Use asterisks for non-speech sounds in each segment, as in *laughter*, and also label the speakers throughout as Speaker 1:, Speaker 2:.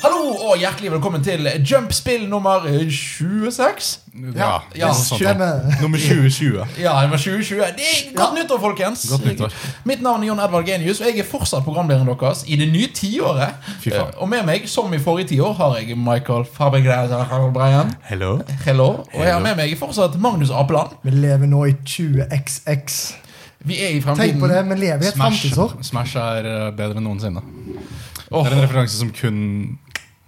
Speaker 1: og hjertelig velkommen til jumpspill nummer 26.
Speaker 2: Ja,
Speaker 1: Ja,
Speaker 2: noe sånt, ja.
Speaker 3: skjønner.
Speaker 2: Nummer 2020.
Speaker 1: Ja, det var 2020. Det er Godt nyttår, folkens!
Speaker 2: Godt nyttår.
Speaker 1: Mitt navn er Jon Edvard Genius, og jeg er fortsatt programlederen deres i det nye tiåret.
Speaker 2: Fy faen.
Speaker 1: Eh, Og med meg, som i forrige tiår, har jeg Michael Fabergreier Brian.
Speaker 2: Hello.
Speaker 1: Hello. Og jeg har med meg fortsatt Magnus Apeland.
Speaker 3: Vi lever nå i 20xx.
Speaker 1: Vi er i fremtiden.
Speaker 3: Tenk på det, vi lever i et
Speaker 2: Sånn Smash,
Speaker 3: framtidsår.
Speaker 2: Smash er eh, bedre enn noensinne.
Speaker 1: Åh.
Speaker 2: Det er en referanse som kun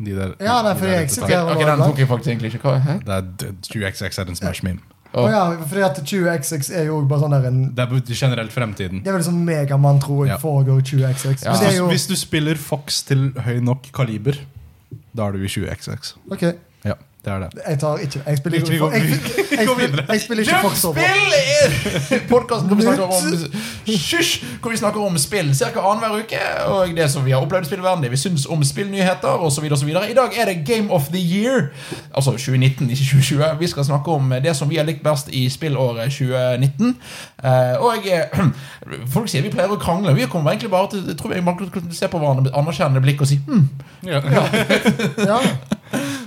Speaker 2: de der
Speaker 3: Ja,
Speaker 2: de
Speaker 3: det er fordi
Speaker 2: der
Speaker 3: jeg
Speaker 2: ute tar.
Speaker 1: Ok, ok, den tok jeg faktisk egentlig ikke. Hva? Hæ?
Speaker 2: Det er d- 20XX er en Smash-meme.
Speaker 3: Å ja, fordi at 20xx er jo bare sånn der en
Speaker 2: Det er på- generelt fremtiden.
Speaker 3: Det er vel sånn megamann, tror jeg,
Speaker 2: Ja.
Speaker 3: foregår i 20xx. Men det er
Speaker 2: Hvis,
Speaker 3: jo
Speaker 2: du, hvis du spiller Fox til høy nok kaliber, da er du i 20XX.
Speaker 3: Ok,
Speaker 2: Ja, det er det.
Speaker 3: jeg tar ikke Jeg spiller
Speaker 2: Vi- vi
Speaker 3: ikke for-
Speaker 2: går-
Speaker 3: jeg-
Speaker 2: vi-
Speaker 3: jeg- jeg spiller- Jeg spiller ikke Foxover.
Speaker 1: Jumpspill er podkasten hvor vi snakker om Hysj! Hvor vi snakker om spill ca. annenhver uke. Og det som vi har opplevd i spillverden, det vi syns om spillnyheter osv. I dag er det Game of the Year. Altså 2019, ikke 2020. Vi skal snakke om det som vi har likt best i spillåret 2019. Eh, Og eh, folk sier vi pleier å krangle. Vi kommer egentlig bare til jeg tror jeg bare kunne se på hverandre med anerkjennende blikk og si hm.
Speaker 2: Ja.
Speaker 3: Ja.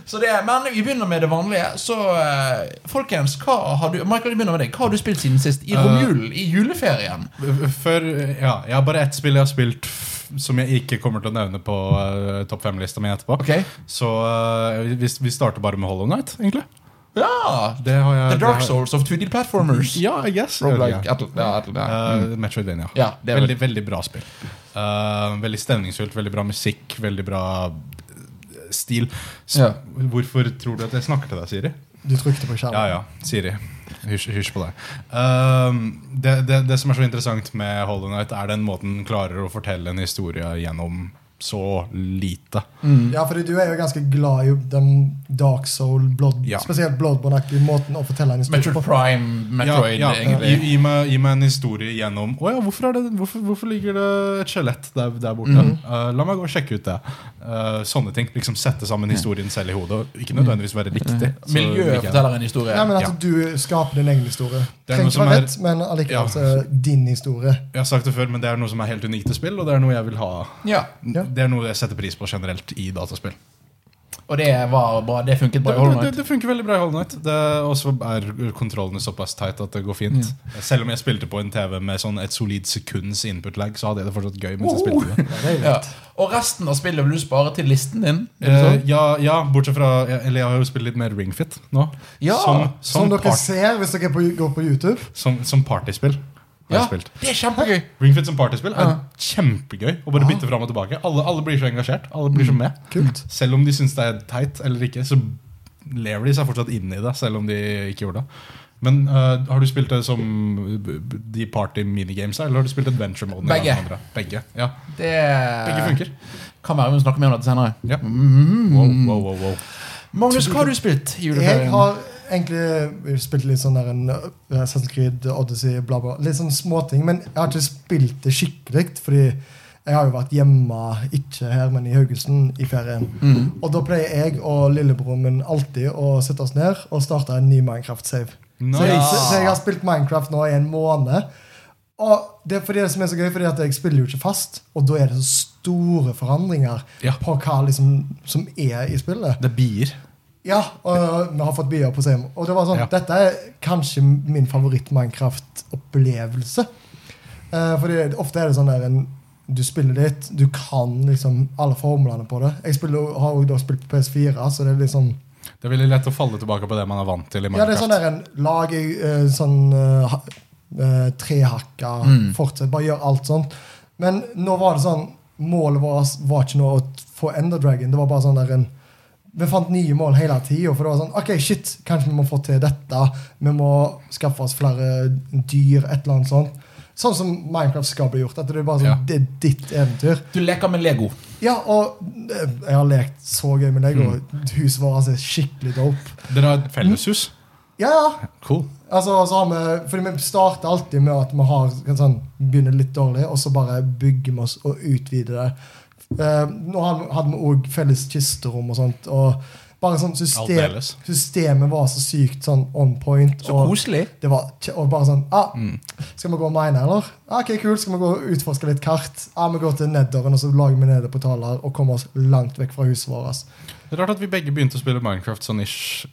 Speaker 1: Så det, men vi begynner med det vanlige. Så eh, folkens, hva har du Michael, vi begynner med deg. Hva har du spilt siden sist? I
Speaker 2: Eh,
Speaker 1: romjulen? I juleferien?
Speaker 2: Før, ja, jeg har bare ett spill jeg har spilt f- som jeg ikke kommer til å nevne på eh, topp fem-lista mi etterpå.
Speaker 1: Ok.
Speaker 2: Så eh, vi, vi starter bare med Hollow Knight, egentlig.
Speaker 1: Ja!
Speaker 2: Det har
Speaker 1: The
Speaker 2: jeg, Eh, det
Speaker 1: Dark
Speaker 2: har-
Speaker 1: Souls of 2D Platformers.
Speaker 2: Ja, I guess.
Speaker 1: Roguelike,
Speaker 2: Ja.
Speaker 1: et eller- ja, et eller annet.
Speaker 2: Eh, Metroidvania.
Speaker 1: Ja, det er vel-
Speaker 2: veldig, veldig bra spill. Eh, veldig stemningsfullt, veldig bra musikk, veldig bra eh, stil. S
Speaker 1: Ja.
Speaker 2: Hvorfor tror du at jeg snakker til deg, Siri?
Speaker 3: Du trykte på
Speaker 2: Ja
Speaker 3: skjermen.
Speaker 2: ja, Siri. Hysj hysj på deg. Ehm, det, det, det som er så interessant med Hollow Knight, er den måten den klarer å fortelle en historie gjennom så lite.
Speaker 3: Ja, fordi du er jo ganske glad i den dark soul, blood,
Speaker 2: Ja.
Speaker 3: spesielt bloodborne-aktige måten å fortelle en historie
Speaker 1: Metroid
Speaker 3: på.
Speaker 1: Prime, Metroid,
Speaker 2: ja, ja.
Speaker 1: egentlig.
Speaker 2: Gi, gi, meg, gi meg en historie gjennom Å ja, hvorfor, er det, hvorfor, hvorfor ligger det et skjelett der, der borte? Eh, la meg gå og sjekke ut det. Eh, sånne ting. Liksom Sette sammen historien selv i hodet. og Ikke nødvendigvis være riktig. Så liker
Speaker 1: Miljøet
Speaker 2: jeg det.
Speaker 1: forteller en historie.
Speaker 3: Ja, men at
Speaker 2: Ja.
Speaker 3: du skaper din egen historie.
Speaker 2: Det er
Speaker 3: Trenger
Speaker 2: noe
Speaker 3: ikke
Speaker 2: som
Speaker 3: være
Speaker 2: er-
Speaker 3: rett, men allikevel
Speaker 2: Ja.
Speaker 3: så er det din historie.
Speaker 2: Jeg har sagt det før, men det er noe som er helt unikt til spill, og det er noe jeg vil ha
Speaker 1: Ja,
Speaker 3: Ja.
Speaker 2: Det er noe jeg setter pris på generelt i dataspill.
Speaker 1: Og det var bra. Det funket bra. i Hollow
Speaker 2: Det, det,
Speaker 1: Knight.
Speaker 2: det funker veldig bra i Hollow Knight. Det Og så er kontrollene såpass tight at det går fint. Selv om jeg spilte på en TV med sånn et solid sekunds input lag, så hadde jeg det fortsatt gøy. mens jeg spilte det
Speaker 1: Ja. Og resten av spillet vil du spare til listen din? Er det
Speaker 2: Eh,
Speaker 1: sånn?
Speaker 2: ja, ja, bortsett fra Eller jeg har jo spilt litt mer Ringfit nå.
Speaker 1: Ja,
Speaker 2: som, som,
Speaker 3: Som dere
Speaker 2: Sånn- part,
Speaker 3: ser hvis dere er på, går på YouTube.
Speaker 2: som, som partyspill. Har
Speaker 1: Ja,
Speaker 2: jeg spilt
Speaker 1: det er kjempegøy.
Speaker 2: Ringfit som partyspill er
Speaker 1: Ja.
Speaker 2: kjempegøy. Å bare bytte fram og tilbake Alle, alle blir så engasjert. Alle blir så med
Speaker 3: Kult.
Speaker 2: Selv om de syns det er teit eller ikke, så lever de seg fortsatt inn i det. Selv om de ikke gjorde det. Men eh, har du spilt det som b- b- de party minigamesa, eller har du spilt adventure mode?
Speaker 1: Begge. Eh.
Speaker 2: Begge, ja.
Speaker 1: Det
Speaker 2: Begge funker.
Speaker 1: Kan være vi snakker mer om dette senere.
Speaker 2: Ja.
Speaker 1: Mhm.
Speaker 2: Wow, wow, wow, wow.
Speaker 1: Magnus, hva har du spilt i
Speaker 3: Jeg
Speaker 1: juleferien?
Speaker 3: har egentlig spilt litt sånn der en uh, Assassin's Creed, Odyssey, bla, bla. Litt sånn småting. Men jeg har ikke spilt det skikkelig, fordi jeg har jo vært hjemme, ikke her, men i Haugesund, i ferien. Og da pleier jeg og lillebroren min alltid å sette oss ned og starte en ny Minecraft-save. Så, jeg-
Speaker 2: Nice.
Speaker 3: så, så jeg har spilt Minecraft nå i en måned. Og det er fordi det som er så gøy, fordi at jeg spiller jo ikke fast, og da er det så store forandringer
Speaker 2: Ja.
Speaker 3: på hva liksom, som er i spillet.
Speaker 2: Det er bier.
Speaker 3: Ja, og vi har fått bier på Seim. Og det var sånn,
Speaker 2: Ja.
Speaker 3: dette er kanskje min favoritt-Minecraft-opplevelse. Eh, fordi ofte er det sånn der en, du spiller litt, du kan liksom alle formlene på det. Jeg spiller, har jo da spilt på PS4, så det er liksom
Speaker 2: Det er veldig lett å falle tilbake på det man er vant til i
Speaker 3: Ja, det er sånn
Speaker 2: Minecraft.
Speaker 3: der en lag eh, sånn eh, ha- eh, trehakka,
Speaker 2: Mm.
Speaker 3: fortsett, bare gjør alt sånt. Men nå var det sånn Målet vårt var ikke noe å få Ender Dragon. Det var bare sånn der en vi fant nye mål hele tida. For det var sånn OK, shit, kanskje vi må få til dette. Vi må skaffe oss flere dyr, et eller annet sånt. Sånn som Minecraft skal bli gjort. At det er bare sånn,
Speaker 2: Ja.
Speaker 3: det er ditt eventyr.
Speaker 1: Du leker med Lego.
Speaker 3: Ja, og eh, jeg har lekt så gøy med deg,
Speaker 2: Mm.
Speaker 3: og huset vårt er Mm. skikkelig dope.
Speaker 2: Dere har et felleshus.
Speaker 3: Ja, ja.
Speaker 2: Cool.
Speaker 3: Altså, så har vi, fordi vi starter alltid med at vi har, sånn, begynner litt dårlig, og så bare bygger vi oss og utvider det. Eh, nå har vi- hadde vi òg felles kisterom og sånt. Og Bare sånn system,
Speaker 2: Aldeles.
Speaker 3: Systemet var så sykt sånn on point.
Speaker 1: Så
Speaker 3: og-
Speaker 1: koselig.
Speaker 3: det var, kje- og bare sånn ah, Skal vi gå og mine, eller? Ah, ok, kult, Skal vi gå og utforske litt kart? Ah, vi går til neddøren og så lager vi nede portaler og kommer oss langt vekk fra huset vårt. ass.
Speaker 2: Rart at vi begge begynte å spille Minecraft sånn ish.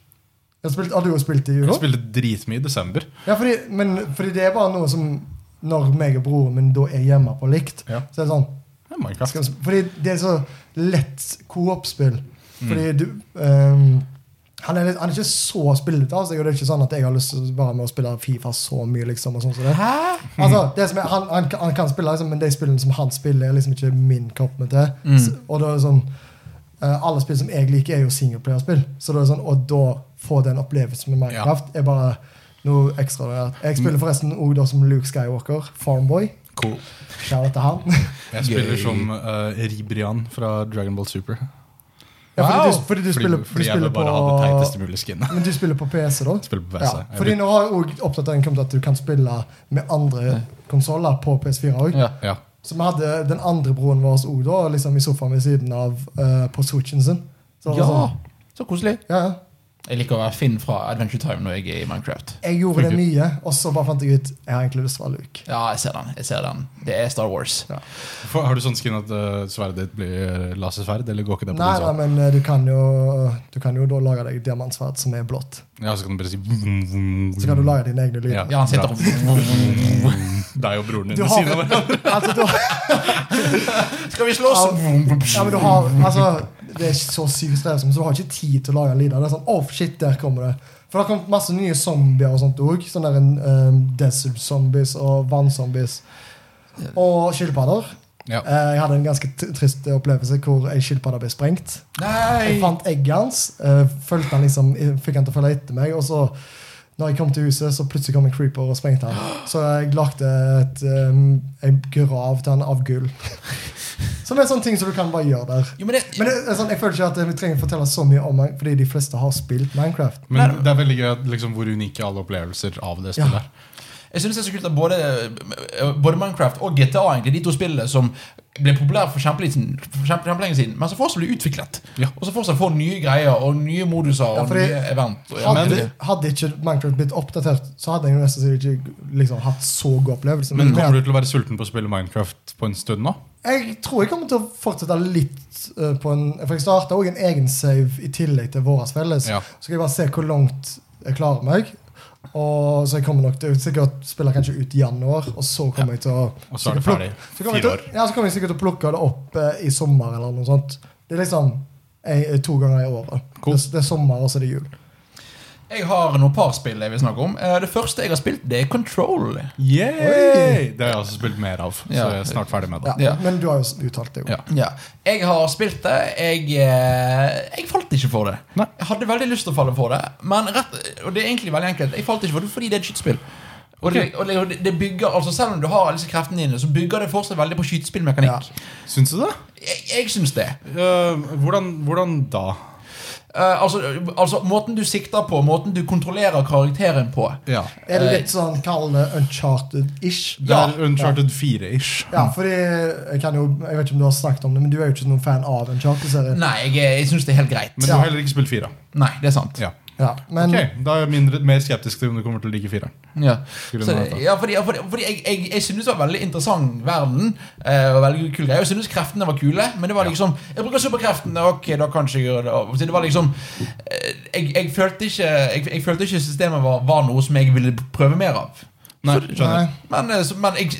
Speaker 3: Jeg har, spilt, har du jo spilt i
Speaker 2: Vi
Speaker 3: jula?
Speaker 2: spilte dritmye i desember.
Speaker 3: Ja, fordi, men, fordi det er bare noe som Når meg og broren min da er hjemme på likt,
Speaker 2: Ja.
Speaker 3: så er det sånn
Speaker 2: Ja, Minecraft.
Speaker 3: skal vi, sp- Fordi det er så lett koop-spill.
Speaker 2: Mm.
Speaker 3: Fordi du ehm, han er, litt, han er ikke så spillete av seg, og det er ikke sånn at jeg har lyst til å bare med å spille Fifa så mye. liksom og sånn som det. Altså, det som er, han, han, kan- han kan spille, liksom, men de spillene som han spiller, er liksom ikke min kopp med te.
Speaker 2: Mm.
Speaker 3: S- Og da er det sånn, eh, alle spill som jeg liker, er jo singleplayerspill. Så da er det sånn, og da få den opplevelsen med Minecraft er bare noe ekstraordinært. Jeg spiller
Speaker 2: Mm.
Speaker 3: forresten også da som Luke Skywalker, Farmboy.
Speaker 2: Cool.
Speaker 3: Shout-out til han. *laughs*
Speaker 2: Jeg spiller som eh, Ribrian fra Dragon Ball Super.
Speaker 3: Ja, fordi,
Speaker 1: Wow.
Speaker 3: du, fordi du
Speaker 2: Fordi-
Speaker 3: spiller,
Speaker 2: fordi
Speaker 3: du spiller
Speaker 2: jeg vil bare ha det teiteste
Speaker 3: på
Speaker 2: mulige skinnet.
Speaker 3: men du spiller på PC, da?
Speaker 2: Spiller på PC.
Speaker 3: Ja,
Speaker 2: Jeg
Speaker 3: fordi
Speaker 2: vil-
Speaker 3: nå har jo også oppdateringen kommet at du kan spille med andre konsoller på PS4 òg.
Speaker 1: Ja.
Speaker 2: *laughs* Ja.
Speaker 3: Så vi hadde den andre broren vår også da, liksom i sofaen ved siden av eh, på Switchen sin. Så, det var
Speaker 1: Ja,
Speaker 3: sånn,
Speaker 1: så koselig.
Speaker 3: ja, ja.
Speaker 1: Jeg liker å være Finn fra Adventure Time når jeg er i Minecraft.
Speaker 3: Jeg gjorde det mye, og så bare fant jeg ut jeg har egentlig lyst til å være Luke.
Speaker 1: Ja, jeg ser den. jeg ser den. Det er Star Wars.
Speaker 2: For, har du sånn skin at eh, sverdet ditt blir eh, lasersverd, eller går ikke det på sånn?
Speaker 3: Nei, nei,
Speaker 2: konsolen?
Speaker 3: men eh, du kan jo Du kan jo da lage deg diamantsverd som er blått.
Speaker 2: Ja, så kan du bare si
Speaker 3: Så kan du lage dine egne lyder.
Speaker 2: Mm. Ja.
Speaker 1: Ja, han sitter og
Speaker 2: Deg og broren din
Speaker 3: Du
Speaker 2: ved
Speaker 3: har,
Speaker 2: siden av hverandre.
Speaker 3: *laughs* altså, du har,
Speaker 1: Skal vi slåss?
Speaker 3: ja, men du har altså, Det er så sykt strevsomt, så du har ikke tid til å lage lyder. Det er sånn, oh shit, der kommer det. For det har kommet masse nye zombier og sånt òg. Sånne der, eh, desert zombies og vanzombies. Og skilpadder.
Speaker 2: Ja.
Speaker 3: Eh, Jeg hadde en ganske t- trist opplevelse hvor ei skilpadde ble sprengt. Jeg
Speaker 1: Nei!
Speaker 3: fant egget hans, eh, fulgte han liksom, fikk han til å følge etter meg. Og så, når jeg kom til huset, så plutselig kom en creeper og sprengte han. Så jeg lagde et, eh, en grav til han av gull. *laughs* Som er sånne ting som du kan bare gjøre der.
Speaker 1: Jo, men det,
Speaker 3: Men det, er sånn, jeg føler ikke at vi trenger å fortelle så mye om Minecraft, fordi de fleste har spilt Minecraft.
Speaker 2: Men det er veldig gøy at, liksom, hvor unike alle opplevelser av det
Speaker 3: Ja.
Speaker 2: spillet er.
Speaker 1: Jeg synes det er så kult at både, både Minecraft og GTA, egentlig, de to spillene som ble populære for kjempelenge siden, for kjempe- kjempelenge siden, men som fortsatt blir utviklet.
Speaker 2: Ja.
Speaker 1: Og så fortsatt får nye greier og nye moduser og
Speaker 3: Ja, fordi-
Speaker 1: nye event. Og,
Speaker 3: Hadde,
Speaker 2: men-
Speaker 3: hadde ikke Minecraft blitt oppdatert, så hadde jeg jo nesten sikkert ikke liksom, hatt så god opplevelse.
Speaker 2: Men
Speaker 3: at-
Speaker 2: kommer du til å være sulten på å spille Minecraft på en stund nå?
Speaker 3: Jeg tror jeg kommer til å fortsette litt eh, på en For jeg starta òg en egen save i tillegg til vår felles.
Speaker 2: Ja.
Speaker 3: Så skal jeg bare se hvor langt jeg klarer meg. Og så jeg kommer nok til å sikkert spille kanskje ut i januar, og så kommer jeg til å
Speaker 2: Og så er det
Speaker 3: sikkert
Speaker 2: ferdig.
Speaker 3: plukke- så kommer jeg
Speaker 2: Fire
Speaker 3: til, Ja, så kommer jeg sikkert til å plukke det opp eh, i sommer eller noe sånt. Det er liksom eh, to ganger i året.
Speaker 2: Cool.
Speaker 3: Det, det er sommer, og så er det jul.
Speaker 1: jeg har noen par spill jeg vil snakke om. Eh, Det første jeg har spilt, det er Control.
Speaker 2: Yay! Det har jeg også spilt mer av, så
Speaker 1: Ja.
Speaker 2: jeg er snart ferdig med det.
Speaker 3: Ja.
Speaker 1: Ja.
Speaker 3: Men du har jo s- uttalt det, jo.
Speaker 2: Ja.
Speaker 1: Ja. Jeg har spilt det. Jeg, eh, jeg falt ikke for det.
Speaker 2: Nei.
Speaker 1: Jeg hadde veldig lyst til å falle for det, men rett, og det er egentlig veldig enkelt. Jeg falt ikke for det fordi det er et skytespill. Og, det, og det- og det, det bygger, altså Selv om du har alle disse kreftene dine, så bygger det fortsatt veldig på skytespillmekanikk.
Speaker 2: Syns du det?
Speaker 1: Jeg, jeg syns det.
Speaker 2: Eh, hvordan, hvordan da?
Speaker 1: Eh, altså, altså, måten du sikter på, måten du kontrollerer karakteren på.
Speaker 2: Ja.
Speaker 3: Er det litt sånn kall det uncharted-ish?
Speaker 2: Det
Speaker 1: Ja.
Speaker 2: er Uncharted 4-ish.
Speaker 3: Ja, fordi jeg, kan jo, jeg vet ikke om du har snakket om det, men du er jo ikke noen fan av Uncharted-serien.
Speaker 1: Nei, jeg, er- jeg syns det er helt greit.
Speaker 2: Men du
Speaker 3: Ja.
Speaker 2: har heller ikke spilt 4.
Speaker 1: Nei, det er sant.
Speaker 2: Ja.
Speaker 3: Ja, men
Speaker 2: Ok, Da er jeg mindre, mer skeptisk til om du kommer til å like 4.
Speaker 1: Ja.
Speaker 2: Skulle
Speaker 1: Så,
Speaker 2: man ha tatt.
Speaker 1: ja, fordi, ja, fordi, fordi jeg, jeg, jeg synes det var en veldig interessant verden. eh, og veldig kul greie. Jeg synes kreftene var kule, men det var liksom Jeg bruker superkreftene, ok, da kan ikke jeg gjøre det. Og Så det var liksom eh, jeg, jeg, følte ikke, jeg, jeg følte ikke systemet var, var noe som jeg ville prøve mer av.
Speaker 2: Nei,
Speaker 1: Så-
Speaker 3: nei,
Speaker 2: skjønner.
Speaker 1: Men, eh, så- men, jeg,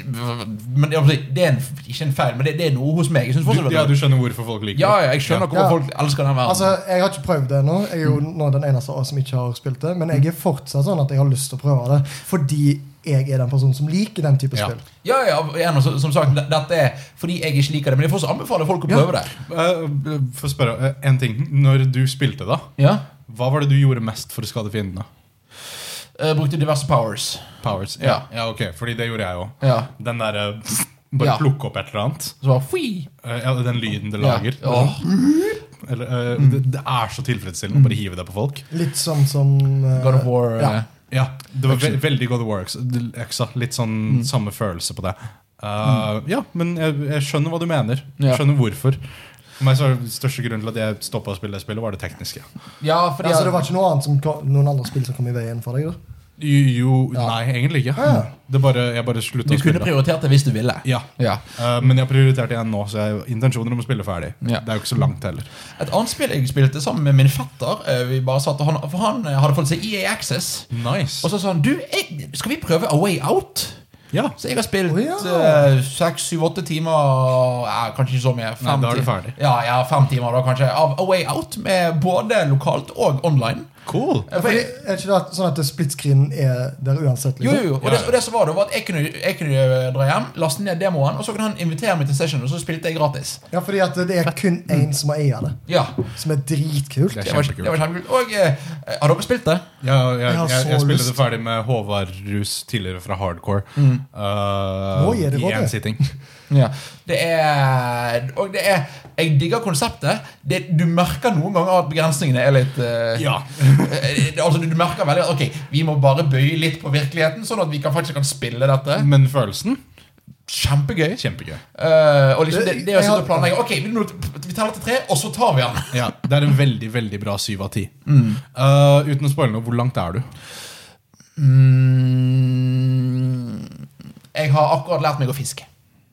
Speaker 1: men jeg, det er en, ikke en feil, men det, det er noe hos meg. Jeg synes
Speaker 2: Du,
Speaker 1: fortsatt det
Speaker 2: ja,
Speaker 1: var-
Speaker 2: du skjønner hvorfor folk liker
Speaker 1: Ja,
Speaker 2: det.
Speaker 1: ja, jeg skjønner hvorfor
Speaker 3: Ja.
Speaker 1: folk elsker den verden.
Speaker 3: altså, jeg har ikke prøvd det ennå. Jeg er jo nå den eneste av oss som ikke har spilt det. Men jeg er fortsatt sånn at jeg har lyst til å prøve det, fordi jeg er den personen som liker den type
Speaker 2: Ja.
Speaker 3: spill.
Speaker 1: ja, ja, igjen, og så- som sagt, det- dette er fordi jeg ikke liker det, men jeg får også anbefale folk å
Speaker 3: Ja.
Speaker 1: prøve det.
Speaker 2: Eh, Få spørre eh, en ting. Når du spilte, da,
Speaker 1: Ja.
Speaker 2: hva var det du gjorde mest for å skade fiendene?
Speaker 1: Eh, brukte diverse powers.
Speaker 2: Powers.
Speaker 1: Ja.
Speaker 2: Ja. ja, ok, fordi det gjorde jeg òg.
Speaker 1: Ja.
Speaker 2: Den derre Bare
Speaker 1: Ja.
Speaker 2: plukke opp et eller annet.
Speaker 1: Så bare fui.
Speaker 2: Eh, Ja, den lyden det lager.
Speaker 1: Ja. Åh.
Speaker 2: Eller, eh, det, det er så tilfredsstillende å bare hive det på folk.
Speaker 3: Litt sånn som eh,
Speaker 1: God of War.
Speaker 3: Ja.
Speaker 1: eh,
Speaker 2: Ja, det var ve veldig God of War. øksa- d- Øksa. Litt sånn samme følelse på det. Eh, Ja, men jeg, jeg skjønner hva du mener.
Speaker 1: Ja.
Speaker 2: Skjønner hvorfor. For meg så var det største grunnen til at jeg stoppa å spille det spillet, var det tekniske.
Speaker 1: Ja, fordi
Speaker 3: Ja, så det var ikke noe annet som kom, noen andre spill som kom i veien for deg? da?
Speaker 2: Jo, jo Nei, egentlig ikke.
Speaker 3: Ja.
Speaker 2: Det bare, jeg bare slutta
Speaker 1: Du
Speaker 2: å
Speaker 1: kunne
Speaker 2: spille.
Speaker 1: prioritert det hvis du ville.
Speaker 2: Ja.
Speaker 1: Ja.
Speaker 2: Eh, men jeg har prioritert igjen nå, så jeg har intensjoner om å spille ferdig.
Speaker 1: Ja.
Speaker 2: Det er jo ikke så langt heller.
Speaker 1: Et annet spill jeg spilte sammen med min fatter eh, Vi bare satt og han, For han eh, hadde fått seg EA Access.
Speaker 2: Nice.
Speaker 1: Og så sa han du, jeg, skal vi prøve A Way Out?
Speaker 2: ja.
Speaker 1: Så jeg har spilt
Speaker 3: Å, ja.
Speaker 1: eh, seks, syv, åtte timer ja, Kanskje ikke så mye. Fem,
Speaker 2: Nei, da er du
Speaker 1: ti-
Speaker 2: ferdig.
Speaker 1: Ja, ja, fem timer da kanskje av A Way Out, med både lokalt og online.
Speaker 2: Cool.
Speaker 1: Eh, for
Speaker 3: Fordi,
Speaker 1: jeg-
Speaker 3: er ikke det sånn at splitscreenen er der uansett?
Speaker 1: Jo, jo,
Speaker 3: Liksom?
Speaker 1: jo. Og,
Speaker 2: Ja,
Speaker 1: det,
Speaker 2: ja.
Speaker 1: og det som var det var at jeg kunne, jeg kunne eh, dra hjem, laste ned demoen, og så kunne han invitere meg til session, og så spilte jeg gratis.
Speaker 3: Ja, fordi at det er kun én som eier det,
Speaker 1: Ja,
Speaker 3: som er dritkult.
Speaker 2: Det er
Speaker 1: det var,
Speaker 2: kjempekult.
Speaker 1: det var kjempekult. Og eh, har dere spilt det?
Speaker 2: Ja, jeg,
Speaker 3: Jeg har
Speaker 2: jeg, jeg,
Speaker 3: så
Speaker 2: spilte det
Speaker 3: lyst. Mm.
Speaker 2: ferdig med Håvard Rus tidligere fra Hardcore. Eh,
Speaker 3: Nå gir det
Speaker 2: I
Speaker 3: godt,
Speaker 2: én
Speaker 3: det.
Speaker 2: sitting.
Speaker 3: *laughs*
Speaker 1: Ja. Det er Og det er Jeg digger konseptet. Det, du merker noen ganger at begrensningene er litt eh,
Speaker 2: Ja.
Speaker 1: *laughs* eh, altså, du, du merker veldig at ok, vi må bare bøye litt på virkeligheten, sånn at vi kan faktisk kan spille dette.
Speaker 2: Men følelsen?
Speaker 1: Kjempegøy.
Speaker 2: Kjempegøy.
Speaker 1: Eh, og liksom det, det å
Speaker 3: Jeg
Speaker 1: sitte og
Speaker 3: har-
Speaker 1: planlegge Ok, vi, nå- vi teller til tre, og så tar vi den.
Speaker 2: Ja, Det er en veldig veldig bra syv av ti.
Speaker 3: Mm.
Speaker 2: Eh, uten å spoile noe, hvor langt er du?
Speaker 1: Mm, jeg har akkurat lært meg å fiske.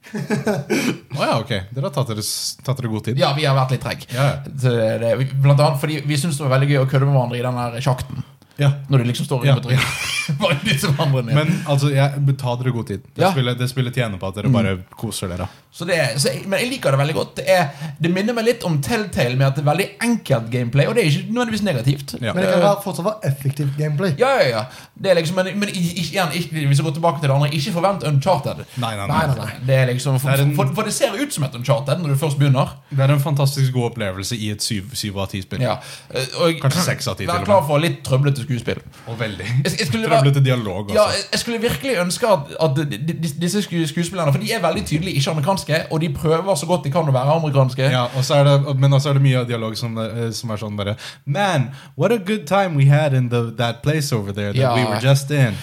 Speaker 2: Å ja, ok. Dere har tatt dere, s- tatt dere god tid.
Speaker 1: Ja, vi har vært litt trege.
Speaker 2: Ja,
Speaker 1: Blant annet fordi vi syns det var veldig gøy å kødde med hverandre i den der sjakten.
Speaker 2: ja.
Speaker 1: Når de liksom står
Speaker 2: Ja.
Speaker 1: rundt og tryner. *laughs* Bare dytter hverandre ned.
Speaker 2: Men altså, jeg, ta dere god tid. Det,
Speaker 1: Ja.
Speaker 2: spillet, det spillet tjener på at dere
Speaker 3: Mm.
Speaker 2: bare koser dere.
Speaker 1: Så det, er- så jeg, men jeg liker det veldig godt. Det, er, det minner meg litt om Telltale med at det er veldig enkelt gameplay, og det er ikke nødvendigvis negativt.
Speaker 2: Ja.
Speaker 3: Men det kan være, fortsatt være effektivt gameplay.
Speaker 1: Ja, ja, ja. Det er liksom, men men i- i- igjen, ikke, hvis jeg går tilbake til det andre, ikke forvent uncharted.
Speaker 2: Nei, nei,
Speaker 3: Nei,
Speaker 2: nei.
Speaker 3: nei, nei.
Speaker 1: Det er liksom, for,
Speaker 2: Det er en-
Speaker 1: for, for det ser ut som et uncharted når du først begynner.
Speaker 2: Det er en fantastisk god opplevelse i et syv syv av ti-spill.
Speaker 1: Ja. Eh, Og
Speaker 2: Kanskje seks av ti, til og
Speaker 1: vær
Speaker 2: med.
Speaker 1: klar for litt trøblete skuespill.
Speaker 2: Og veldig
Speaker 1: Jeg- jeg skulle bare-
Speaker 2: trøblete dialog.
Speaker 1: Ja,
Speaker 2: Også.
Speaker 1: jeg- jeg skulle virkelig ønske at, at de- de- disse sku- skuespillerne For de er veldig tydelig ikke amerikanske, og de prøver så godt de kan å være amerikanske.
Speaker 2: Ja, og så er det, men også er det mye av dialog som, eh, som er sånn bare Man, what a good time we had in the, that place over there that
Speaker 1: Ja.
Speaker 2: we were just in.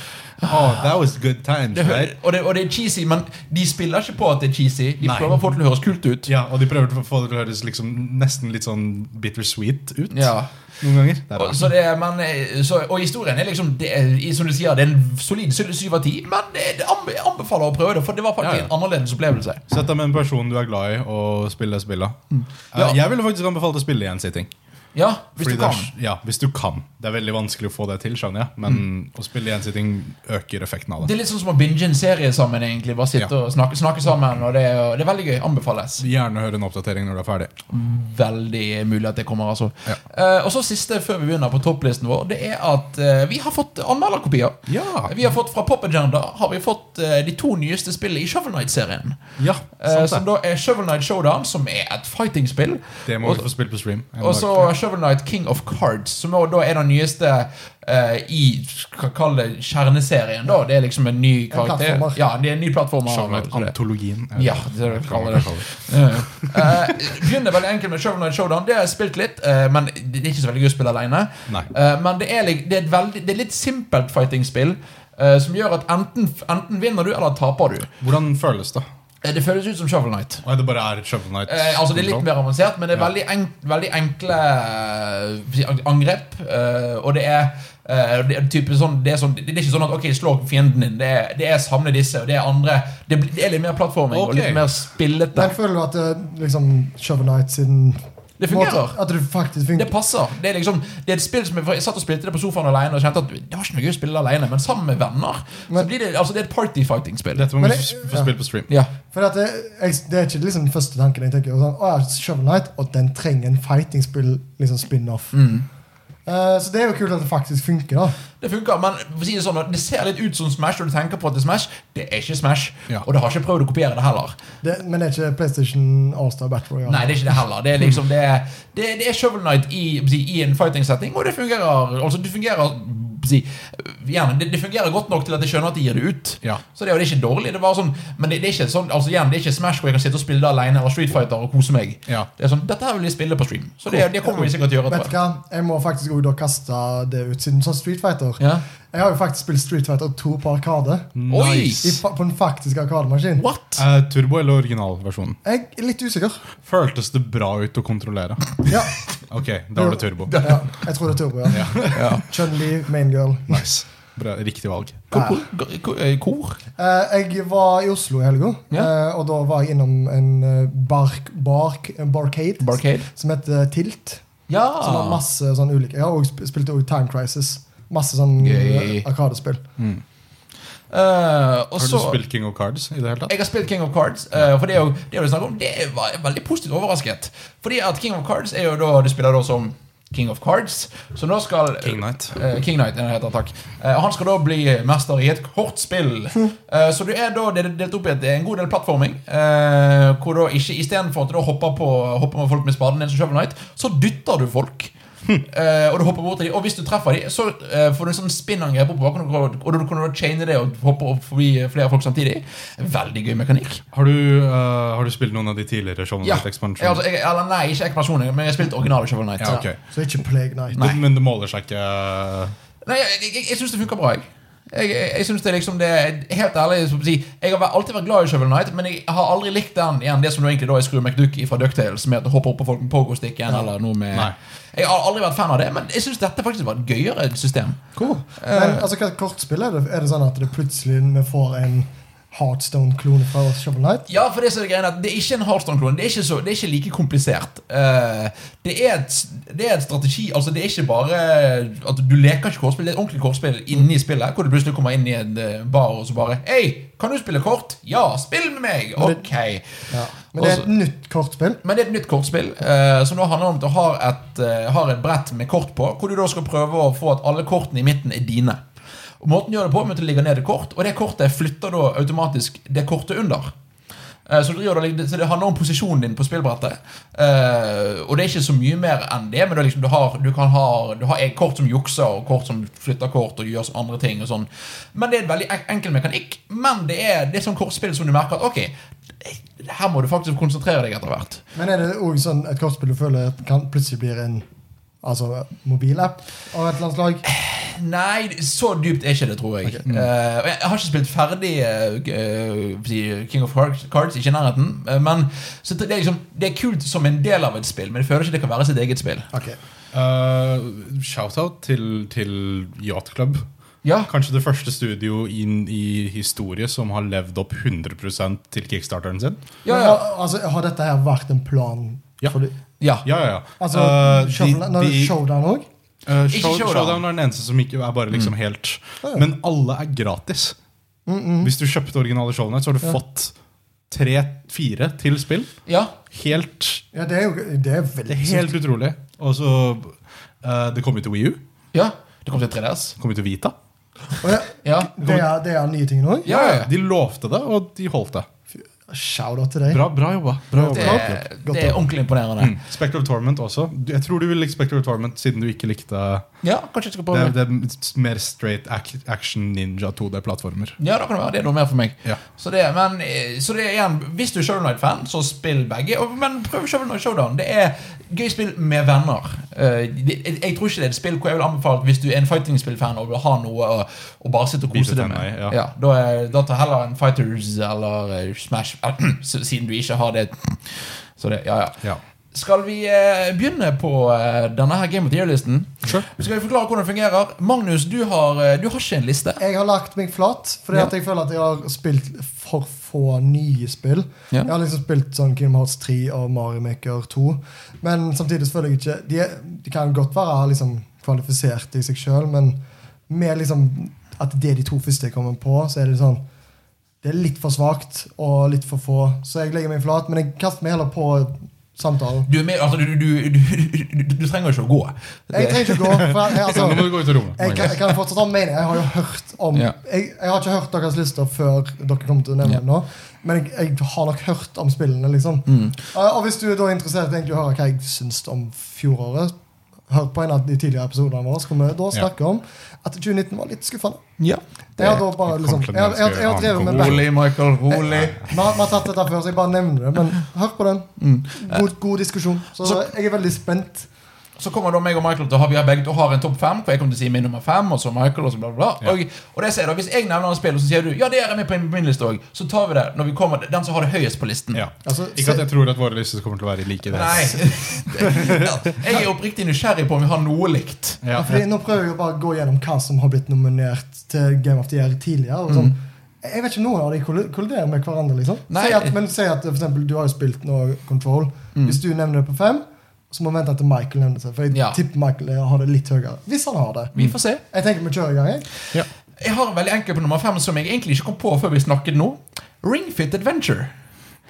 Speaker 2: Oh, that was good times,
Speaker 1: Det hø-
Speaker 2: right?
Speaker 1: og, det, og det er cheesy, men de spiller ikke på at det er cheesy. De
Speaker 2: Nei.
Speaker 1: prøver å få det til å høres kult ut.
Speaker 2: Ja, og de prøver å få det til å høres liksom nesten litt sånn bittersweet ut
Speaker 1: Ja.
Speaker 2: noen ganger. Det er
Speaker 1: Og,
Speaker 2: rart.
Speaker 1: så det, er- men, eh, så, og historien er liksom det er, i- Som du sier, det er en solid sy- syv av ti, men eh, det, det anbe- jeg anbefaler å prøve det, for det var faktisk
Speaker 2: Ja, ja.
Speaker 1: en annerledes opplevelse.
Speaker 2: Sett deg med en person du er glad i, og spill det spillet. Eh,
Speaker 1: Mm. Ja.
Speaker 2: Jeg ville faktisk anbefalt å spille i en sitting.
Speaker 1: Ja, hvis
Speaker 2: Fordi
Speaker 1: du
Speaker 2: det er
Speaker 1: kan.
Speaker 2: s- ja, hvis du kan. Det er veldig vanskelig å få det til, skjønner jeg. Men
Speaker 1: Mm.
Speaker 2: å spille i en sitting øker effekten av
Speaker 1: Det
Speaker 2: det.
Speaker 1: er litt sånn som å binge en serie sammen. egentlig Bare sitte
Speaker 2: Ja.
Speaker 1: og snakke, snakke sammen. Og det, er- det er veldig gøy. Anbefales.
Speaker 2: Gjerne høre en oppdatering når du er ferdig.
Speaker 1: Veldig mulig at det kommer. altså
Speaker 2: Ja.
Speaker 1: Eh, Og så siste før vi begynner på topplisten vår, det er at eh, vi har fått anmelderkopier.
Speaker 2: Ja,
Speaker 1: Vi har fått Fra Pop Agenda har vi fått eh, de to nyeste spillene i Shovel Knight-serien.
Speaker 2: ja
Speaker 1: Eh,
Speaker 2: sant
Speaker 1: som
Speaker 2: det.
Speaker 1: da er Shovel Knight Showdown, som er et fighting-spill.
Speaker 2: Det må vi få spilt på stream. en
Speaker 1: Og
Speaker 2: dag.
Speaker 1: så Shovel Knight King of Cards, som er- da er den nyeste eh, i skal kalle det kjerneserien. da Det er liksom en ny karakter.
Speaker 3: plattformer.
Speaker 1: Ja, det er en ny plattformer.
Speaker 2: Shovel Knight
Speaker 1: Så det-
Speaker 2: Antologien.
Speaker 1: ja, det er det vi kaller det. Eh, begynner veldig enkelt med Shovel Knight Showdown. Det har jeg spilt litt, eh, men det er ikke så veldig gøy å spille alene.
Speaker 2: Nei.
Speaker 1: Eh, men det er, lik- det er et veldig, det er litt simpelt fighting-spill. eh, som gjør at enten, enten vinner du, eller taper du.
Speaker 2: Hvordan føles det?
Speaker 1: Eh, Det føles ut som Shovel Knight.
Speaker 2: Nei, det bare er Shovel Knight. sånn.
Speaker 1: Eh, altså Det er litt mer avansert, men det er
Speaker 2: Ja.
Speaker 1: veldig, enk, veldig enkle eh, angrep. eh, og det er eh, det, er type sånn, det, er sånn, det er ikke sånn at Ok, slå fienden din. Det er, det er samle disse, og det er andre. Det, blir- det er litt mer plattforming og
Speaker 2: Ok.
Speaker 1: litt mer spillete.
Speaker 3: Men føler du at det, liksom, Shovel Knight sin
Speaker 1: Det fungerer.
Speaker 3: Måte, at det
Speaker 1: Det
Speaker 3: faktisk fungerer.
Speaker 1: passer. Det er liksom Det er et spill som jeg, for jeg satt og spilte det på sofaen alene og kjente at det var ikke noe gøy å spille det alene, men sammen med venner Så
Speaker 3: Men-
Speaker 1: blir det Altså det er et party-fighting-spill.
Speaker 2: Dette må
Speaker 3: Men
Speaker 2: vi
Speaker 3: det-
Speaker 2: f- få
Speaker 3: ja.
Speaker 2: spilt på stream.
Speaker 1: Ja.
Speaker 3: For at det, jeg, det er ikke liksom den første tanken jeg tenker. Sånn, å, ja, Shovel Knight, og den trenger en fighting-spill, liksom spin-off.
Speaker 1: Mm.
Speaker 3: Eh, så det er jo kult at det faktisk funker. da
Speaker 1: Det funker, men for å si det sånn at det ser litt ut som Smash, og du tenker på at det er Smash. Det er ikke Smash,
Speaker 2: Ja.
Speaker 1: og det har ikke prøvd å kopiere det heller.
Speaker 3: det, Men det er ikke PlayStation All-Star Battle Royale.
Speaker 1: Nei, det er ikke det heller. Det er liksom Det er, det, det er Shovel Knight i, i en fighting-setting, og det fungerer Altså, det fungerer si, gjerne, det, det fungerer godt nok til at jeg skjønner at de gir det ut.
Speaker 2: Ja.
Speaker 1: Så det, er jo- det er ikke dårlig. Det er bare sånn, men det, det er ikke sånn, altså igjen, det er ikke Smash hvor jeg kan sitte og spille det alene eller Street Fighter og kose meg.
Speaker 2: Ja.
Speaker 1: Det er sånn, Dette her vil jeg spille på stream. Så det, det kommer vi sikkert til å gjøre.
Speaker 3: Vet du
Speaker 1: Tror jeg.
Speaker 3: hva, jeg må faktisk også da kaste det ut, siden sånn Street Fighter.
Speaker 1: Ja.
Speaker 3: Jeg har jo faktisk spilt Street Fighter 2 på Arkade. I,
Speaker 2: Nice.
Speaker 3: fa- på en faktisk Arkademaskin.
Speaker 1: What?
Speaker 2: Eh, turbo eller originalversjonen?
Speaker 3: Jeg er litt
Speaker 1: *laughs*
Speaker 3: usikker.
Speaker 2: Føltes det bra ut å kontrollere?
Speaker 3: Ja,
Speaker 2: Ok, da var det turbo. *laughs*
Speaker 3: ja jeg tror det er Turbo. Ja. Chun-Li, main girl.
Speaker 2: Nice. Bra, riktig valg.
Speaker 1: Hvor? hvor, hvor, eh, hvor?
Speaker 3: Eh, jeg var i Oslo i helga,
Speaker 1: Ja.
Speaker 3: eh, og da var jeg innom en eh, bark, bark, en barcade
Speaker 1: Barcade?
Speaker 3: som heter Tilt.
Speaker 1: Ja.
Speaker 3: Som har masse sånn ulike Jeg har også sp- spilt også Time Crisis. Masse sånn
Speaker 1: Gøy.
Speaker 3: eh, arkadespill.
Speaker 1: Eh, og
Speaker 2: Har du
Speaker 1: så
Speaker 2: spilt King of Cards i det hele tatt?
Speaker 1: Jeg har spilt King of Cards, eh, for det er jo det er jo det snakk om. Det er- var jeg veldig positivt overrasket. Fordi at King of Cards er jo da Du spiller da som King of Cards, som da skal
Speaker 2: King Knight.
Speaker 1: Eh, King Knight, den heter, takk. Eh, han skal da bli mester i et kort
Speaker 2: *laughs*
Speaker 1: spill. Eh, så du er da det er delt opp i et, en god del plattforming. Eh, hvor da ikke Istedenfor at du da hopper, på, hopper med folk med spaden din som Shovel Knight, så dytter du
Speaker 2: *laughs*
Speaker 1: folk. Eh, og du hopper bort til dem, og hvis du treffer dem, så eh, får du en sånn spinnangrep oppå, og du- og du kan da chaine det og hoppe opp forbi flere folk samtidig. Veldig gøy mekanikk.
Speaker 2: Har du, eh, har du spilt noen av de tidligere Shovel
Speaker 1: Ja,
Speaker 2: Knight
Speaker 1: jeg, altså,
Speaker 2: Expansion?
Speaker 1: jeg, eller nei, ikke ekspansjonen, men jeg har spilt originale Shovel Knight.
Speaker 2: Ja, ok.
Speaker 3: Så ikke Plague Night.
Speaker 1: Nei.
Speaker 2: Det, men det måler seg ikke eh,
Speaker 1: Nei, jeg, jeg, jeg syns det funker bra, jeg. Jeg, jeg, jeg synes det er liksom det Helt ærlig, så å si, jeg har vært- alltid vært glad i Shovel Knight, men jeg har aldri likt den igjen, det som nå egentlig da er Screw McDuck fra Ducktails, med at du hopper opp på folk med pogo-stikken eller noe med
Speaker 2: Nei.
Speaker 1: Jeg har aldri vært fan av det, men jeg syns dette faktisk var et gøyere system.
Speaker 3: Cool.
Speaker 1: Eh.
Speaker 3: Men altså, hva kortspill er det? Er det sånn at det plutselig vi får en Heartstone-klone fra Shovel Knight?
Speaker 1: Ja, for det som er greien er at det er ikke en Heartstone-klone. Det, er ikke så- det er ikke like komplisert. Eh, det, er et, det er et strategi Altså, det er ikke bare eh, at du leker ikke kortspill. Det er et ordentlig kortspill inni spillet, hvor du plutselig kommer inn i en eh, bar og så bare Hei, kan du spille kort? Ja, spill med meg! Ok.
Speaker 3: Ja. Men det er et nytt kortspill.
Speaker 1: Men det er et nytt kortspill eh, som nå handler om at du har et, eh, har et brett med kort på, hvor du da skal prøve å få at alle kortene i midten er dine. Og Måten du gjør det på, er at du ligger ned et kort, og det kortet flytter da automatisk det kortet under. Eh, Så, du driver, da- så det handler om posisjonen din på spillbrettet. Eh, og det er ikke så mye mer enn det, men det er liksom, du har, du kan ha, du har et kort som jukser, og kort som flytter kort og gjør så- andre ting. og sånn. Men det er en veldig en- enkel mekanikk. Men det er, det er sånn kortspill som du merker at ok, her må du faktisk konsentrere deg etter hvert.
Speaker 3: Men er det òg sånn et kortspill du føler at kan plutselig blir en altså, mobilapp av et landslag?
Speaker 1: Nei, så dypt er ikke det, tror jeg. Eh, og jeg har ikke spilt ferdig eh, g- eh, si King of Cards, Cards ikke i nærheten. eh, men så det, er liksom, det er kult som en del av et spill, men jeg føler ikke det kan være sitt eget spill.
Speaker 3: Ok.
Speaker 2: eh, Shout-out til, til Yacht Club.
Speaker 1: Ja,
Speaker 2: Kanskje det første studio inn i historie som har levd opp 100 til kickstarteren sin.
Speaker 1: ja,
Speaker 3: Men
Speaker 1: ja.
Speaker 3: har- Altså, har dette her vært en plan?
Speaker 2: Ja.
Speaker 3: For de,
Speaker 1: ja.
Speaker 2: Ja, ja, ja.
Speaker 3: altså,
Speaker 2: Eh, de-
Speaker 3: Shovel- når det er
Speaker 2: de-
Speaker 3: Showdown òg?
Speaker 2: Eh,
Speaker 1: Ikke
Speaker 2: show,
Speaker 1: Showdown.
Speaker 2: showdown. er den eneste som ikke er bare liksom
Speaker 3: Mm.
Speaker 2: helt Men alle er gratis.
Speaker 3: mm.
Speaker 2: Hvis du kjøpte originale showene, så har du fått tre-fire til spill.
Speaker 1: ja.
Speaker 2: Helt,
Speaker 3: Ja, det er jo det er
Speaker 2: det
Speaker 3: veldig
Speaker 2: er helt utrolig. Og så eh, Det kom jo til Wii U.
Speaker 1: ja. Det kom til 3DS.
Speaker 2: Det kom jo til Vita.
Speaker 3: sykt. Og ja,
Speaker 1: Ja.
Speaker 3: det, er, det er nye ting nå?
Speaker 1: Ja, ja, ja.
Speaker 2: De lovte det, og de holdt det.
Speaker 3: Shout-out til deg.
Speaker 2: Bra, bra jobba. Bra
Speaker 1: Det,
Speaker 2: jobba.
Speaker 1: er- det er ordentlig imponerende.
Speaker 2: Mm. Spectre of Torment også. Du- Jeg tror du vil like Spectre of Torment siden du ikke likte
Speaker 1: Ja, kanskje jeg skal
Speaker 2: det,
Speaker 1: prøve det.
Speaker 2: det er mer straight ac- action ninja 2D-plattformer.
Speaker 1: Ja, da kan det være. Det er noe mer for meg.
Speaker 2: Ja.
Speaker 1: Så det, men, eh, så det er igjen Hvis du er Shovel Knight-fan, så spill begge. Og- Men prøv Shovel Knight Showdown. Det er gøy spill med venner. Eh, det- Jeg jeg tror ikke det er et spill hvor jeg vil anbefale at hvis du er en fighting-spill-fan og vil ha noe å, å bare sitte og
Speaker 2: Bite
Speaker 1: kose deg
Speaker 2: tenner
Speaker 1: med,
Speaker 2: i, ja.
Speaker 1: da, er, da tar heller en Fighters eller eh, Smash *clears throat* så- Siden du ikke har det. Så det, ja, ja.
Speaker 2: Ja.
Speaker 1: Skal vi eh, begynne på eh, denne her Game of the Year-listen?
Speaker 2: Sure.
Speaker 1: Skal vi forklare hvordan det fungerer? Magnus, du har, eh, du har ikke en liste.
Speaker 3: Jeg har lagt meg flat, fordi
Speaker 1: Ja.
Speaker 3: at jeg føler at jeg har spilt for få nye spill.
Speaker 1: Ja.
Speaker 3: Jeg har liksom spilt sånn Kingdom Hearts 3 og Mario Maker 2, men samtidig så føler jeg ikke De, er- de kan godt være liksom kvalifisert i seg sjøl, men med liksom at det er de to første jeg kommer på, så er det sånn Det er litt for svakt og litt for få, så jeg legger meg flat, men jeg kaster meg heller på samtalen.
Speaker 1: Du, er med, altså, du, du, du, du, du, du trenger ikke å gå.
Speaker 3: Jeg trenger ikke å gå. For jeg, altså,
Speaker 2: Nå må du gå ut av rommet.
Speaker 3: Jeg kan, jeg kan fortsatt ha en mening. Jeg har jo hørt om
Speaker 1: Ja.
Speaker 3: jeg, jeg har ikke hørt deres lister før dere kom til å nevne
Speaker 1: Ja.
Speaker 3: det nå. Men jeg, jeg har nok hørt
Speaker 1: Mm.
Speaker 3: om spillene, liksom. Eh, og hvis du er da interessert egentlig å høre hva jeg syns om fjoråret, hør på en av de tidligere episodene våre, så kommer vi da snakke om at 2019 var litt skuffende. Jeg har da bare liksom Jeg har- jeg har jeg har drevet med back-
Speaker 1: Rolig,
Speaker 3: Eh,
Speaker 1: Michael. Rolig.
Speaker 3: vi har, vi har tatt dette før, så jeg bare nevner det. Men hør på den. God, god diskusjon. Så,
Speaker 1: Mm. Så-
Speaker 3: jeg er veldig spent.
Speaker 1: Så kommer da meg og Michael til å ha vi har begge to har en topp fem. Hvor jeg kommer til å si min nummer fem, og så Michael, og så bla, bla, bla. Og, og det sier da, Hvis jeg nevner et spill, og så sier du ja, det er med på min liste også, så tar vi det når vi kommer til den som har det høyest på listen.
Speaker 2: Ja.
Speaker 3: Altså,
Speaker 2: Ikke at jeg tror at våre lyster kommer til å være like. det.
Speaker 1: Nei. *laughs* Ja, Jeg er oppriktig nysgjerrig på om vi har noe likt.
Speaker 2: Ja.
Speaker 3: Fordi Nå prøver jeg jo bare å gå gjennom hva som har blitt nominert til Game of the Year tidligere. Og sånn. Jeg vet ikke om noen av de kolli- kolliderer med hverandre. liksom
Speaker 1: Mm. Nei.
Speaker 3: si at, Men si at for eksempel, du har jo spilt nå Control.
Speaker 1: Mm.
Speaker 3: Hvis du nevner det på fem, så må vi vente til Michael nevner det. For jeg
Speaker 1: Ja.
Speaker 3: tipper Michael har det litt høyere. Hvis han har det.
Speaker 1: Vi får se.
Speaker 3: Jeg tenker vi kjører i gang. jeg.
Speaker 1: Jeg har en veldig enkel på nummer fem som jeg egentlig ikke kom på før vi snakket nå. Ringfit Adventure.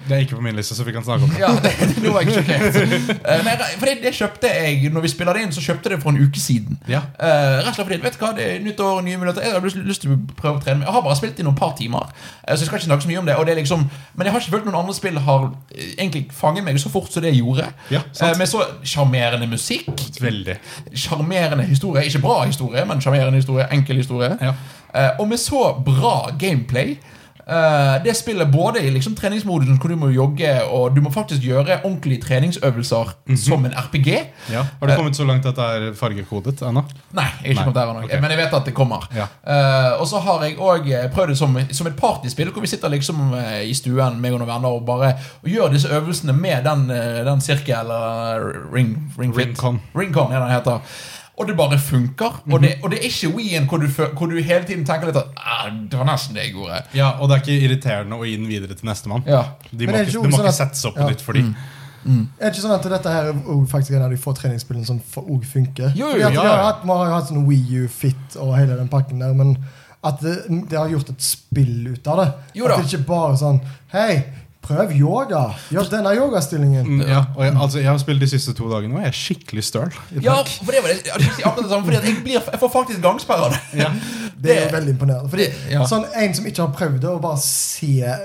Speaker 2: Det er ikke på min liste, så vi kan snakke om det.
Speaker 1: Ja, *laughs* det, det var jeg sjokkert. Eh, nei, nei, For det, det kjøpte jeg når vi spiller det inn, så kjøpte jeg det for en uke siden.
Speaker 2: Ja.
Speaker 1: Eh, rett og slett fordi, vet du hva, det er nytt år, nye muligheter Jeg har lyst, lyst til å prøve å trene meg. Jeg har bare spilt i noen par timer, eh, så jeg skal ikke snakke så mye om det. Og det er liksom, men jeg har ikke følt noen andre spill har eh, egentlig fanget meg så fort som det gjorde.
Speaker 2: Ja, sant.
Speaker 1: Eh, med så sjarmerende musikk.
Speaker 2: Veldig.
Speaker 1: Sjarmerende historie. Ikke bra historie, men sjarmerende historie. Enkel historie.
Speaker 2: Ja.
Speaker 1: Eh, og med så bra gameplay. eh, det spillet både i liksom treningsmodusen hvor du må jogge, og du må faktisk gjøre ordentlige treningsøvelser som en RPG.
Speaker 2: Mhm. Ja. Har du kommet så langt at det er fargekodet ennå?
Speaker 1: Nei, jeg er ikke
Speaker 2: Nei,
Speaker 1: kommet der ennå,
Speaker 2: ok.
Speaker 1: men jeg vet at det kommer.
Speaker 2: Ja.
Speaker 1: Eh, og så har jeg òg prøvd det som, som et partyspill, hvor vi sitter liksom eh, i stuen meg og noen venner og bare og gjør disse øvelsene med den, eh, den sirkel eller ring, ring fit.
Speaker 2: Ringcon. Mhm.
Speaker 1: Ringcon er den heter. Og det bare funker. og, det, og det er ikke Wien hvor du, fø- hvor du hele tiden tenker litt at ah, det var nesten det jeg gjorde.
Speaker 2: Ja, og det er ikke irriterende å gi den videre til nestemann.
Speaker 1: Ja.
Speaker 2: De
Speaker 3: Men
Speaker 2: må
Speaker 3: det er
Speaker 2: ikke,
Speaker 3: jo
Speaker 2: de må
Speaker 3: sånn
Speaker 2: ikke
Speaker 3: at-
Speaker 2: sette seg opp
Speaker 3: ja.
Speaker 2: på nytt for de.
Speaker 3: Er det ikke sånn at dette her er jo faktisk en av de få treningsspillene som for- og funker?
Speaker 1: Jo, jo,
Speaker 3: Fordi at
Speaker 2: ja,
Speaker 3: Vi har
Speaker 2: ja.
Speaker 3: hatt, vi har jo hatt sånn Wii U Fit og hele den pakken der, men at det, det har gjort et spill ut av det.
Speaker 1: Jo da.
Speaker 3: At det ikke bare er sånn Hei, prøv yoga! Gjør denne yogastillingen!
Speaker 2: Mm, Ja, og jeg, altså, jeg har spilt de siste to dagene, og jeg er skikkelig støl. i
Speaker 1: Ja,
Speaker 2: dag.
Speaker 1: for det var det, ja, det er akkurat det samme, fordi at jeg, blir, jeg får faktisk gangsperre av det. *laughs*
Speaker 2: Ja.
Speaker 3: Det er jo veldig imponerende. Fordi
Speaker 1: Det- ja.
Speaker 3: sånn En som ikke har prøvd det, og bare ser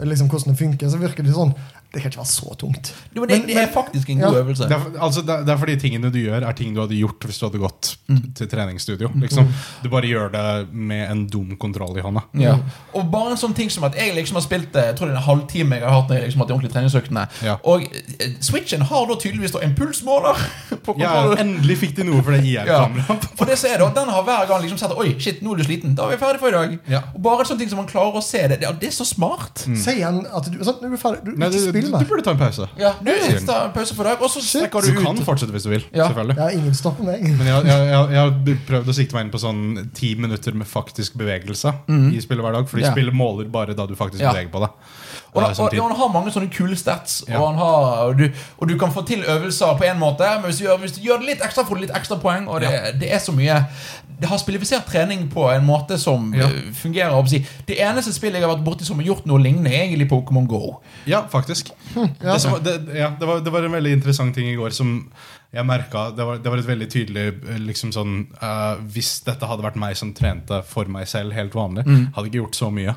Speaker 3: liksom, hvordan det funker, så virker det sånn Det kan ikke være så tungt.
Speaker 1: Jo, men det,
Speaker 3: Men-
Speaker 1: det er
Speaker 3: men-
Speaker 1: faktisk en god
Speaker 3: ja.
Speaker 1: øvelse.
Speaker 2: Det er, for- altså, det, er- det er fordi tingene du gjør, er ting du hadde gjort hvis du hadde gått til treningsstudio. Liksom. Du bare gjør det med en dum kontroll i hånda.
Speaker 1: Ja. Og bare en sånn ting som at jeg liksom har spilt eh, Jeg tror det er en halvtime jeg har hatt når jeg liksom har hatt de ordentlige treningsøktene.
Speaker 2: Ja.
Speaker 1: Og eh, Switchen har da tydeligvis da impulsmåler. *laughs* På
Speaker 2: Ja,
Speaker 1: kontrollen.
Speaker 2: endelig fikk de noe for det IR-kameraet.
Speaker 1: For det som er da, Den har hver gang liksom sett at, Oi, shit, nå er du sliten. Da er vi ferdig for i dag.
Speaker 2: Ja.
Speaker 1: Og Bare en sånn ting som man klarer å se det. Det, ja, det er så smart.
Speaker 3: Sier han at du sånn, Nå er du ferdig. Du,
Speaker 2: Nei, du,
Speaker 3: ikke
Speaker 2: du,
Speaker 3: spill
Speaker 2: du
Speaker 3: mer.
Speaker 2: burde ta en pause.
Speaker 1: Ja, du
Speaker 2: Sier den.
Speaker 1: tar en pause for i dag, og så
Speaker 3: Shit.
Speaker 1: strekker
Speaker 2: Du
Speaker 1: du
Speaker 2: kan
Speaker 1: ut.
Speaker 2: fortsette hvis du vil.
Speaker 1: Ja.
Speaker 2: selvfølgelig
Speaker 3: Ja, ingen stopper meg.
Speaker 2: Men jeg, jeg, jeg, jeg har prøvd å sikte meg inn på sånn ti minutter med faktisk bevegelse. I spillet hver dag Fordi
Speaker 1: Ja.
Speaker 2: spillet måler bare da du faktisk
Speaker 1: Ja.
Speaker 2: beveger på deg.
Speaker 1: Og,
Speaker 2: Eh,
Speaker 1: han- og,
Speaker 2: samtidig.
Speaker 1: ja, han har mange sånne kule stats,
Speaker 2: Ja.
Speaker 1: og, han har, og, du, og du kan få til øvelser på én måte. Men hvis du, gjør, hvis du gjør det litt ekstra, får du litt ekstra poeng. Og det, det er så mye Det har spillifisert trening på en måte som
Speaker 2: Ja.
Speaker 1: eh, fungerer. å si. Det eneste spillet jeg har vært borti som har gjort noe lignende, er egentlig Pokémon Go.
Speaker 2: Ja, faktisk.
Speaker 1: Hm,
Speaker 2: Det, som var, det, ja, det, var, det var en veldig interessant ting i går som jeg merka. Det, var- det var et veldig tydelig eh, liksom sånn eh, Hvis dette hadde vært meg som trente for meg selv helt vanlig,
Speaker 1: Mm.
Speaker 2: hadde ikke gjort så mye.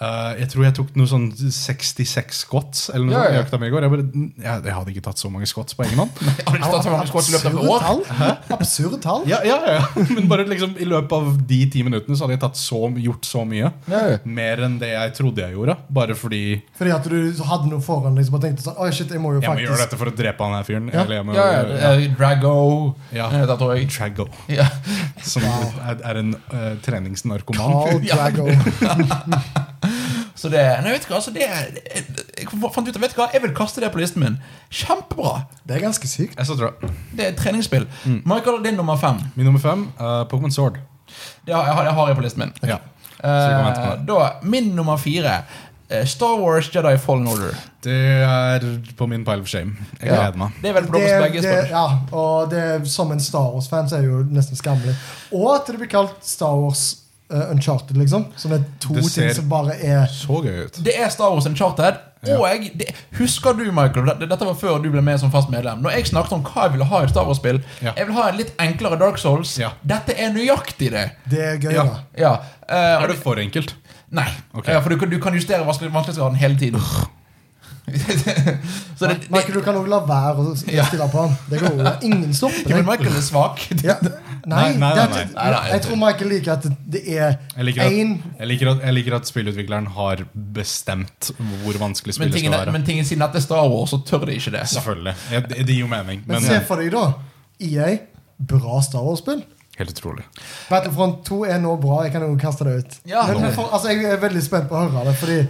Speaker 2: Eh, jeg tror jeg tok noe sånn 66 squats eller noe
Speaker 1: Ja,
Speaker 2: sånt i
Speaker 1: ja.
Speaker 2: økta mi i går. Jeg, bare, jeg, jeg hadde ikke tatt så mange squats på egen hånd. *laughs*
Speaker 1: Jeg har ikke tatt så mange squats i løpet av et
Speaker 3: Absurde
Speaker 1: år.
Speaker 3: tall. Absurde tall.
Speaker 2: Ja, ja, ja. *laughs* Men bare liksom i løpet av de ti minuttene så hadde jeg tatt så, gjort så mye.
Speaker 1: Ja, ja.
Speaker 2: Mer enn det jeg trodde jeg gjorde. Bare fordi
Speaker 3: Fordi at du hadde noe foran liksom, og tenkte sånn Oi, shit, jeg må jo
Speaker 2: jeg må gjøre
Speaker 3: faktisk
Speaker 2: dette for å drepe han her fyren.
Speaker 3: Ja.
Speaker 2: Eller jeg må
Speaker 1: Ja, ja, det er Drago
Speaker 2: Ja.
Speaker 1: eh, Det tror jeg.
Speaker 2: Trago,
Speaker 1: Ja.
Speaker 2: som er, er en eh, *laughs* treningsnarkoman.
Speaker 3: Carl
Speaker 1: Ja.
Speaker 3: Drago.
Speaker 1: Så det, nei, vet du hva, altså det Jeg fant ut av Vet du hva, jeg vil kaste det på listen min. Kjempebra!
Speaker 3: Det er ganske sykt.
Speaker 2: *laughs* Jeg så tror jeg.
Speaker 1: Det er et treningsspill. Michael, din nummer fem.
Speaker 2: Min nummer fem, eh, Pokémon Sword.
Speaker 1: Det har, jeg har, jeg har jeg på listen min.
Speaker 2: Ja. vi kan vente på
Speaker 1: Eh,
Speaker 2: det.
Speaker 1: da, min nummer fire. eh, Star Wars Jedi Fallen Order.
Speaker 2: Det er på min pile of shame. Jeg
Speaker 1: Ja.
Speaker 2: gleder meg.
Speaker 1: Det er vel på
Speaker 3: Det,
Speaker 1: deres begge
Speaker 3: det,
Speaker 1: spørsmål.
Speaker 3: ja, og det er som en Star Wars-fan så er det jo nesten skammelig. Og at det blir kalt Star Wars eh, Uncharted, liksom. Som er to
Speaker 2: Det
Speaker 3: ting
Speaker 2: ser-
Speaker 3: som bare er
Speaker 2: Så gøy ut.
Speaker 1: Det er Star Wars Uncharted. Og det, husker du, Michael, det- dette var før du ble med som fast medlem. Når jeg snakket om hva jeg ville ha i et Star Wars-spill,
Speaker 2: Ja.
Speaker 1: jeg vil ha en litt enklere Dark Souls.
Speaker 2: Ja.
Speaker 1: Dette er nøyaktig det.
Speaker 3: Det er gøy,
Speaker 2: Ja.
Speaker 3: da.
Speaker 1: Ja. eh,
Speaker 2: Er det for enkelt?
Speaker 1: Nei.
Speaker 2: Ok.
Speaker 1: Ja, for du, kan- du kan justere vanskelig- vanskelighetsgraden hele tiden. *laughs* Så det, det,
Speaker 3: Michael, du kan også la være å s-
Speaker 1: Ja.
Speaker 3: stille på han. Det går over.
Speaker 1: *laughs*
Speaker 3: Ingen stopper
Speaker 1: Kevin
Speaker 3: deg.
Speaker 1: Michael er svak.
Speaker 3: Ja. Nei,
Speaker 2: Nei, nei,
Speaker 3: det er
Speaker 2: nei,
Speaker 3: ikke-
Speaker 1: nei. Nei, nei.
Speaker 3: jeg tror Michael liker at det er
Speaker 2: Jeg liker,
Speaker 3: én
Speaker 2: at, jeg, liker at, jeg liker at spillutvikleren har bestemt hvor vanskelig
Speaker 1: Men
Speaker 2: spillet skal
Speaker 1: tingen, er-
Speaker 2: være.
Speaker 1: men tingen siden at det er Star Wars, så tør de ikke det.
Speaker 2: Selvfølgelig. Ja, det, det gir jo mening.
Speaker 3: Men
Speaker 2: Men
Speaker 3: se for deg, da. EA, bra Star Wars-spill.
Speaker 2: helt utrolig.
Speaker 3: Battlefront 2 er nå bra. Jeg kan jo kaste det ut.
Speaker 1: Ja.
Speaker 3: men, men for, altså, jeg er veldig spent på å høre det, fordi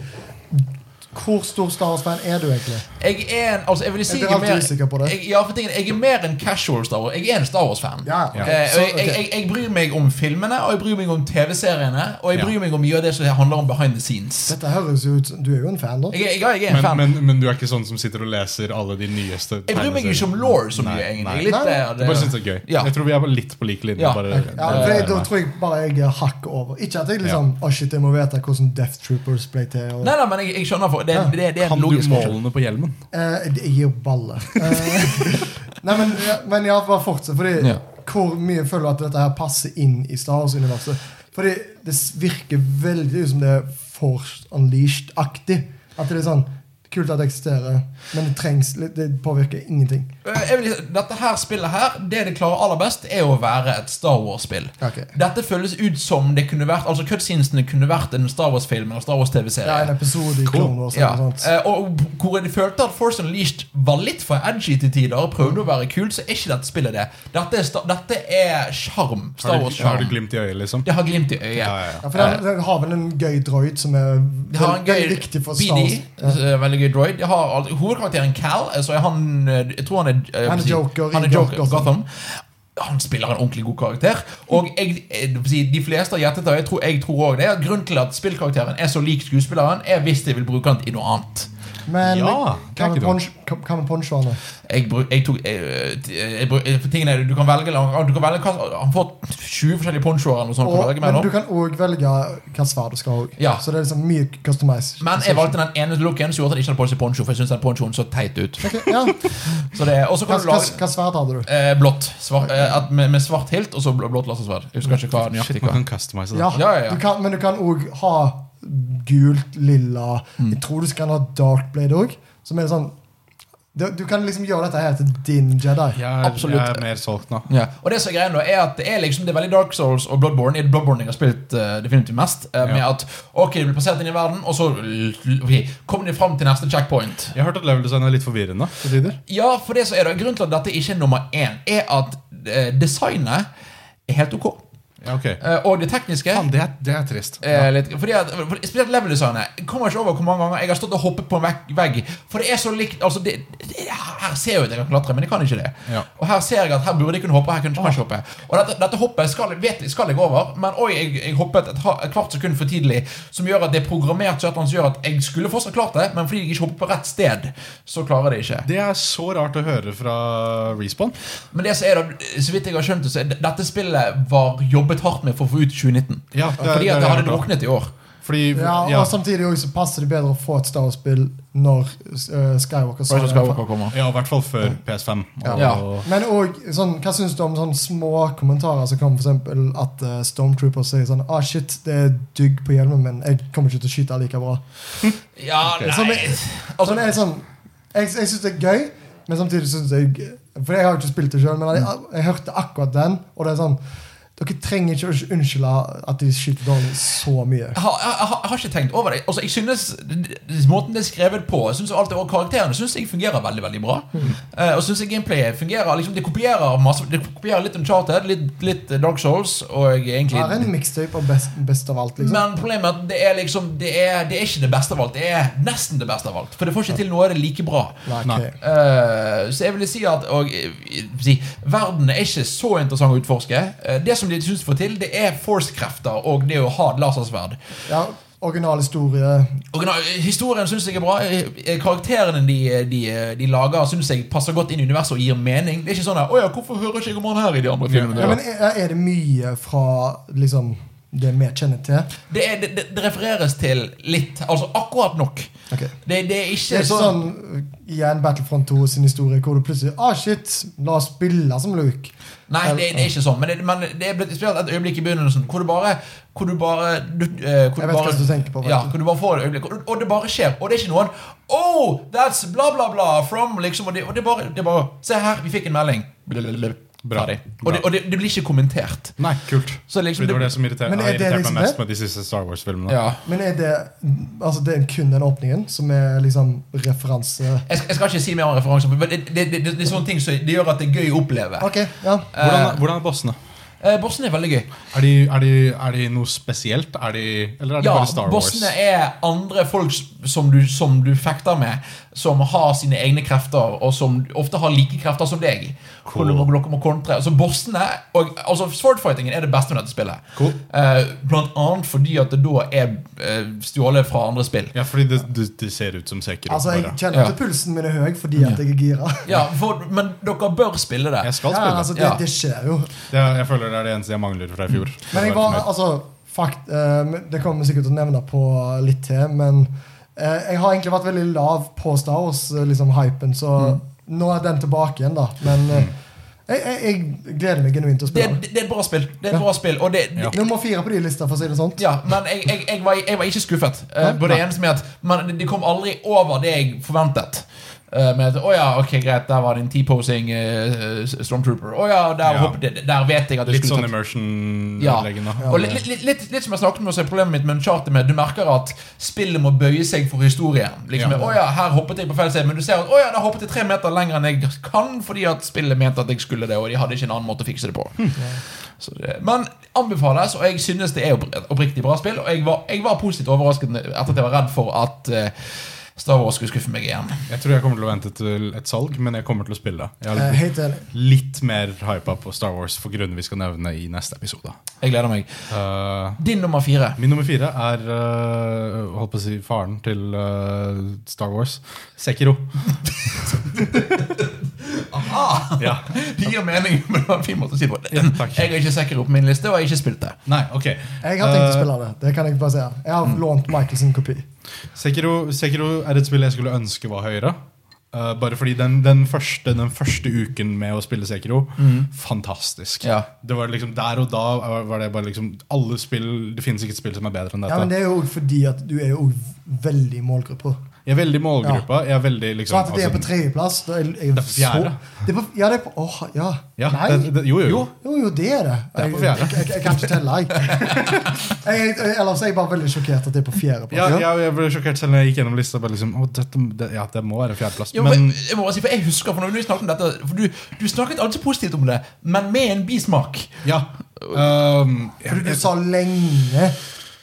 Speaker 3: hvor stor Star Wars-fan er du egentlig?
Speaker 1: Jeg er en, altså jeg vil si
Speaker 3: Jeg blir alltid usikker på det.
Speaker 1: Jeg, ja, for tingen, jeg er mer en casual Star Wars. Jeg er en Star Wars-fan.
Speaker 3: Ja,
Speaker 1: Eh,
Speaker 3: ok.
Speaker 1: og jeg,
Speaker 3: Så, ok.
Speaker 1: jeg, jeg, jeg bryr meg om filmene, og jeg bryr meg om TV-seriene. Og jeg
Speaker 2: Ja.
Speaker 1: bryr meg om mye av det som handler om behind the scenes.
Speaker 3: Dette høres jo ut som- Du er jo en fan, da.
Speaker 1: Jeg, er- jeg, er- jeg er en
Speaker 2: Men,
Speaker 1: fan.
Speaker 2: men, men du er ikke sånn som sitter og leser alle de nyeste
Speaker 1: jeg bryr meg
Speaker 2: tegneseriene?
Speaker 1: ikke om law så mye,
Speaker 2: Nei,
Speaker 1: egentlig.
Speaker 2: nei.
Speaker 1: Litt,
Speaker 3: Nei,
Speaker 1: eh,
Speaker 2: Jeg bare syns det er gøy.
Speaker 1: Ja.
Speaker 2: Jeg tror vi er bare litt på lik linje.
Speaker 1: Ja.
Speaker 2: Bare,
Speaker 3: Ja, for jeg, da tror jeg bare jeg er hakk over. Ikke at jeg liksom Å, shit, jeg må vite hvordan Death Troopers ble til. Og,
Speaker 1: Nei, nei, men jeg, jeg skjønner for, det, er- det, er- det er
Speaker 2: kan
Speaker 1: en
Speaker 2: du
Speaker 1: logisk forskjell.
Speaker 2: målene på hjelmen?
Speaker 3: Eh, jeg gir baller. Eh, *laughs* nei, men, ja, men ja, bare fortsett. Fordi
Speaker 1: Ja.
Speaker 3: hvor mye føler du at dette her passer inn i Star Wars-universet? Fordi det virker veldig ut som det er Force Unleashed-aktig. At det er sånn Kult at det eksisterer, men det trengs litt, det påvirker ingenting.
Speaker 1: Eh, Jeg vil, si- dette her spillet her, det det klarer aller best, er å være et Star Wars-spill.
Speaker 3: Ok.
Speaker 1: Dette føles ut som det kunne vært Altså cutscenesene kunne vært en Star Wars-film eller Star
Speaker 3: Det er
Speaker 1: Wars-TV-serie.
Speaker 3: en episode i
Speaker 2: Cool.
Speaker 3: Clone Wars.
Speaker 1: Ja.
Speaker 3: eller noe sånt.
Speaker 1: Eh, Og hvor jeg følte at Force Unleashed var litt for edgy til tider, og prøvde å være kult, så er ikke dette spillet det. Dette er, sta- dette er sjarm. Star
Speaker 2: Har du, har du
Speaker 1: Wars-sjarm.
Speaker 2: glimt i øyet, liksom?
Speaker 1: Det har glimt i øyet. Eh,
Speaker 2: Ja, ja, ja.
Speaker 3: Ja, for den, den har vel en gøy droid som er
Speaker 1: De har en
Speaker 3: veldig
Speaker 1: gøy
Speaker 3: viktig for Star Wars.
Speaker 1: BD, eh, veldig gøy droid. De har alt- hovedkarakteren Cal. eh, Så er han, eh, jeg tror han er, eh,
Speaker 3: Han er
Speaker 1: jeg vil
Speaker 3: Joker i
Speaker 1: han er Joker
Speaker 3: Gotham.
Speaker 1: Gotham. Han spiller en ordentlig god karakter. Og jeg, eh, jeg, vil si, de fleste har gjettet det, og jeg tror, jeg tror også det. at Grunnen til at spillkarakteren er så lik skuespilleren, er hvis de vil bruke han i noe annet.
Speaker 3: Men
Speaker 2: Ja, det er
Speaker 3: hva med
Speaker 2: ikke
Speaker 3: punch- hva med ponchoene?
Speaker 1: Jeg, bruk, jeg tok jeg, jeg, bruk- for tingene, er, du kan velge, du kan velge hva- Han får 20 forskjellige ponchoer eller noe sånt. å
Speaker 3: Og,
Speaker 1: velge
Speaker 3: men
Speaker 1: mellom.
Speaker 3: du kan òg velge hva sverd du skal ha. også.
Speaker 1: Ja.
Speaker 3: Så det er liksom mye customized.
Speaker 1: Men jeg valgte den ene looken som gjorde at jeg ikke hadde på seg poncho, for jeg syntes den ponchoen så teit ut.
Speaker 3: Ok,
Speaker 1: *laughs*
Speaker 3: ja. hva,
Speaker 1: Så det, og så kan du
Speaker 3: hva,
Speaker 1: lage
Speaker 3: hva sverd hadde du?
Speaker 1: Eh, blått. Svart, eh, at- med, med svart hilt og så bl- blått lasersverd. Jeg husker ikke hva nøyaktig
Speaker 2: Mm. Shit, man
Speaker 1: hva.
Speaker 2: kan customize det.
Speaker 3: Ja,
Speaker 1: Ja, ja, ja.
Speaker 3: Du kan, men du kan òg ha gult, lilla
Speaker 1: Mm.
Speaker 3: Jeg tror du kan ha dark blade òg. Som er sånn du, du kan liksom gjøre dette her til din Jedi.
Speaker 2: Jeg, er-
Speaker 1: Absolutt.
Speaker 2: jeg er mer solgt nå.
Speaker 1: Ja. Og det som er greia nå, er at det er liksom Det er veldig Dark Souls og Bloodborne. I Bloodborne jeg har spilt eh, definitivt mest. eh, Med
Speaker 2: Ja.
Speaker 1: at ok, det blir plassert inn i verden, og så l- l- ok, kommer de fram til neste checkpoint.
Speaker 2: Jeg har hørt at level design er litt forvirrende til tider.
Speaker 1: Ja, for det som er det, grunnen til at dette ikke er nummer én, er at eh, designet er helt ok.
Speaker 2: Ja, ok.
Speaker 1: Eh, og det tekniske
Speaker 2: Faen, det, er, det er trist.
Speaker 1: Eh, litt, fordi at, for, spesielt leveldesignet. Jeg kommer ikke over hvor mange ganger jeg har stått og hoppet på en vegg- vegg. For det er så likt altså det, det, Her ser jeg jo at jeg kan klatre, men jeg kan ikke det.
Speaker 2: Ja.
Speaker 1: Og her ser jeg at her burde jeg kunne hoppe, her kunne jeg ikke hoppe. Og dette, dette hoppet skal, jeg- vet, jeg- skal jeg over, men oi, jeg, jeg hoppet et, ha- et kvart sekund for tidlig, som gjør at det er programmert sånn at han gjør at jeg skulle fortsatt klart det, men fordi jeg ikke hoppet på rett sted, så klarer jeg det ikke.
Speaker 2: Det er så rart å høre fra Respawn.
Speaker 1: Men det som er da, så vidt jeg har skjønt, det, så er det- dette spillet var jobbet hardt med for å få ut i 2019.
Speaker 2: Ja, det er-
Speaker 1: fordi
Speaker 2: det
Speaker 1: at
Speaker 2: er
Speaker 1: det hadde
Speaker 2: rart, da.
Speaker 1: druknet i år.
Speaker 2: Fordi,
Speaker 3: Ja, og
Speaker 2: ja,
Speaker 3: Samtidig også så passer det bedre å få et Star Wars-spill når eh, Skywalker
Speaker 1: Så
Speaker 3: Saga-
Speaker 1: skal Skywalker komme.
Speaker 2: ja, i hvert fall før PS5. Og,
Speaker 1: Ja.
Speaker 3: Men òg sånn, hva syns du om sånne små kommentarer som kom for eksempel at eh, Stormtroopers sier sånn Ah, shit, det er dugg på hjelmen min. Jeg kommer ikke til å skyte like bra.
Speaker 1: Ja,
Speaker 2: Ok.
Speaker 1: nei
Speaker 3: Som
Speaker 1: altså,
Speaker 3: Altså, det er sånn, jeg jeg syns det er gøy, men samtidig syns jeg For jeg har jo ikke spilt det sjøl, men jeg, jeg hørte akkurat den, og det er sånn Dere trenger ikke å unnskylde at de skyter dårlig så mye.
Speaker 1: jeg, har, jeg, har, jeg har ikke tenkt over det. Altså, jeg synes Måten det er skrevet på, jeg synes alt det, og karakterene synes jeg fungerer veldig veldig bra. Eh, og synes jeg gameplayet fungerer liksom, Det kopierer masse Det kopierer litt Uncharted, litt, litt Dark Souls og
Speaker 3: Det
Speaker 1: egentlig
Speaker 3: er en liksom. mixtape av best, best av alt, liksom.
Speaker 1: Men problemet er at det er liksom det er, det er ikke det beste av alt. Det er nesten det beste av alt. For det får ikke til noe av det like bra.
Speaker 3: Nei, ok.
Speaker 2: Nei.
Speaker 1: Eh, så jeg vil si at og, eh, si, verden er ikke så interessant å utforske. Eh, det som de synes får til, det er force-krefter og det å ha et lasersverd.
Speaker 3: Ja, original historie.
Speaker 1: Original- Historien syns jeg er bra. Eh, Karakterene de, eh, de, de lager, syns jeg passer godt inn i universet og gir mening. Det er ikke sånn at, 'Å ja, hvorfor hører ikke jeg om han her i de andre filmene?'
Speaker 3: Ja, men er, er det mye fra liksom det vi kjenner til.
Speaker 1: Det, er, det, det, det refereres til litt, altså akkurat nok. Det, det er
Speaker 3: Det
Speaker 1: ikke
Speaker 3: er ikke
Speaker 1: sånn
Speaker 3: sånn uh, igjen Battlefront 2 sin historie hvor du plutselig ah shit, la oss spille som Luke.
Speaker 1: Nei, det, det er ikke sånn. Men det, men det er blitt spilt et øyeblikk i begynnelsen hvor du bare hvor du bare du, eh, hvor
Speaker 3: Jeg vet
Speaker 1: bare,
Speaker 3: hva du tenker på, vet
Speaker 1: Ja,
Speaker 3: du.
Speaker 1: hvor du bare får et øyeblikk, og, og det bare skjer. Og det er ikke noen Oh, that's bla, bla, bla from liksom, Og det, og det, bare, det bare Se her, vi fikk en melding.
Speaker 2: Bra.
Speaker 1: Ferdig. Og,
Speaker 2: Bra.
Speaker 1: det, og det, det blir ikke kommentert.
Speaker 2: Nei, kult.
Speaker 1: Så liksom,
Speaker 2: Fordi det var det som irriterte
Speaker 3: Men er
Speaker 2: har
Speaker 3: det
Speaker 2: irritert
Speaker 3: liksom
Speaker 2: meg mest
Speaker 3: det?
Speaker 2: med de siste Star Wars-filmene.
Speaker 1: ja.
Speaker 3: Men er det altså det er kun den åpningen som er liksom referanse
Speaker 1: jeg, skal- jeg skal ikke si mer om referanser, men det, det, det, det, er sånne ting som det gjør at det er gøy å oppleve.
Speaker 3: OK, ja.
Speaker 2: Hvordan, er- hvordan er bossene?
Speaker 1: Eh, bossen er veldig gøy.
Speaker 2: Er de, er de, er de noe spesielt? Er de, eller er det
Speaker 1: Ja,
Speaker 2: bare Star Wars?
Speaker 1: bossene er andre folk s- som du, som du fekter med, som har sine egne krefter, og som ofte har like krefter som deg. Hvor
Speaker 2: Cool.
Speaker 1: du må- dere må kontre. Altså, bossene og, altså, Swordfightingen er det beste med dette spillet.
Speaker 2: Cool.
Speaker 1: Eh, blant annet fordi at det da er eh, stjålet fra andre spill.
Speaker 2: Ja, fordi det, det, det ser ut som Sekiro.
Speaker 3: Altså, jeg
Speaker 2: bare.
Speaker 3: kjenner
Speaker 1: Ja.
Speaker 3: at pulsen min er høy fordi at jeg er gira.
Speaker 1: Ja, for, Men dere bør spille det.
Speaker 2: Jeg skal
Speaker 3: Ja,
Speaker 2: spille.
Speaker 3: altså, det,
Speaker 1: Ja.
Speaker 3: det skjer jo.
Speaker 2: det, jeg føler det er det eneste jeg mangler fra i fjor.
Speaker 3: Men jeg
Speaker 2: Å være
Speaker 3: var,
Speaker 2: fornøyd.
Speaker 3: altså, fakt, eh, men Det kommer vi sikkert til å nevne på litt til, men eh, jeg har egentlig vært veldig lav på Star Wars, eh, liksom hypen, så
Speaker 1: Mm.
Speaker 3: nå er den tilbake igjen, da. Men eh, jeg, jeg, jeg gleder meg genuint til å
Speaker 1: Det,
Speaker 3: spille.
Speaker 1: det er et bra spill. Det er et
Speaker 3: Ja.
Speaker 1: bra spill Og det,
Speaker 2: Ja.
Speaker 1: det,
Speaker 3: Nummer fire på de lista, for å si det sånn.
Speaker 1: Ja, men jeg, jeg, jeg, var, jeg var ikke skuffet. Eh,
Speaker 3: Nei,
Speaker 1: på det
Speaker 3: nei.
Speaker 1: eneste med at Men de kom aldri over det jeg forventet. Eh, med at 'Å ja, ok, greit, der var det en T-posing eh, eh, stormtrooper'. 'Å ja, der,
Speaker 2: Ja.
Speaker 1: hoppet det- der vet jeg at det
Speaker 2: Litt sånn
Speaker 1: skulle tatt Ja.
Speaker 2: immersion-leggende.
Speaker 1: og litt, litt, litt, litt som jeg snakket med, så er problemet mitt med Uncharted med at du merker at spillet må bøye seg for historien. Liksom,
Speaker 2: Ja.
Speaker 1: 'Å ja, her hoppet jeg på feil sted', men du ser at 'Å ja, der hoppet jeg tre meter lenger enn jeg kan', fordi at spillet mente at jeg skulle det, og de hadde ikke en annen måte å fikse det
Speaker 2: Hm.
Speaker 1: på. Så det, men anbefales, og jeg synes det er opp- oppriktig bra spill. Og jeg var, jeg var positivt overrasket etter at jeg var redd for at eh, Star Wars skulle skuffe meg igjen.
Speaker 2: Jeg tror jeg kommer til å vente til et salg, men jeg kommer til å spille. Jeg
Speaker 3: Eh,
Speaker 2: er litt,
Speaker 3: Helt enig.
Speaker 2: litt mer hypa på Star Wars for grunner vi skal nevne i neste episode.
Speaker 1: Jeg gleder meg.
Speaker 2: Eh,
Speaker 1: Din nummer fire.
Speaker 2: min nummer fire er eh, holdt på å si faren til eh, Star Wars.
Speaker 3: *laughs*
Speaker 2: Sekiro.
Speaker 1: Ah,
Speaker 2: Ja.
Speaker 1: *laughs* det gir mening, men det var en fin måte å si det på.
Speaker 2: Ja, takk.
Speaker 1: Jeg har ikke sikker opp min liste, og jeg har ikke spilt det.
Speaker 2: Nei, ok.
Speaker 3: Jeg har tenkt å
Speaker 2: Eh,
Speaker 3: spille det. Det kan jeg bare si. Jeg
Speaker 1: mm.
Speaker 3: har lånt Michael sin kopi.
Speaker 2: Sekiro, Sekiro er et spill jeg skulle ønske var høyere. Eh, bare fordi den, den, første, den første uken med å spille Sekiro
Speaker 3: Mhm.
Speaker 2: Fantastisk.
Speaker 1: Ja.
Speaker 2: Det var liksom Der og da var- var det bare liksom Alle spill Det finnes ikke et spill som er bedre enn dette.
Speaker 3: Ja, men det er jo fordi at du er jo også veldig i målgruppa.
Speaker 2: Jeg er veldig i målgruppa. Jeg er veldig
Speaker 3: Så
Speaker 2: liksom
Speaker 3: at det er på
Speaker 2: altså,
Speaker 3: tredjeplass det er,
Speaker 2: Det er på fjerde.
Speaker 3: Så, det er på, ja, det er på Åh, ja.
Speaker 2: ja,
Speaker 3: Nei.
Speaker 2: det, det, Jo, jo. jo.
Speaker 3: Jo, jo, det er det.
Speaker 2: Det er på fjerde.
Speaker 3: Jeg, jeg, jeg, jeg kan ikke telle,
Speaker 2: *laughs*
Speaker 3: jeg. jeg, jeg ellers er jeg bare veldig sjokkert at det er på
Speaker 2: Ja,
Speaker 3: fjerdeplass.
Speaker 2: jeg, jeg ble sjokkert selv når jeg gikk gjennom lista. Bare liksom, å, dette, det, ja, det må være fjerdeplass.
Speaker 1: Jo, men,
Speaker 2: Men
Speaker 1: jeg må bare si, for jeg husker, for når du snakket om dette For du, du snakket alltid positivt om det, men med en bismak.
Speaker 2: ja. ehm,
Speaker 3: Fordi du sa lenge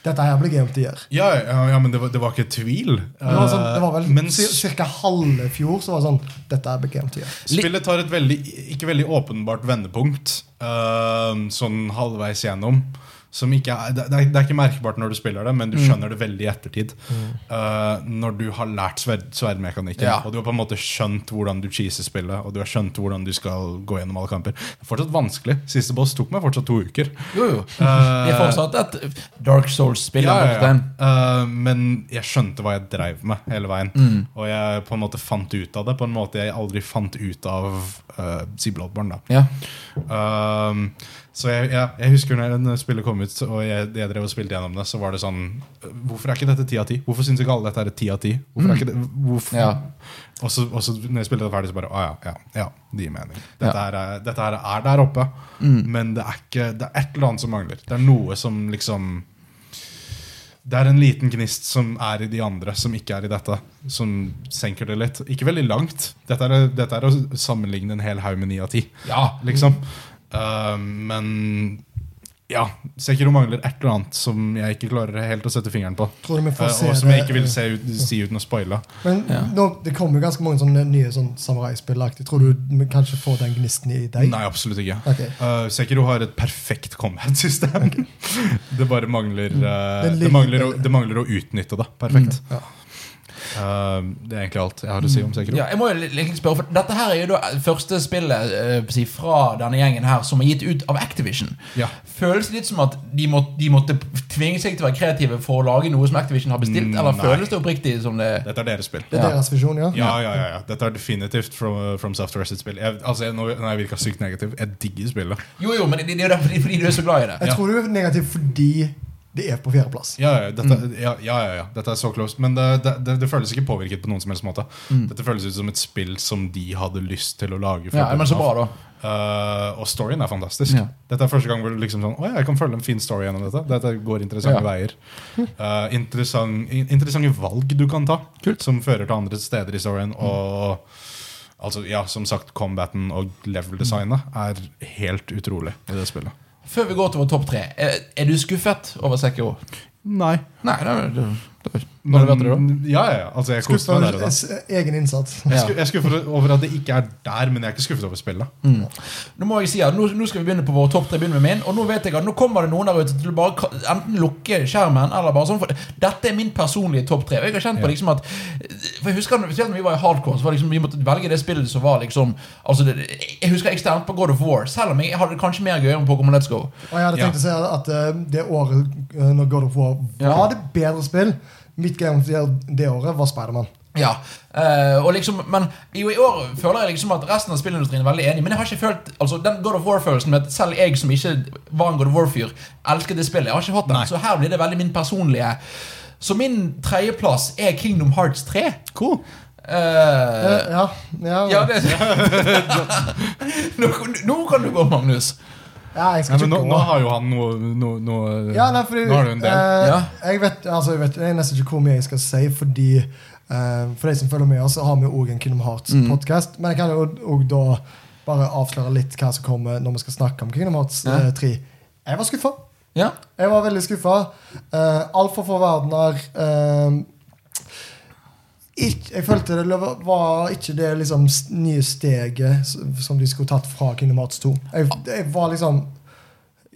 Speaker 3: dette her blir game of the year.
Speaker 2: ja, ja, ja, men det var, det var ikke tvil.
Speaker 3: Det var, sånn, det var vel
Speaker 2: Eh, men
Speaker 3: ca. halve fjor så var det sånn Dette her blir game of the year.
Speaker 2: Spillet tar et veldig, ikke veldig åpenbart vendepunkt øhm, sånn halvveis gjennom. Som ikke er, det, det er, det er ikke merkbart når du spiller det, men du skjønner det veldig i ettertid. øh, når du har lært sverd, sverdmekanikken,
Speaker 1: Ja.
Speaker 2: og du har på en måte skjønt hvordan du cheeser spillet, og du har skjønt hvordan du skal gå gjennom alle kamper. Det er fortsatt vanskelig. Siste boss tok meg fortsatt to uker.
Speaker 1: Jo, jo.
Speaker 2: Eh,
Speaker 1: Det er fortsatt et Dark Souls-spill.
Speaker 2: Ja, ja, ja.
Speaker 1: Morten.
Speaker 2: Eh, men jeg skjønte hva jeg dreiv med hele veien. Og jeg på en måte fant ut av det på en måte jeg aldri fant ut av uh, si Bloodborne. da
Speaker 1: ja.
Speaker 2: Um, så jeg, ja, jeg husker når den spillet kom ut, og jeg, jeg drev og spilte gjennom det, så var det sånn Hvorfor er ikke dette ti av ti? Hvorfor syns ikke alle dette er ti av ti? Hvorfor er ikke det, hvorfor?
Speaker 1: Mm. Ja.
Speaker 2: Og, så, og så når jeg spilte det ferdig, så bare Å ja, ja, ja det gir mening.
Speaker 1: Ja.
Speaker 2: Dette,
Speaker 1: Mm.
Speaker 2: her er, dette her er der oppe, men det er, ikke, det er et eller annet som mangler. Det er noe som liksom det er en liten gnist som er i de andre, som ikke er i dette. Som senker det litt. Ikke veldig langt. Dette er, dette er å sammenligne en hel haug med ni av ti
Speaker 1: ja.
Speaker 2: liksom. Eh, men ja, Sekiro mangler et eller annet som jeg ikke klarer helt å sette fingeren på.
Speaker 3: Tror du vi
Speaker 2: Eh,
Speaker 3: får se
Speaker 2: og som jeg ikke
Speaker 3: det?
Speaker 2: vil se ut, si uten å spoile.
Speaker 3: Men
Speaker 1: Ja.
Speaker 3: nå, det kommer jo ganske mange sånne nye sånn samuraispillaktige. Tror du vi kanskje får den gnisten i deg?
Speaker 2: Nei, absolutt ikke.
Speaker 3: Ok.
Speaker 2: Eh, Sekiro har et perfekt combat-system. *laughs* Det bare mangler eh,
Speaker 3: Det
Speaker 2: det,
Speaker 3: Mm. ligger- Mm,
Speaker 2: mangler å, det mangler å utnytte det perfekt.
Speaker 3: Ja. Mm.
Speaker 2: Eh, det er egentlig alt jeg har å si om Sekiro.
Speaker 1: Ja, jeg må jo li- liksom spørre, for Dette her er jo da første spillet eh, si, fra denne gjengen her som er gitt ut av Activision.
Speaker 2: Ja.
Speaker 1: Føles det litt som at de, må, de måtte tvinge seg til å være kreative for å lage noe som Activision har bestilt?
Speaker 2: Mm,
Speaker 1: eller
Speaker 2: nei.
Speaker 1: føles det oppriktig som det
Speaker 2: Dette er deres spill.
Speaker 3: Det er
Speaker 1: Ja.
Speaker 3: deres visjon, ja?
Speaker 2: Ja, ja, ja, ja. Dette er definitivt From, from Software sitt spill. Jeg, altså, jeg, nå, nå er jeg virka sykt negativ. Jeg digger spillet.
Speaker 1: Jo, jo, men det, det er jo derfor fordi, fordi du er så glad i det.
Speaker 3: Jeg tror du er negativ fordi det er på fjerdeplass.
Speaker 2: Ja, ja, dette,
Speaker 1: Mm.
Speaker 2: ja, ja, ja, ja. dette er så close. Men det, det, det, det føles ikke påvirket på noen som helst måte. Dette føles ut som et spill som de hadde lyst til å lage. fra
Speaker 1: Mm. Ja, men så
Speaker 2: bunnen av.
Speaker 1: bra, da.
Speaker 2: Eh, og storyen er fantastisk.
Speaker 1: Ja.
Speaker 2: Dette er første gang hvor du liksom sånn, «Å ja, jeg kan følge en fin story gjennom dette. Dette går interessante
Speaker 1: Ja.
Speaker 2: veier. Eh, interessant, in- interessante valg du kan ta,
Speaker 1: Kult.
Speaker 2: som fører til andre steder i storyen. Og altså, ja, som sagt, combaten og level-designet er helt utrolig i det spillet.
Speaker 1: Før vi går til vår topp tre, er, er du skuffet over Sekiro?
Speaker 2: Nei.
Speaker 1: Nei, det, det, det, Mm. Når du vet det, da?
Speaker 2: Ja, ja, ja. Altså, jeg koste
Speaker 3: Skuffet
Speaker 2: meg der
Speaker 3: over
Speaker 2: og da.
Speaker 3: s- egen innsats.
Speaker 2: Jeg
Speaker 1: Ja.
Speaker 2: sku- jeg er skuffet over at det ikke er der, men jeg er ikke skuffet over
Speaker 3: Mm.
Speaker 2: spillet.
Speaker 1: Nå må jeg si at nå, nå skal vi begynne på vår topp tre. begynner med min Og nå vet jeg at nå kommer det noen der ute til å bare ka- enten lukke skjermen eller bare sånn. For dette er min personlige topp tre. Og jeg har kjent på
Speaker 2: Ja.
Speaker 1: liksom at For jeg husker spesielt når vi var i hardcore, så var det liksom vi måtte velge det spillet som var liksom Altså det, Jeg husker eksternt på God of War, selv om jeg hadde det kanskje mer gøy med Pokémon Let's Go.
Speaker 3: Og jeg hadde
Speaker 2: Ja.
Speaker 3: tenkt å si at eh, det året eh, når God of War
Speaker 1: Ja.
Speaker 3: var det bedre spill Mitt game of the year det året var Spiderman.
Speaker 1: Ja, eh, og liksom, men jo, i år føler jeg liksom at resten av spillindustrien er veldig enig. Men jeg har ikke følt altså, den God of War-følelsen med at selv jeg som ikke var en God of War-fyr, elsket det spillet. Jeg har ikke hatt den,
Speaker 2: Nei.
Speaker 1: Så her blir det veldig min personlige. Så min tredjeplass er Kingdom Hearts 3.
Speaker 2: Cool.
Speaker 1: Eh,
Speaker 3: Eh, ja, ja,
Speaker 1: ja, det *laughs* nå, nå kan du gå, Magnus.
Speaker 3: Ja,
Speaker 2: Ja,
Speaker 3: jeg skal
Speaker 2: men nå,
Speaker 3: ikke
Speaker 2: nå
Speaker 3: gå.
Speaker 2: har jo han noe, noe, noe
Speaker 3: Ja, nei, fordi,
Speaker 2: Nå har du en del.
Speaker 3: eh,
Speaker 1: Ja.
Speaker 3: jeg, vet, altså, jeg vet jeg vet nesten ikke hvor mye jeg skal si, fordi eh, for de som følger med oss, så har vi òg en Kingdom
Speaker 2: Mhm.
Speaker 3: Hearts-podkast. Men jeg kan jo og da bare avsløre litt hva som kommer når vi skal snakke om Kingdom Hearts
Speaker 1: Ja.
Speaker 3: eh, 3. Jeg var skuffa.
Speaker 1: Ja.
Speaker 3: Jeg var veldig skuffa. Uh, Altfor få verdener. eh, ikk- jeg følte det var- var ikke det liksom, s- nye steget s- som de skulle tatt fra Kingdom Hearts 2. Jeg, jeg var liksom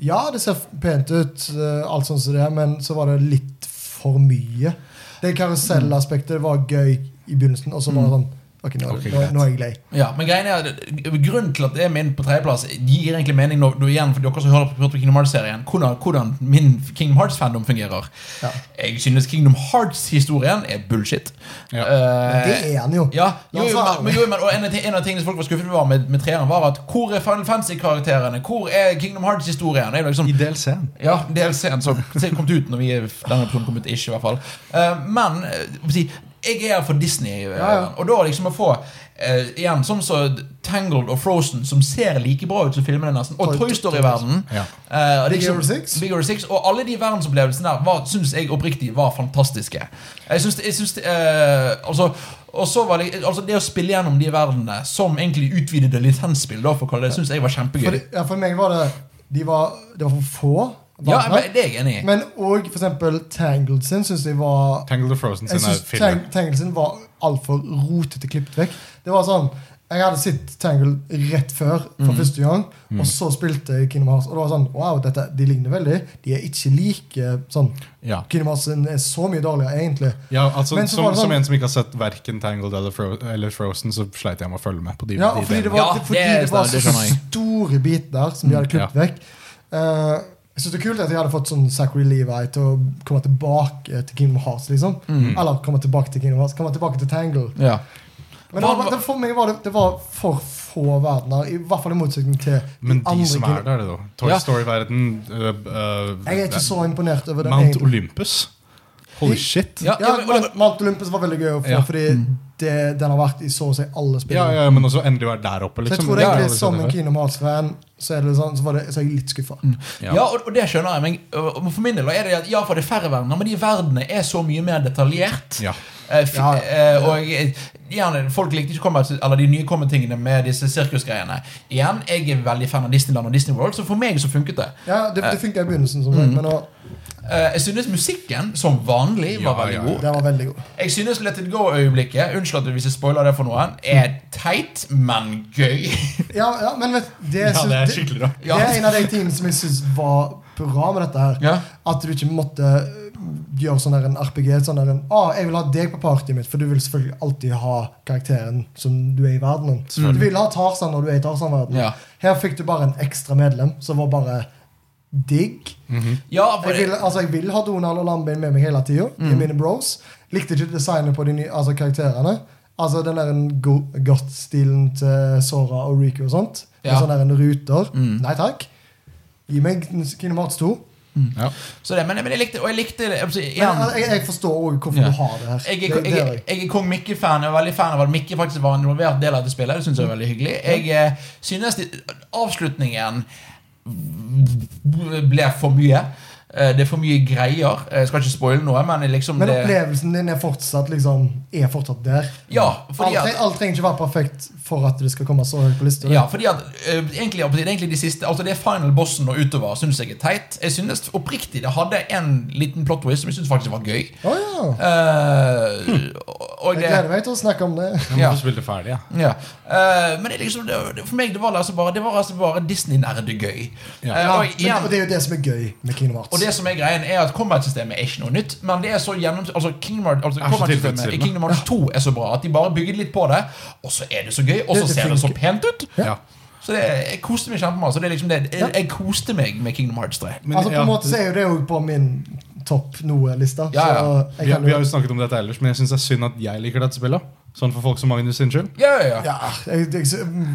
Speaker 3: Ja, det ser f- pent ut, eh, alt sånn som det, er, men så var det litt for mye. Det karusellaspektet var gøy i begynnelsen, og så var
Speaker 1: Mm.
Speaker 3: det sånn Ok, nå, er det-
Speaker 2: Ok,
Speaker 3: nå,
Speaker 2: greit.
Speaker 3: nå er jeg lei.
Speaker 1: Ja, men greien er at Grunnen til at det er min på tredjeplass, gir egentlig mening når du igjen, for dere som hører på Kingdom Hearts-serien, hvordan, hvordan min Kingdom Hearts-fandom fungerer.
Speaker 3: Ja.
Speaker 1: Jeg synes Kingdom Hearts-historien er bullshit.
Speaker 2: Ja.
Speaker 1: Eh,
Speaker 3: Det er han jo.
Speaker 1: ja, jo,
Speaker 3: La oss
Speaker 1: jo,
Speaker 3: være
Speaker 1: men, men, jo, men, og en, av ti- en av tingene folk var skuffet over med, med treeren, var at hvor er Final Fantasy-karakterene? Hvor er Kingdom Hearts-historien? Det er jo liksom
Speaker 2: I DLC-en.
Speaker 1: ja, DLC-en som som kom ut når vi denne episoden kom ut. Ikke, i hvert fall. Eh, men eh, hva skal jeg si, jeg er her for Disney, eh,
Speaker 3: Ja, ja.
Speaker 1: og da liksom å få eh, igjen sånn som Tangled og Frozen, som ser like bra ut som filmene, nesten, og
Speaker 3: Toy-
Speaker 1: Toy Story-verdenen.
Speaker 2: Ja.
Speaker 1: eh, og
Speaker 3: Big
Speaker 1: liksom-
Speaker 3: Hero 6?
Speaker 1: Big Hero 6 Og alle de verdensopplevelsene der var, synes jeg oppriktig var fantastiske. Jeg synes, jeg synes eh, altså, og så var det, altså det å spille gjennom de verdenene som egentlig utvidede lisensspill, da, for å kalle det, syns jeg var kjempegøy.
Speaker 3: For, ja, for meg var det de var, Det var for få.
Speaker 1: ja,
Speaker 3: verdener.
Speaker 1: men, Det er jeg enig i.
Speaker 3: Men òg f.eks. Tangled sin syns jeg var
Speaker 2: Tangled og Frozen
Speaker 3: Jeg
Speaker 2: sin er
Speaker 3: synes
Speaker 2: filler.
Speaker 3: Tang Tangled sin var altfor rotete klippet vekk. Det var sånn Jeg hadde sett Tangled rett før
Speaker 2: Mhm.
Speaker 3: for første gang, og så spilte jeg Kingdom Hearts, og det var sånn Wow, dette, de ligner veldig. De er ikke like sånn
Speaker 2: Ja.
Speaker 3: Kingdom Hearts sin er så mye dårligere, egentlig.
Speaker 2: Ja, altså,
Speaker 3: Men så
Speaker 2: som,
Speaker 3: var det sånn-
Speaker 2: som en som ikke har sett verken Tangled eller, Fro eller Frozen, så sleit jeg med å følge med på de,
Speaker 3: Ja,
Speaker 2: de
Speaker 3: fordi det
Speaker 2: delene.
Speaker 3: var,
Speaker 1: Ja,
Speaker 3: fordi
Speaker 1: det er
Speaker 3: det var
Speaker 1: sant, det
Speaker 3: så
Speaker 1: skjønner jeg.
Speaker 3: store biter som de hadde
Speaker 2: Mm,
Speaker 3: klippet
Speaker 2: ja.
Speaker 3: vekk. Eh, jeg synes det er kult at de hadde fått sånn Zachary Levi til å komme tilbake til Kingdom Hearts. liksom
Speaker 2: Mm.
Speaker 3: Eller komme tilbake til Kingdom Hearts Komme tilbake til Tangle.
Speaker 1: ja.
Speaker 3: Men det var, det, for meg var det, det var for få verdener, i hvert fall i motsetning til
Speaker 2: Men de som er
Speaker 3: Kingdom-
Speaker 2: der, det da. Toy
Speaker 1: Ja.
Speaker 2: Story-verden øh, øh,
Speaker 3: Jeg er ikke så imponert over den.
Speaker 2: Mount
Speaker 3: egentlig.
Speaker 2: Olympus. Holy shit.
Speaker 1: Ja,
Speaker 3: Ja,
Speaker 1: men-
Speaker 3: men Mount Olympus var veldig gøy å få,
Speaker 2: Ja. Mm.
Speaker 3: fordi det, den har vært i så å si alle
Speaker 2: Ja,
Speaker 3: spillene.
Speaker 2: ja, men også endelig være der oppe,
Speaker 3: Så jeg
Speaker 2: liksom.
Speaker 3: tror
Speaker 2: Ja,
Speaker 3: egentlig
Speaker 2: ja,
Speaker 3: som en
Speaker 2: ja.
Speaker 3: Kingdom Hearts-fan, så, er det sånn, så, var det- så er jeg litt skuffa.
Speaker 2: Mm.
Speaker 1: Ja, og, og det skjønner jeg, men øh, for min del er det at ja, for det er færre verdener, men de verdenene er så mye mer detaljert.
Speaker 2: Ja.
Speaker 1: Eh, fi-
Speaker 3: Ja.
Speaker 1: eh, og jeg- gjerne, folk likte ikke Combat, eller de nye Combat-tingene med disse sirkusgreiene. Igjen, jeg er veldig fan av Disneyland og Disney World, så for meg så funket det.
Speaker 3: Ja, det, det funka i begynnelsen, som
Speaker 1: Mm.
Speaker 3: sagt, men nå,
Speaker 1: Eh, jeg synes musikken, som vanlig, var
Speaker 2: Ja,
Speaker 1: veldig
Speaker 2: ja, ja.
Speaker 1: god.
Speaker 3: den var veldig god.
Speaker 1: Jeg synes Let It Go-øyeblikket, unnskyld at hvis jeg spoiler det for noen, er teit, men gøy. *laughs*
Speaker 3: Ja, ja men vet, det,
Speaker 2: ja,
Speaker 3: synes-
Speaker 2: det er skikkelig bra.
Speaker 3: Det er en av de tingene som jeg syns var bra med dette her.
Speaker 1: Ja.
Speaker 3: At du ikke måtte gjør sånn der en RPG. Sånn der en, ah, 'Jeg vil ha deg på partyet mitt', for du vil selvfølgelig alltid ha karakteren som du er i verdenen. Du vil ha Tarzan når du er i Tarzan-verdenen.
Speaker 1: Ja.
Speaker 3: Her fikk du bare en ekstra medlem som var bare digg.
Speaker 1: Ja, for
Speaker 3: Jeg vil, altså, jeg vil ha Donald og Lambin med meg hele tida.
Speaker 1: Mm.
Speaker 3: De er mine bros. Likte ikke designet på de nye altså, karakterene. Altså den der go goth-stilen til Sora og Riku og sånt. Med
Speaker 1: Ja. Mm.
Speaker 3: sånne der ruter. Nei takk. Gi meg Kingdom Hearts 2.
Speaker 2: Ja.
Speaker 1: Så det, men, men jeg likte, og jeg likte det, jeg, må si,
Speaker 3: Men altså,
Speaker 1: igjen,
Speaker 3: jeg, jeg forstår òg hvorfor
Speaker 1: Ja.
Speaker 3: du har det her.
Speaker 1: jeg,
Speaker 3: det,
Speaker 1: er,
Speaker 3: det
Speaker 1: jeg,
Speaker 3: er jeg.
Speaker 1: jeg er Kong Mikke-fan. Jeg er veldig fan av at Mikke faktisk var en involvert del av dette spillet. Det synes jeg er veldig hyggelig Jeg eh, synes de, avslutningen ble for mye. Eh, Det er for mye greier. Jeg skal ikke spoile noe, men liksom
Speaker 3: Men
Speaker 1: det
Speaker 3: opplevelsen din er fortsatt, liksom, er fortsatt der.
Speaker 1: Ja, fordi
Speaker 3: alt,
Speaker 1: at
Speaker 3: tre- alt trenger ikke være perfekt for at det skal komme så høyt på lista.
Speaker 1: Ja, fordi at ø, egentlig, det er egentlig de siste Altså det final bossen og utover syns jeg er teit. Jeg synes oppriktig det hadde en liten plot twist som jeg synes faktisk var gøy.
Speaker 3: Å ja.
Speaker 1: Eh, og- og
Speaker 3: Hmm. Jeg
Speaker 1: det,
Speaker 3: gleder meg til å snakke om det.
Speaker 2: Jeg må
Speaker 1: Ja.
Speaker 2: få spille det ferdig, jeg.
Speaker 1: ja. Eh, men det, er liksom, det, det- for meg det var altså bare, det var altså bare Disney-nerdegøy.
Speaker 2: Ja.
Speaker 1: Eh, og,
Speaker 3: Men,
Speaker 1: igjen-
Speaker 3: og det er jo det som er gøy med Kingdom Hearts.
Speaker 1: og det som er greien er at Combat-systemet er ikke noe nytt, men det er så gjennom, altså Kingdom Hearts, altså
Speaker 2: Det er så
Speaker 1: combat-systemet i
Speaker 2: tilfredsstillende.
Speaker 1: Kingdom Hearts 2 er så bra at de bare bygger litt på det, og så er det så gøy, og
Speaker 3: Det-
Speaker 1: så
Speaker 3: det
Speaker 1: ser det så
Speaker 3: funker.
Speaker 1: pent ut.
Speaker 2: Ja.
Speaker 1: Så det, jeg koste meg kjempemasse. så Det er liksom det. Jeg, jeg koste meg med Kingdom Hearts 3.
Speaker 2: Men,
Speaker 3: altså på en
Speaker 2: ja,
Speaker 3: måte så er jo det jo på min topp noe-lista.
Speaker 1: Ja, ja.
Speaker 3: Så
Speaker 2: vi,
Speaker 3: jeg
Speaker 2: har-
Speaker 3: kan
Speaker 2: vi har
Speaker 3: jo
Speaker 2: jo snakket om dette ellers, men jeg syns det er synd at jeg liker dette spillet. Sånn for folk som Magnus sin skyld.
Speaker 1: Ja, ja, ja.
Speaker 3: ja, jeg, jeg,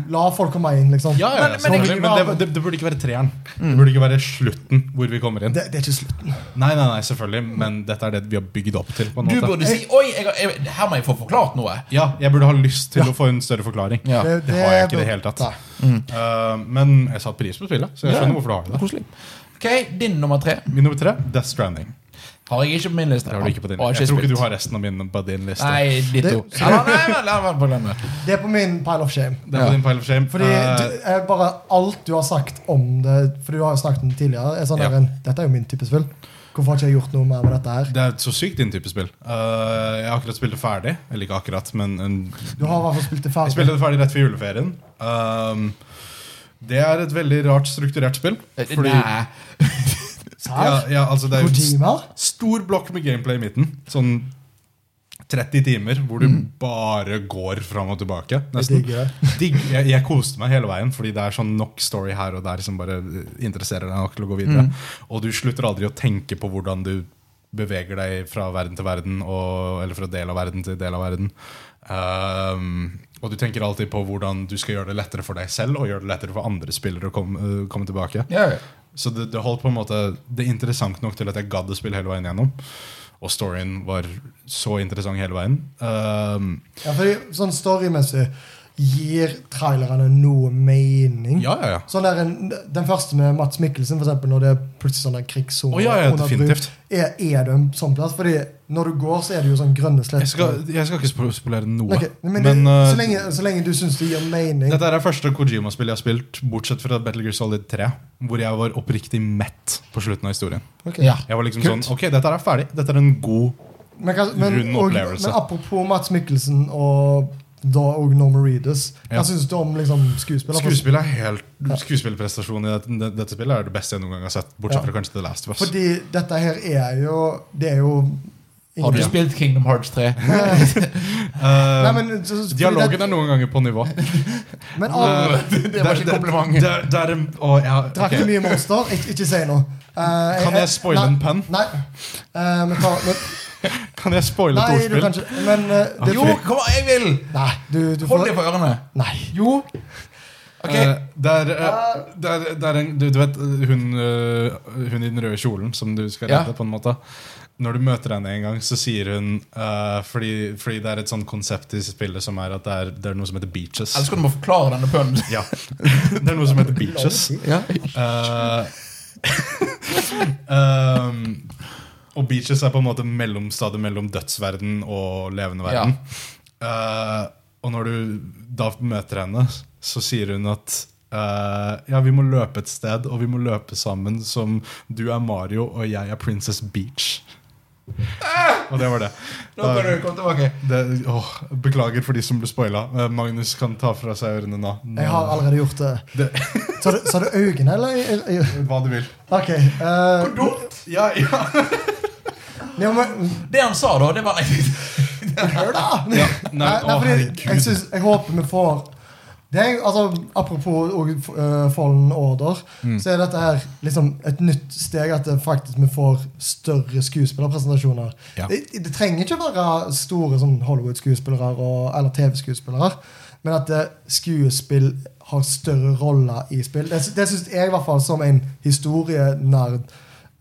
Speaker 3: La folk komme inn, liksom.
Speaker 2: Ja, ja,
Speaker 1: Men- Mm. men
Speaker 2: men, men, det, det, det burde ikke være treeren. Det burde ikke være slutten hvor vi kommer inn.
Speaker 3: Det, det er ikke slutten.
Speaker 2: Nei, nei, nei, selvfølgelig, men dette er det vi har bygd opp til. på en
Speaker 1: Du
Speaker 2: måte
Speaker 1: burde si Oi, jeg, har- jeg, her må jeg få forklart noe.
Speaker 2: Ja, jeg burde ha lyst til å få en større forklaring.
Speaker 1: Ja.
Speaker 2: Det, har jeg ikke i det hele tatt.
Speaker 3: Nei.
Speaker 2: Uh, men jeg satte pris på spillet, så jeg
Speaker 1: Ja.
Speaker 2: skjønner hvorfor du har det.
Speaker 1: Koselig. Ok, Din nummer tre
Speaker 2: Min nummer tre, Death Stranding.
Speaker 1: har jeg Ah, ikke på min liste.
Speaker 2: Det har du ikke på din.
Speaker 1: Og har
Speaker 2: Jeg tror ikke
Speaker 1: spilt.
Speaker 2: du har resten av mine på din liste.
Speaker 1: Nei, ditto.
Speaker 3: Det-
Speaker 1: Eller, nei, men, la meg bare glemme det.
Speaker 3: Det er på min pile of shame.
Speaker 2: Det er på
Speaker 1: Ja.
Speaker 2: din pile of shame.
Speaker 3: Fordi
Speaker 2: Eh,
Speaker 3: du, jeg bare alt du har sagt om det Fordi du har jo snakket om det tidligere. Er sånn
Speaker 2: Ja.
Speaker 3: der en, dette er jo min type spill. Hvorfor har ikke jeg gjort noe mer med dette her?
Speaker 2: det er så sykt din type spill. Eh, jeg har akkurat spilt det ferdig. Eller ikke akkurat, men en
Speaker 3: Du har i hvert fall spilt
Speaker 2: Jeg
Speaker 3: det ferdig.
Speaker 2: spilte det ferdig rett før juleferien. Um, det er et veldig rart strukturert spill. Fordi,
Speaker 1: Nei.
Speaker 2: ja,
Speaker 3: Serr?
Speaker 2: ja, altså det er jo
Speaker 3: Kojima?
Speaker 2: en stor blokk med gameplay i midten. Sånn 30 timer hvor du bare går fram og tilbake. Nesten.
Speaker 3: digger
Speaker 2: *laughs* Digg. Jeg, jeg koste meg hele veien, fordi det er sånn nok story her og der som bare eh, interesserer deg nok til å gå videre. Og du slutter aldri å tenke på hvordan du beveger deg fra verden til verden, og, eller fra del av verden til del av verden. Ehm, og du tenker alltid på hvordan du skal gjøre det lettere for deg selv og gjøre det lettere for andre spillere å komme, øh, komme tilbake.
Speaker 1: Ja, ja.
Speaker 2: Så det, det holdt på en måte Det er interessant nok til at jeg gadd å spille hele veien gjennom. Og storyen var så interessant hele veien. Ehm,
Speaker 3: Ja, fordi sånn storymessig gir trailerne noe mening.
Speaker 2: ja, ja, ja.
Speaker 3: Sånn der, en- den første med Mats Mikkelsen, for eksempel, når det er plutselig sånn der krigssone
Speaker 2: Å, ja, ja,
Speaker 3: under bru,
Speaker 2: definitivt.
Speaker 3: Er, er du en sånn plass? Fordi når du går, så er det jo sånn grønne sletter.
Speaker 2: Jeg skal, jeg skal ikke spo- spolere noe.
Speaker 3: Ok, men det,
Speaker 2: men uh,
Speaker 3: så, lenge, så lenge du syns det gir mening
Speaker 2: dette er det første Kojima-spillet jeg har spilt, bortsett fra Battle Gear Solid 3, hvor jeg var oppriktig mett på slutten av historien.
Speaker 3: Ok.
Speaker 1: Ja.
Speaker 2: Jeg var liksom
Speaker 1: Kult.
Speaker 2: sånn, ok, dette her er ferdig. Dette er en god
Speaker 3: men, hva- men,
Speaker 2: Rund
Speaker 3: og,
Speaker 2: opplevelse.
Speaker 3: men apropos Mats Mikkelsen og da og Norma Reedus,
Speaker 2: Ja.
Speaker 3: hva syns du om liksom, skuespiller?
Speaker 2: Skuespill er helt, Skuespillprestasjonen i dette, dette spillet er det beste jeg noen gang har sett, bortsett
Speaker 3: Ja.
Speaker 2: fra kanskje The Last of Us.
Speaker 3: Fordi dette her er jo Det er jo
Speaker 1: Har du spilt Kingdom Hearts 3?
Speaker 3: Nei,
Speaker 2: Eh,
Speaker 3: men, så, så- fordi
Speaker 2: dialogen
Speaker 3: det,
Speaker 2: er noen ganger på nivå.
Speaker 3: Men
Speaker 2: *laughs*
Speaker 3: alle
Speaker 2: Eh,
Speaker 1: Det var ikke
Speaker 2: er-
Speaker 1: kompliment.
Speaker 2: Det, er- det er en å, jeg har-
Speaker 3: drakk
Speaker 2: ok.
Speaker 3: for mye Monster. Ik ikke si noe. Eh,
Speaker 2: Kan jeg spoile
Speaker 3: nei,
Speaker 2: en penn?
Speaker 3: Nei. Eh, men, ta,
Speaker 1: *laughs*
Speaker 3: men,
Speaker 2: Kan jeg spoile et
Speaker 3: nei, du kan
Speaker 2: ordspill?
Speaker 3: ikke Men eh, det,
Speaker 1: Jo, kom an, jeg vil!
Speaker 3: Nei, du, du
Speaker 1: Hold deg for ørene.
Speaker 3: Nei.
Speaker 1: Jo. Ok.
Speaker 2: Eh, det er, eh, det er, det er en, du, du vet eh, hun, eh, hun i den røde kjolen som du skal
Speaker 1: Ja.
Speaker 2: redde, på en måte. Når du møter henne en gang, så sier hun eh, fordi, fordi det er et sånt konsept i spillet som er at det er, det er noe som heter beaches.
Speaker 1: Ellers kan du må forklare denne pønnen.
Speaker 2: Ja. *laughs* Det er noe som heter beaches.
Speaker 1: Ja.
Speaker 2: *laughs* Eh, ehm, og beaches er på en måte mellomstadiet mellom dødsverden og levende verden. Eh, og når du da møter henne, så sier hun at eh, ja, vi må løpe et sted, og vi må løpe sammen som du er Mario og jeg er Princess Beach. Og det var det.
Speaker 1: Ah! Nå kan du komme tilbake.
Speaker 2: det åh, beklager for de som ble spoila. Eh, Magnus kan ta fra seg ørene nå.
Speaker 3: Jeg har allerede gjort det.
Speaker 2: Det-
Speaker 3: Så du, så du øynene, eller?
Speaker 2: Hva du vil.
Speaker 3: Ok. eh,
Speaker 2: Ja, ja.
Speaker 3: Ja, men,
Speaker 1: Det han sa da, det var *laughs*
Speaker 3: hør, da!
Speaker 2: Ja,
Speaker 3: Nei,
Speaker 2: nei,
Speaker 3: nei,
Speaker 2: å,
Speaker 3: fordi jeg,
Speaker 2: herregud.
Speaker 3: synes, jeg håper vi får det er, altså, Apropos og, eh, Fallen Order,
Speaker 2: Mm.
Speaker 3: så er dette her liksom et nytt steg. At det faktisk vi får større skuespillerpresentasjoner.
Speaker 2: Ja.
Speaker 3: Det, det trenger ikke være store sånn Hollywood-skuespillere og- eller TV-skuespillere, men at eh, skuespill har større roller i spill. Det, det syns jeg, i hvert fall som en historienerd,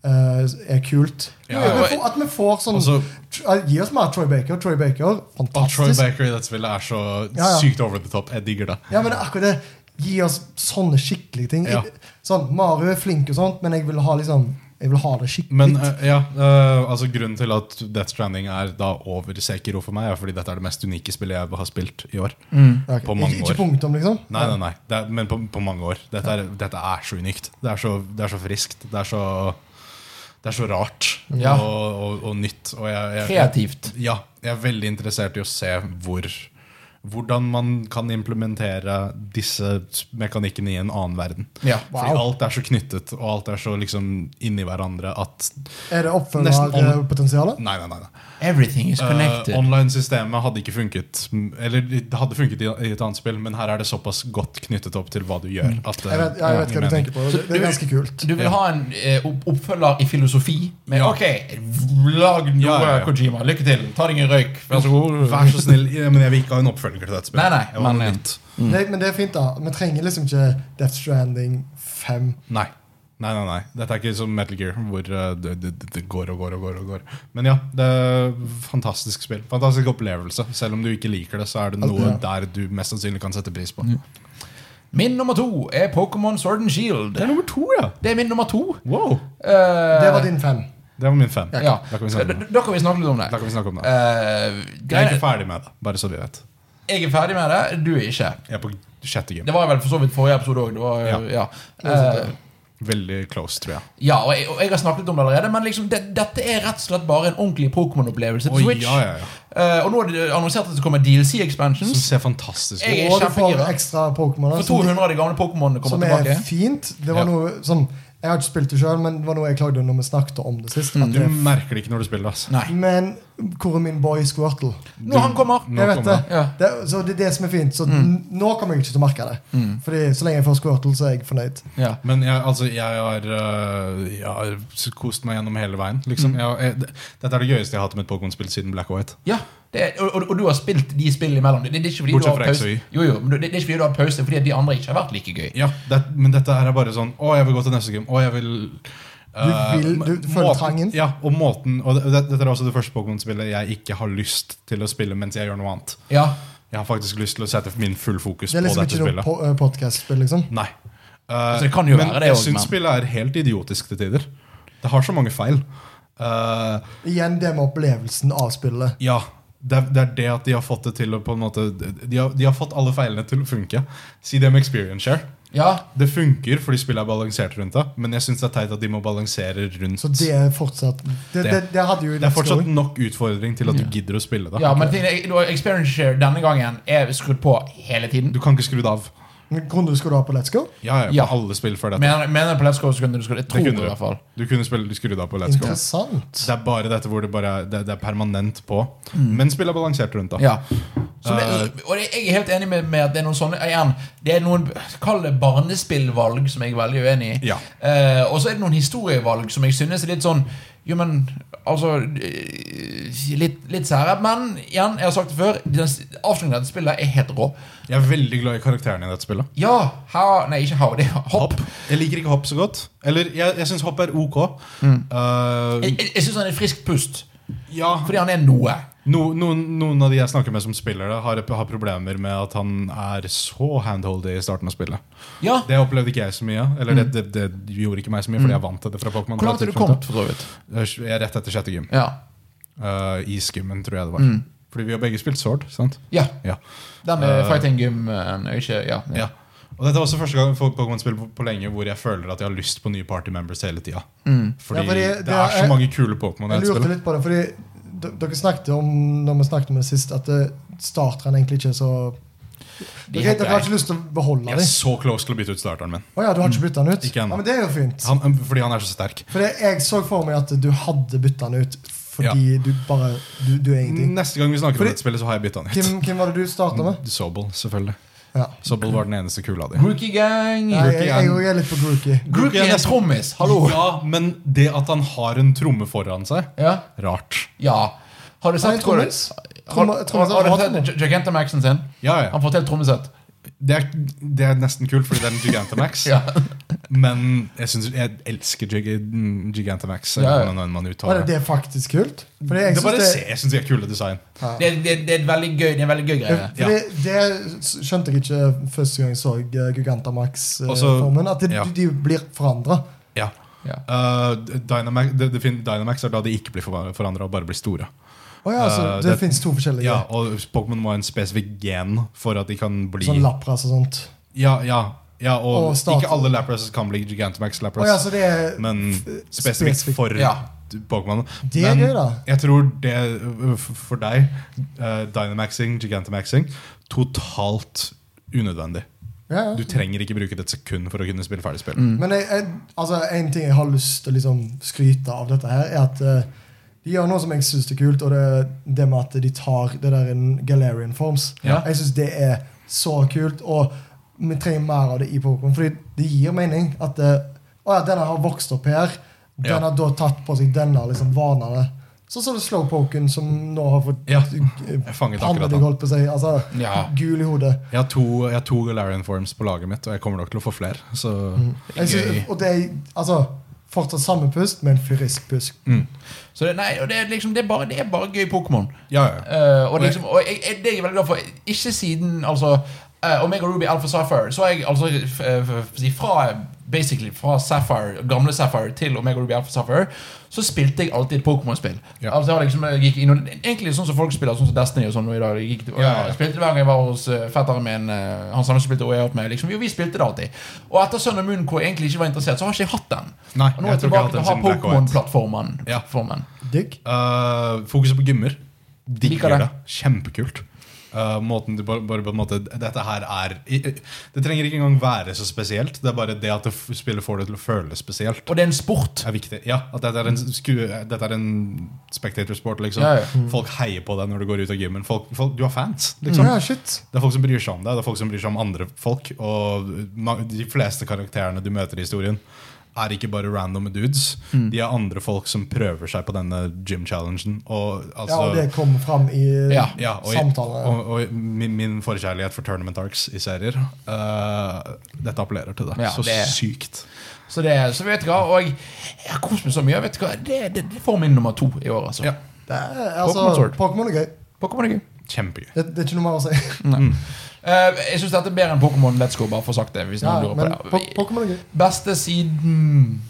Speaker 3: eh, er kult.
Speaker 2: Ja,
Speaker 3: Vi-
Speaker 1: og-
Speaker 3: vi får, at vi får sånn
Speaker 2: Altså-
Speaker 3: tr- Gi oss mer Troy Baker. Troy Baker,
Speaker 2: Og Troy
Speaker 3: fantastisk.
Speaker 2: Baker i dette spillet er så
Speaker 3: Ja, ja.
Speaker 2: sykt over the top. Jeg digger det.
Speaker 3: Ja, men det er akkurat det. Gi oss sånne skikkelige ting.
Speaker 2: Ja.
Speaker 3: Jeg- Sånn, Mario er flink og sånt, men jeg vil ha, liksom, jeg vil ha det skikkelig.
Speaker 2: Men eh, ja, eh, altså grunnen til at Death Stranding er da over Sekiro for meg, er fordi dette er det mest unike spillet jeg har spilt i år.
Speaker 3: Ja, ok.
Speaker 2: på mange
Speaker 3: ikke,
Speaker 2: år.
Speaker 3: ikke punktum, liksom?
Speaker 2: Nei, nei, nei, det er, men på, på mange år. Dette er, dette er så unikt. Det er så, det er så friskt. Det er så, det er så rart
Speaker 1: Ja.
Speaker 2: og, og, og nytt. Og jeg, jeg,
Speaker 1: kreativt.
Speaker 2: Ja, jeg er veldig interessert i å se hvor, hvordan man kan implementere disse mekanikkene i en annen verden.
Speaker 1: Ja,
Speaker 2: Fordi alt er så knyttet, og alt er så liksom inni hverandre at
Speaker 3: Er
Speaker 2: Nesten alle-
Speaker 3: det oppfølgerpotensialet?
Speaker 2: Nei, nei, nei. nei.
Speaker 1: Everything is
Speaker 2: Eh,
Speaker 1: connected.
Speaker 2: Online-systemet hadde ikke funket Eller det hadde funket i, i et annet spill, men her er det såpass godt knyttet opp til hva du gjør. At, det-
Speaker 3: Mm. Jeg vet, jeg vet
Speaker 2: gir
Speaker 3: hva du
Speaker 2: mening.
Speaker 3: tenker på. Det, det er ganske kult.
Speaker 1: du vil ha en eh, opp- oppfølger i filosofi med
Speaker 2: Ja.
Speaker 1: OK, lag noe,
Speaker 2: Ja, ja, ja.
Speaker 1: Kojima. Lykke til. Ta deg en røyk. Vær så god.
Speaker 2: altså,
Speaker 3: Mm.
Speaker 2: Vær så snill, ja, men jeg vil ikke ha en oppfølger til dette spillet.
Speaker 1: Nei, nei,
Speaker 2: jeg vil ha noe
Speaker 1: men-
Speaker 2: nytt.
Speaker 3: Det, men det er fint, da. Vi trenger liksom ikke Death Stranding 5.
Speaker 2: Nei. Nei, nei, nei. Dette er ikke som Metal Gear, hvor eh, det, det, det går og går og går. og går Men ja, det er fantastisk spill. Fantastisk opplevelse. Selv om du ikke liker det, så er det noe
Speaker 3: Ja.
Speaker 2: der du mest sannsynlig kan sette pris på.
Speaker 1: Min nummer to er Pokémon Sword and Shield.
Speaker 2: Det er nummer to, ja!
Speaker 1: Det er min nummer to.
Speaker 2: Wow!
Speaker 1: Eh,
Speaker 3: Det var din 5.
Speaker 2: Det var min fem.
Speaker 1: Ja.
Speaker 2: Da kan vi
Speaker 1: Da
Speaker 2: snakke om det.
Speaker 1: da kan vi snakke litt om det.
Speaker 2: Da kan vi snakke om det.
Speaker 1: Eh,
Speaker 2: Jeg er
Speaker 1: greia-
Speaker 2: ikke ferdig med det, bare så du vet.
Speaker 1: jeg er ferdig med det, du er ikke.
Speaker 2: Jeg er på sjette game.
Speaker 1: Det var vel for så vidt forrige episode òg. Ja.
Speaker 2: Ja.
Speaker 1: Ja.
Speaker 3: sant,
Speaker 1: Eh,
Speaker 2: Veldig close, tror jeg.
Speaker 1: ja, og jeg, og jeg har snakket om det allerede, men liksom, det, dette er rett og slett bare en ordentlig Pokémon-opplevelse på
Speaker 2: Oi,
Speaker 1: Switch.
Speaker 2: ja, ja, ja.
Speaker 1: Eh, og nå er det annonsert at det kommer DLC
Speaker 2: Som
Speaker 1: expansions.
Speaker 2: ser fantastisk ut.
Speaker 1: Jeg er
Speaker 3: Og du får
Speaker 1: kjempegira.
Speaker 3: ekstra Pokémoner.
Speaker 1: For
Speaker 3: som-
Speaker 1: 200 av de gamle Pokémonene kommer
Speaker 3: Som er
Speaker 1: tilbake.
Speaker 3: fint. Det var
Speaker 2: Ja.
Speaker 3: noe som Jeg har ikke spilt det sjøl, men det var noe jeg klagde når vi snakket om det sist. at
Speaker 2: Du
Speaker 3: det-
Speaker 2: merker det ikke når du spiller. Altså.
Speaker 1: Nei.
Speaker 3: Men hvor er min boy Squirtle?
Speaker 1: Når han kommer.
Speaker 2: Nå
Speaker 3: Jeg vet det.
Speaker 2: kommer Mm.
Speaker 1: Ja.
Speaker 3: det. Så det er det som er fint. Så n- nå kommer jeg ikke til å merke det. Fordi så lenge jeg får Squirtle, så er jeg fornøyd.
Speaker 1: Ja.
Speaker 2: Men jeg, altså, jeg, har, øh, jeg har s- kost meg gjennom hele veien.
Speaker 1: Mm.
Speaker 2: Liksom. Jeg, jeg, det- dette er det gøyeste jeg har hatt med et Pokémon-spill siden Black and White.
Speaker 1: Ja, det er, og, og, og du har spilt de spillene imellom. Det, det er ikke fordi
Speaker 2: Bortsett
Speaker 1: du
Speaker 2: fra
Speaker 1: har pause.
Speaker 2: XY.
Speaker 1: Jo, jo, men det, det er ikke fordi du har pause fordi at de andre ikke har vært like gøy.
Speaker 2: Ja, det, men dette her er bare sånn Å, jeg vil gå til neste game. Å, jeg vil øh,
Speaker 3: vil- du- du føler
Speaker 2: måten-
Speaker 3: trangen?
Speaker 2: Ja, og måten Og det, det- dette er også det første Pokémon-spillet jeg ikke har lyst til å spille mens jeg gjør noe annet.
Speaker 1: Ja,
Speaker 2: Jeg har faktisk lyst til å sette min full fokus
Speaker 3: Det er
Speaker 2: på
Speaker 3: liksom
Speaker 2: dette
Speaker 3: ikke noe
Speaker 2: spillet.
Speaker 3: po podkast-spill, liksom.
Speaker 2: Nei. Eh,
Speaker 1: Altså, det kan jo
Speaker 2: men
Speaker 1: være det
Speaker 2: jeg
Speaker 1: også,
Speaker 2: syns
Speaker 1: men-
Speaker 2: spillet er helt idiotisk til tider. Det har så mange feil. Eh,
Speaker 3: Igjen det med opplevelsen av spillet.
Speaker 2: ja, det er, det er det at de har fått det til å på en måte de har, de har fått alle feilene til å funke. Si det med experience share.
Speaker 1: ja,
Speaker 2: Det funker fordi spillet er balansert rundt det, men jeg syns det er teit at de må balansere rundt
Speaker 3: Så det er fortsatt Det, det, det hadde jo
Speaker 2: Det er fortsatt nok utfordring til at du gidder å spille det.
Speaker 1: ja men ting er- du har experience share denne gangen er skrudd på hele tiden.
Speaker 2: Du kan ikke skru det av.
Speaker 3: Grunnen du skulle ha på Let's Go?
Speaker 2: Ja, ja,
Speaker 1: Ja.
Speaker 2: på alle spill før dette.
Speaker 1: Mener mener på Let's Go så kunne du skrudd Jeg
Speaker 2: Det
Speaker 1: tror det,
Speaker 2: kunne
Speaker 1: i hvert fall.
Speaker 2: du. Du kunne spille, skru det av på Let's Go.
Speaker 3: Interessant.
Speaker 2: Det er bare dette hvor det, bare, er- det, det er permanent på. Men spillet er balansert rundt det.
Speaker 1: Mm. Ja. Så det,
Speaker 2: Eh.
Speaker 1: og det- jeg er helt enig med, med at det er noen sånne igjen, Det er noen kall det barnespillvalg som jeg er veldig uenig i.
Speaker 2: Ja.
Speaker 1: Eh, og så er det noen historievalg som jeg synes er litt sånn Jo, men altså eh, Litt, litt sære. Men igjen, jeg har sagt det før, den s- avslutningen av dette spillet er helt rå.
Speaker 2: Jeg er veldig glad i karakterene i dette spillet.
Speaker 1: Ja, ha, Nei, ikke hav, det er hopp.
Speaker 2: Jeg liker ikke hopp så godt. Eller jeg, jeg syns hopp er ok. Eh,
Speaker 1: Mm. Jeg, jeg, jeg syns han er friskt pust,
Speaker 2: ja,
Speaker 1: fordi han er noe.
Speaker 2: no, noen, noen av de jeg snakker med som spiller det, har, har problemer med at han er så handholdy i starten av spillet.
Speaker 1: Ja.
Speaker 2: Det opplevde ikke jeg så mye. Eller det, det, det gjorde ikke meg så mye, fordi jeg er vant til det fra Pokémon.
Speaker 1: Mm. Hvor langt er du kommet, for så vidt?
Speaker 2: Jeg er rett etter sjette gym.
Speaker 1: Ja.
Speaker 2: Eh, I skimmen, tror jeg det var. Fordi vi har begge spilt sword, sant?
Speaker 1: Mm. ja.
Speaker 2: Ja.
Speaker 1: Den med
Speaker 2: Eh,
Speaker 1: fighting gym eh, ikke Ja.
Speaker 2: Ja. Og dette er også første gang folk Pokémon spiller på, på lenge hvor jeg føler at jeg har lyst på nye party members hele tida. Fordi,
Speaker 3: Mm. Ja, fordi
Speaker 2: det,
Speaker 3: det
Speaker 2: er så
Speaker 3: er-
Speaker 2: mange kule Pokémon i
Speaker 3: Jeg
Speaker 2: dette
Speaker 3: lurte
Speaker 2: spillet.
Speaker 3: litt på det, fordi d- dere snakket om når vi snakket om det sist, at eh, starterne egentlig ikke er så
Speaker 1: De
Speaker 3: Dere,
Speaker 1: heter
Speaker 3: dere har ikke lyst til å beholde
Speaker 2: Jeg er
Speaker 3: dem.
Speaker 2: så close til å bytte ut starteren min. um,
Speaker 3: Å ja, du har ikke bytta den ut?
Speaker 2: Ikke ennå.
Speaker 3: Ja, men det er jo fint.
Speaker 2: Han, fordi han er så sterk.
Speaker 3: For jeg, jeg så for meg at du hadde bytta den ut Fordi du bare Du, du er ingenting.
Speaker 2: Neste gang vi snakker
Speaker 3: Fordi-
Speaker 2: om dette spillet, så har jeg bytta den ut.
Speaker 3: Hvem, hvem var det du starta med?
Speaker 2: Sobel, selvfølgelig.
Speaker 3: Ja.
Speaker 2: Sobel var den eneste kula di.
Speaker 1: Rookie gang.
Speaker 3: Nei, jeg, jeg, jeg er litt på Grookie.
Speaker 1: Rookie er en trommis. Hallo.
Speaker 2: Ja, men det at han har en tromme foran seg
Speaker 1: Ja.
Speaker 2: Rart.
Speaker 1: ja. Har du
Speaker 3: Han er
Speaker 1: sett hvor-
Speaker 3: trommis.
Speaker 1: Har,
Speaker 3: Tromma- trommis-
Speaker 1: har, har
Speaker 3: har
Speaker 1: du sett Jagantamaxen sin?
Speaker 2: Ja, ja.
Speaker 1: Han får til trommesett.
Speaker 2: Det er, det er nesten kult, fordi det er en
Speaker 3: *laughs*
Speaker 2: Gigantamax.
Speaker 1: Ja.
Speaker 2: Men jeg, synes, jeg elsker Gig Gigantamax.
Speaker 1: Ja, ja.
Speaker 2: eller hvordan man
Speaker 3: Var
Speaker 2: uttaler det.
Speaker 3: det, det er faktisk kult? Fordi
Speaker 2: Det er
Speaker 3: jeg synes
Speaker 2: bare
Speaker 3: det,
Speaker 2: se, jeg syns de har kule design.
Speaker 1: Det, det, det er et veldig gøy, det er en veldig gøy greie.
Speaker 3: Fordi det skjønte jeg ikke første gang jeg så eh,
Speaker 2: Altså,
Speaker 3: Gigantamax-formen. At det,
Speaker 2: ja.
Speaker 3: de blir forandra.
Speaker 2: Ja.
Speaker 1: Ja.
Speaker 2: Uh, Dynamax, det, det fin- Dynamax er da de ikke blir forandra og bare blir store.
Speaker 3: Å ja, altså,
Speaker 2: Eh,
Speaker 3: det,
Speaker 2: det-
Speaker 3: finnes to forskjellige.
Speaker 2: Ja, og Pokémon må ha en spesifikk gen for at de kan bli
Speaker 3: Sånn lapras og sånt.
Speaker 2: Ja, ja, ja og,
Speaker 3: Og statue.
Speaker 2: ikke alle Laprasses kan bli Gigantamax
Speaker 3: Å
Speaker 2: Lapras,
Speaker 3: ja, så det er
Speaker 2: men spesifikt
Speaker 3: spesifikt.
Speaker 2: for
Speaker 1: Ja.
Speaker 2: Pokémon.
Speaker 3: Det er
Speaker 2: Men
Speaker 3: gøy, da.
Speaker 2: Jeg tror det øh, f- for deg, eh, Dynamaxing, Gigantamaxing, totalt unødvendig.
Speaker 3: ja, ja. Mm.
Speaker 2: Du trenger ikke bruke det et sekund for å kunne spille ferdig spill.
Speaker 3: Men jeg, jeg, altså, en ting jeg har lyst til å liksom, skryte av dette her, er at eh, de gjør noe som jeg syns er kult, og det er det med at de tar det der en Galarian Forms.
Speaker 1: Ja.
Speaker 3: Jeg syns det er så kult, og vi trenger mer av det i Pokémon, fordi det gir mening at eh, å ja, denne har vokst opp her, den
Speaker 2: Ja.
Speaker 3: har da tatt på seg denne liksom, vanene. Sånn som Slowpoken, som nå har fått
Speaker 2: Ja,
Speaker 3: eh,
Speaker 2: jeg fanget
Speaker 3: panna
Speaker 2: akkurat
Speaker 3: deg,
Speaker 2: den.
Speaker 3: holdt på å si. Altså,
Speaker 1: Ja.
Speaker 3: gul i hodet.
Speaker 2: Jeg har to, jeg har to Galarian Forms på laget mitt, og jeg kommer nok til å få flere. Så
Speaker 1: Mm.
Speaker 3: Jeg synes, og det er altså, fortsatt samme pust, men frisk pust.
Speaker 1: Så det, nei, og det, er liksom, det, er bare, det er bare gøy Pokémon.
Speaker 2: ja, ja.
Speaker 1: Eh, og liksom, og jeg, jeg, det er jeg veldig glad for. Ikke siden altså, eh, Omega Ruby Alpha Sapphire Så har jeg altså f- f- f- si, fra, Basically fra Sapphire, gamle Sapphire til Omega Ruby Alpha Sapphire Så spilte jeg alltid et Pokémon-spill.
Speaker 2: Ja.
Speaker 1: Altså, jeg har liksom, jeg gikk inn- egentlig sånn som folk spiller Sånn som Destiny og sånn nå i dag. Jeg, gikk, og,
Speaker 2: Ja, ja, ja.
Speaker 1: jeg spilte det hver gang jeg var hos eh, fetteren min. eh, han samme som spilte OEA med liksom, Jo, vi spilte det alltid. Og etter Sun and Moon, hvor jeg egentlig ikke var interessert, så har ikke jeg hatt den.
Speaker 2: Nei,
Speaker 1: og nå er jeg
Speaker 2: jeg tror ikke jeg
Speaker 1: tilbake
Speaker 2: har hatt
Speaker 1: til
Speaker 2: den
Speaker 1: å ha
Speaker 2: siden Black White.
Speaker 1: Pokémon-plattformen.
Speaker 2: Ja.
Speaker 1: plattformen.
Speaker 3: Digg.
Speaker 2: Uh, fokuset på gymmer.
Speaker 1: Liker
Speaker 2: Digger
Speaker 1: det.
Speaker 2: det. Kjempekult. Uh, måten du bare, bare på en måte Dette her er i- i- Det trenger ikke engang være så spesielt. Det er bare det at det f- spillet får det til å føles spesielt.
Speaker 1: Og det er en sport.
Speaker 2: Er viktig. Ja, at dette er en, sku- dette er en spectatorsport, liksom.
Speaker 1: Ja, Mm. ja.
Speaker 2: Folk heier på deg når du går ut av gymmen. Folk, folk, du har fans. Liksom.
Speaker 3: Ja, shit.
Speaker 2: Det er folk som bryr seg om deg, det er folk som bryr seg om andre folk. Og ma- de fleste karakterene du møter i historien, er ikke bare random dudes.
Speaker 3: Mm.
Speaker 2: De er andre folk som prøver seg på denne gym-challengen. Og, altså,
Speaker 3: ja, og det kom fram i
Speaker 1: Ja,
Speaker 2: ja, og,
Speaker 3: samtaler.
Speaker 2: og, og min, min forkjærlighet for tournament arcs i serier eh, Dette appellerer til det.
Speaker 1: Ja,
Speaker 2: så
Speaker 1: det-
Speaker 2: sykt.
Speaker 1: Så, det, så vet du hva, og jeg jeg har kost meg så mye. Vet du hva, Det, det, det får min nummer to i år, altså.
Speaker 2: Ja.
Speaker 3: Det er,
Speaker 1: Pokémon
Speaker 3: altså,
Speaker 1: Sword.
Speaker 3: Pokémon er gøy.
Speaker 1: Pokémon er gøy.
Speaker 2: Kjempegøy.
Speaker 3: Det, det er ikke noe mer å si.
Speaker 1: Eh, jeg syns dette er bedre enn Pokémon Let's Go, bare for å ha sagt det. Hvis
Speaker 3: Ja,
Speaker 1: noen
Speaker 3: men
Speaker 1: lurer på
Speaker 3: po
Speaker 1: det.
Speaker 3: Pokémon er gøy.
Speaker 1: Beste siden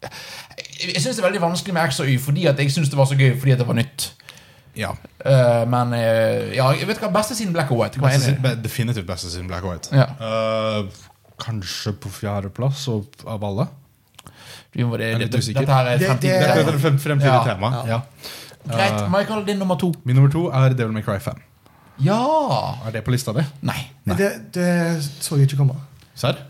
Speaker 1: Jeg- Jeg syns det er veldig vanskelig med X og Y, fordi at jeg syns det var så gøy fordi at det var nytt.
Speaker 2: Ja.
Speaker 1: Eh, men eh, ja, jeg vet hva, beste siden Black og White. Hva er
Speaker 2: Beste,
Speaker 1: det?
Speaker 2: sin- be- definitivt beste siden Black and White.
Speaker 1: Ja.
Speaker 2: Eh, kanskje på fjerdeplass av alle.
Speaker 1: Vi må- det, det,
Speaker 2: er litt
Speaker 1: det,
Speaker 2: usikker.
Speaker 1: dette her er
Speaker 3: Det-
Speaker 1: fremtiden.
Speaker 3: det-
Speaker 2: Dette er
Speaker 1: Dette er-
Speaker 2: det frem- fremtidige
Speaker 1: Ja.
Speaker 2: tema.
Speaker 3: Ja.
Speaker 2: Ja.
Speaker 1: Greit, Michael, din nummer to.
Speaker 2: Min nummer to er Devil May Cry 5.
Speaker 1: Ja!
Speaker 2: Er det på lista di?
Speaker 1: Nei.
Speaker 2: Nei.
Speaker 3: Det, det så jeg ikke komme.
Speaker 2: Serr?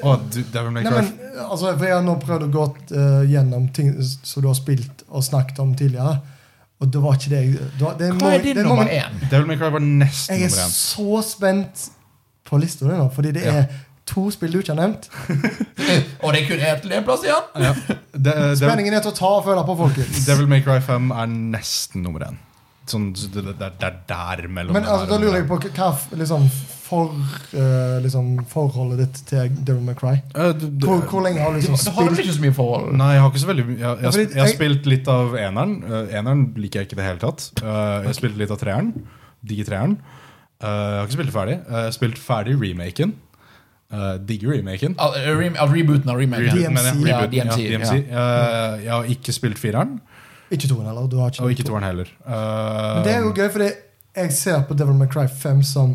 Speaker 2: Å, du- Devil May
Speaker 3: Nei,
Speaker 2: Cry
Speaker 3: men, altså, for jeg har nå prøvd å gå eh, gjennom ting som du har spilt og snakket om tidligere, og det var ikke det jeg det var- det
Speaker 1: Hva
Speaker 3: mange-
Speaker 1: er din
Speaker 3: det
Speaker 1: nummer
Speaker 3: mange-
Speaker 1: *laughs* én?
Speaker 2: Devil May Cry var nesten
Speaker 3: Jeg er
Speaker 2: nummer én.
Speaker 3: så spent på lista di nå, fordi det
Speaker 2: Ja.
Speaker 3: er to spill du ikke har nevnt.
Speaker 1: Og det er kun én til én plass igjen?
Speaker 2: Ja.
Speaker 3: *laughs*
Speaker 2: De- eh, Devil,
Speaker 3: Spenningen er til å ta og føle på, folkens.
Speaker 2: Devil May Cry 5 er nesten nummer én. Sånn, så det, det, det er der mellom
Speaker 3: Men
Speaker 2: den
Speaker 3: altså,
Speaker 2: her
Speaker 3: da
Speaker 2: og
Speaker 3: lurer jeg
Speaker 2: den
Speaker 3: på hva liksom, for, eh, liksom, forholdet ditt til Devil May Cry.
Speaker 2: der. Eh, du- du-
Speaker 3: Hvor, hvor lenge har du liksom
Speaker 1: Da har du
Speaker 3: spilt
Speaker 1: ikke så mye forhold.
Speaker 2: Nei, jeg har ikke så veldig mye- Jeg, jeg,
Speaker 3: fordi
Speaker 2: jeg har
Speaker 3: jeg-
Speaker 2: spilt litt av eneren. Eh, eneren liker jeg ikke i det hele tatt. Eh, jeg har spilt litt av treeren. Digger treeren. Eh, jeg har ikke spilt det ferdig. Eh, jeg har spilt ferdig remaken. Uh, digger remaken.
Speaker 1: Al- eh, rem- al- rebooten av remaken.
Speaker 3: Reboot.
Speaker 2: Rebooten, mener jeg.
Speaker 3: DMC,
Speaker 1: ja,
Speaker 2: Rebooten, ja,
Speaker 1: DMC,
Speaker 2: DMC. Eh, jeg har ikke spilt fireren,
Speaker 3: Ikke toen, eller? Du har ikke
Speaker 2: og ikke toeren heller. Eh,
Speaker 3: Men det er jo gøy, fordi jeg ser på Devil May Cry 5 som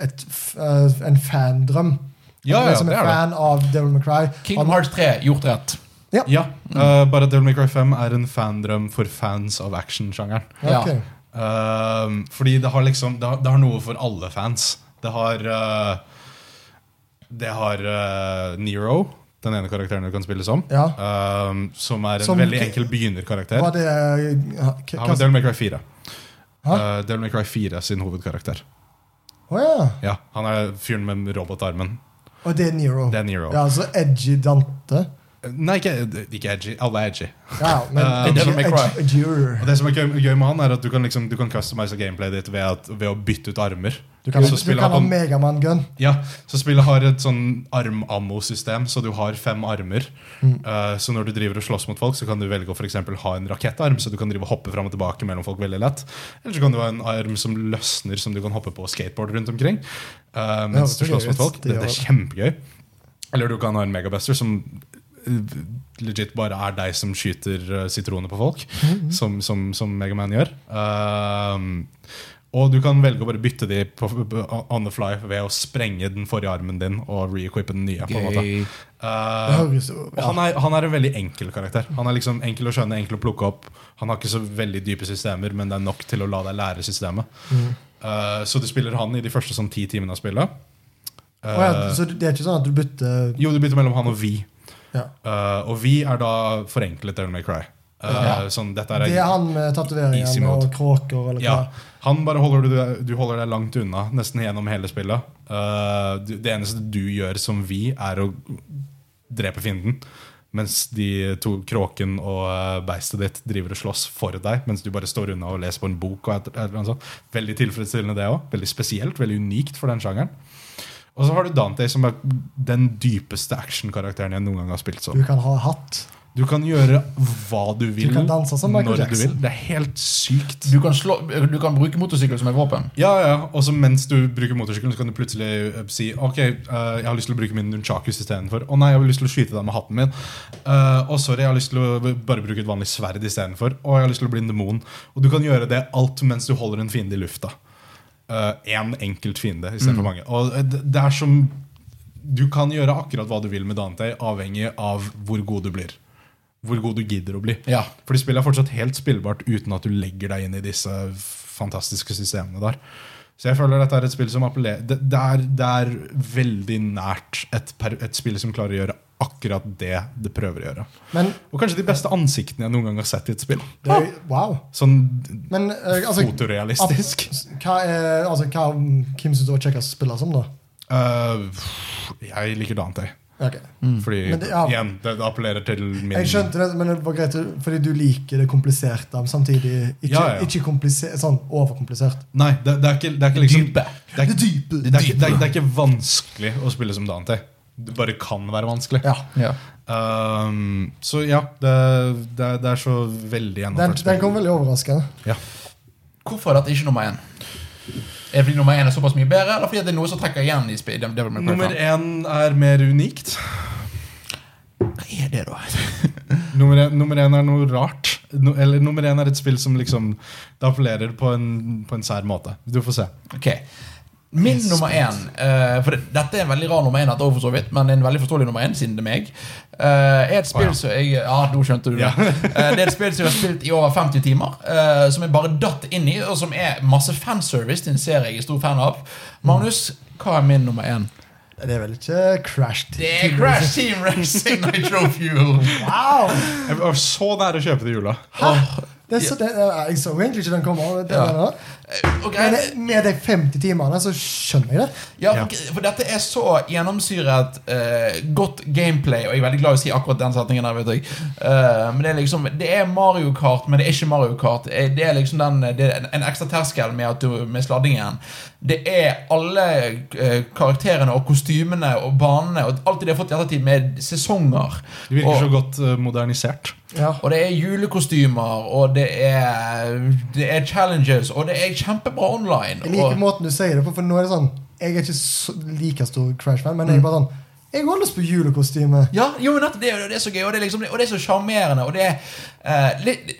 Speaker 3: et, f- eh, en fandrøm.
Speaker 2: Ja,
Speaker 3: At
Speaker 2: ja,
Speaker 3: jeg som
Speaker 2: det
Speaker 3: er
Speaker 2: er det.
Speaker 3: fan av Devil May Cry.
Speaker 1: Kingdom Hearts 3 gjort rett.
Speaker 2: Ja, eh, bare at Devil May Cry 5 er en fandrøm for fans av action-sjangeren.
Speaker 3: Ja, ok.
Speaker 1: Ja.
Speaker 2: Eh, fordi det har liksom det har, det har noe for alle fans. Det har eh, Det har eh, Nero. den ene karakteren du kan spille som.
Speaker 3: Ja.
Speaker 2: Ehm, som er en
Speaker 3: Som-
Speaker 2: veldig enkel begynnerkarakter.
Speaker 3: Var det ja, k-
Speaker 2: Han var
Speaker 3: hva-
Speaker 2: Devil May Cry 4.
Speaker 3: Hæ?
Speaker 2: Eh, Devil May Cry 4 sin hovedkarakter.
Speaker 3: Å ja.
Speaker 2: Ja, Han er fyren med robotarmen.
Speaker 3: Og det er Nero.
Speaker 2: Det er Nero.
Speaker 3: Ja, så edgy Dante.
Speaker 2: Nei, ikke, ikke edgy. Alle er edgy.
Speaker 3: Ja, men
Speaker 2: Eh,
Speaker 3: edgy,
Speaker 1: Devil May Cry.
Speaker 3: edgy, edgier.
Speaker 2: Og det som er gøy, gøy med han, er at du kan, liksom, du kan customize gameplayet ditt ved, at, ved å bytte ut armer.
Speaker 3: Du kan,
Speaker 2: så
Speaker 3: du
Speaker 2: spiller
Speaker 3: kan ha
Speaker 2: han,
Speaker 3: Megaman-gun.
Speaker 2: ja, så spillet har et sånn arm-ammo-system, så du har fem armer.
Speaker 3: Mm.
Speaker 2: Eh, så når du driver og slåss mot folk, så kan du velge å for eksempel ha en rakettarm, så du kan drive og hoppe fram og tilbake mellom folk veldig lett. Eller så kan du ha en arm som løsner, som du kan hoppe på og skateboard rundt omkring. eh, mens
Speaker 3: det
Speaker 2: du slåss
Speaker 3: høres gøy ut.
Speaker 2: mot folk.
Speaker 3: Det
Speaker 2: Det, det er
Speaker 3: gjør-
Speaker 2: kjempegøy. Eller du kan ha en megabuster som eh, legit bare er deg som skyter eh, sitroner på folk,
Speaker 3: Mhm.
Speaker 2: som, som, som Megaman gjør. Ehm, og du kan velge å bare bytte de på, på, on the fly ved å sprenge den forrige armen din og reequippe den nye. på en måte.
Speaker 1: Gøy.
Speaker 2: Eh,
Speaker 3: Det høres jo
Speaker 2: og
Speaker 3: ja.
Speaker 2: han, er, han er en veldig enkel karakter. Han er liksom enkel å skjønne, enkel å plukke opp. Han har ikke så veldig dype systemer, men det er nok til å la deg lære systemet.
Speaker 3: Mhm.
Speaker 2: Eh, så du spiller han i de første sånn ti timene av spillet. Eh,
Speaker 3: Å ja, så det er ikke sånn at du bytter
Speaker 2: jo, du bytter mellom han og vi.
Speaker 3: ja.
Speaker 2: Eh, og vi er da forenklet Devil May Cry. Eh, Sånn, dette er,
Speaker 3: Det er han med
Speaker 2: Easy
Speaker 3: tatoveringen og
Speaker 2: mode.
Speaker 3: kråker eller hva.
Speaker 2: ja, han bare holder du, deg- du holder deg langt unna nesten gjennom hele spillet. Eh, du, det eneste du gjør som vi, er å drepe fienden. Mens de to kråken og eh, beistet ditt driver og slåss for deg. Mens du bare står unna og leser på en bok. Og et, et, eller annet sånt. Veldig tilfredsstillende, det òg. Veldig spesielt. Veldig unikt for den sjangeren. Og så har du Dante, som er den dypeste actionkarakteren jeg noen gang har spilt som.
Speaker 3: Du kan ha hatt.
Speaker 2: Du kan gjøre hva du vil
Speaker 3: Du kan danse som Michael
Speaker 2: når du
Speaker 3: Jackson.
Speaker 2: vil. Det er helt sykt.
Speaker 1: Du kan, slå, eh, du kan bruke motorsykkel som et våpen.
Speaker 2: Ja, ja, Og så mens du bruker motorsykkelen, så kan du plutselig eh, si Ok, eh, jeg har lyst til å bruke min nunchakus istedenfor. Å nei, jeg har lyst til å skyte deg med hatten min. Uh, og sorry, jeg har lyst til å bare bruke et vanlig sverd istedenfor. Og jeg har lyst til å bli en demon. Og du kan gjøre det alt mens du holder en fiende i lufta. Én enkelt fiende
Speaker 3: Mm.
Speaker 2: istedenfor mange. Og eh, det, det er som Du kan gjøre akkurat hva du vil med Dante, avhengig av hvor god du blir. Hvor god du gidder å bli.
Speaker 1: Ja.
Speaker 2: Fordi spillet er fortsatt helt spillbart uten at du legger deg inn i disse fantastiske systemene der. Så jeg føler dette er et spill som appellerer Det, det, er, det er veldig nært et, per- et spill som klarer å gjøre akkurat det det prøver å gjøre.
Speaker 3: Men
Speaker 2: Og kanskje de beste ansiktene jeg noen gang har sett i et spill.
Speaker 3: det er, wow.
Speaker 2: Sånn
Speaker 3: Men eh, altså,
Speaker 2: fotorealistisk.
Speaker 3: ab- hva er, altså, hva, hvem syns du var kjekkest å spille som, da?
Speaker 2: Eh, jeg liker Dante.
Speaker 3: Ok.
Speaker 2: Fordi
Speaker 3: Mm. Men det- ja.
Speaker 2: igjen, det appellerer til min
Speaker 3: Jeg skjønte det, men det var greit fordi du liker det kompliserte, men samtidig ikke,
Speaker 2: Ja, ja.
Speaker 3: ikke kompliser- sånn overkomplisert.
Speaker 2: Nei, det, det er ikke, det er ikke liksom
Speaker 1: Dype.
Speaker 2: Det er,
Speaker 3: Det dype.
Speaker 2: Det er, ikke, det, er, det er ikke vanskelig å spille som Dante. Det bare kan være vanskelig.
Speaker 3: Ja.
Speaker 1: Ja.
Speaker 2: Ehm, så ja, det, det, det er så veldig
Speaker 3: Den,
Speaker 2: gjennomført.
Speaker 3: den kom veldig overraskende.
Speaker 2: Ja.
Speaker 1: Hvorfor er dette ikke nummer én? Er det fordi nummer én er såpass mye bedre, eller fordi det er noe som trekker igjen? i sp- i Devil May Cry
Speaker 2: Nummer
Speaker 1: fem?
Speaker 2: én er mer unikt.
Speaker 1: Hva er det, da?
Speaker 2: Nummer én, nummer én er noe rart. No, eller nummer én er et spill som liksom Det appellerer på en, på en sær måte. Du får se.
Speaker 1: Ok Min nummer én eh, For det, dette er en veldig rar nummer én, dette også, for så vidt, men en veldig forståelig nummer én, siden det er meg. eh, er et
Speaker 2: Å,
Speaker 1: spill
Speaker 2: ja.
Speaker 1: som jeg Ja, nå skjønte du det.
Speaker 2: Ja.
Speaker 1: *laughs* Eh, det er et spill som jeg har spilt i over 50 timer, eh, som jeg bare datt inn i, og som er masse fanservice til en serie jeg er stor fan av. Magnus, hva er min nummer én?
Speaker 3: Det er vel ikke Crash
Speaker 1: Det er Crash Team *laughs* Racing Nitro Fuel.
Speaker 3: Wow!
Speaker 2: Jeg var så nær å kjøpe det i jula.
Speaker 3: Det er så, det, jeg så egentlig ikke den komme. Det, det,
Speaker 1: Ja.
Speaker 3: det,
Speaker 1: Og
Speaker 3: Men
Speaker 1: greia-
Speaker 3: det- med de 50 timene så skjønner jeg det.
Speaker 1: Ja,
Speaker 2: Ja.
Speaker 1: for, for dette er så gjennomsyret eh, godt gameplay, og jeg er veldig glad i å si akkurat den setningen der, vet jeg. Eh, men det er liksom Det er Mario Kart, men det er ikke Mario Kart. Eh, Det er liksom den det er en, en ekstra terskel med, at du, med sladdingen. Det er alle eh, karakterene og kostymene og banene og alt det de har fått i ettertid, med sesonger.
Speaker 2: Det virker
Speaker 1: og,
Speaker 2: så godt eh, modernisert.
Speaker 3: Ja.
Speaker 1: og det er julekostymer, og det er, det er challenges, og det er kjempebra online.
Speaker 3: Jeg liker
Speaker 1: og-
Speaker 3: måten du sier det på, for nå er det sånn Jeg er ikke så, like stor Crash-fan, men jeg er
Speaker 2: Mm.
Speaker 3: bare sånn Jeg har lyst på julekostyme.
Speaker 1: Ja, jo, men dette- det, er jo- det er så gøy, og det er, liksom, og det er så sjarmerende. Og det er eh, litt,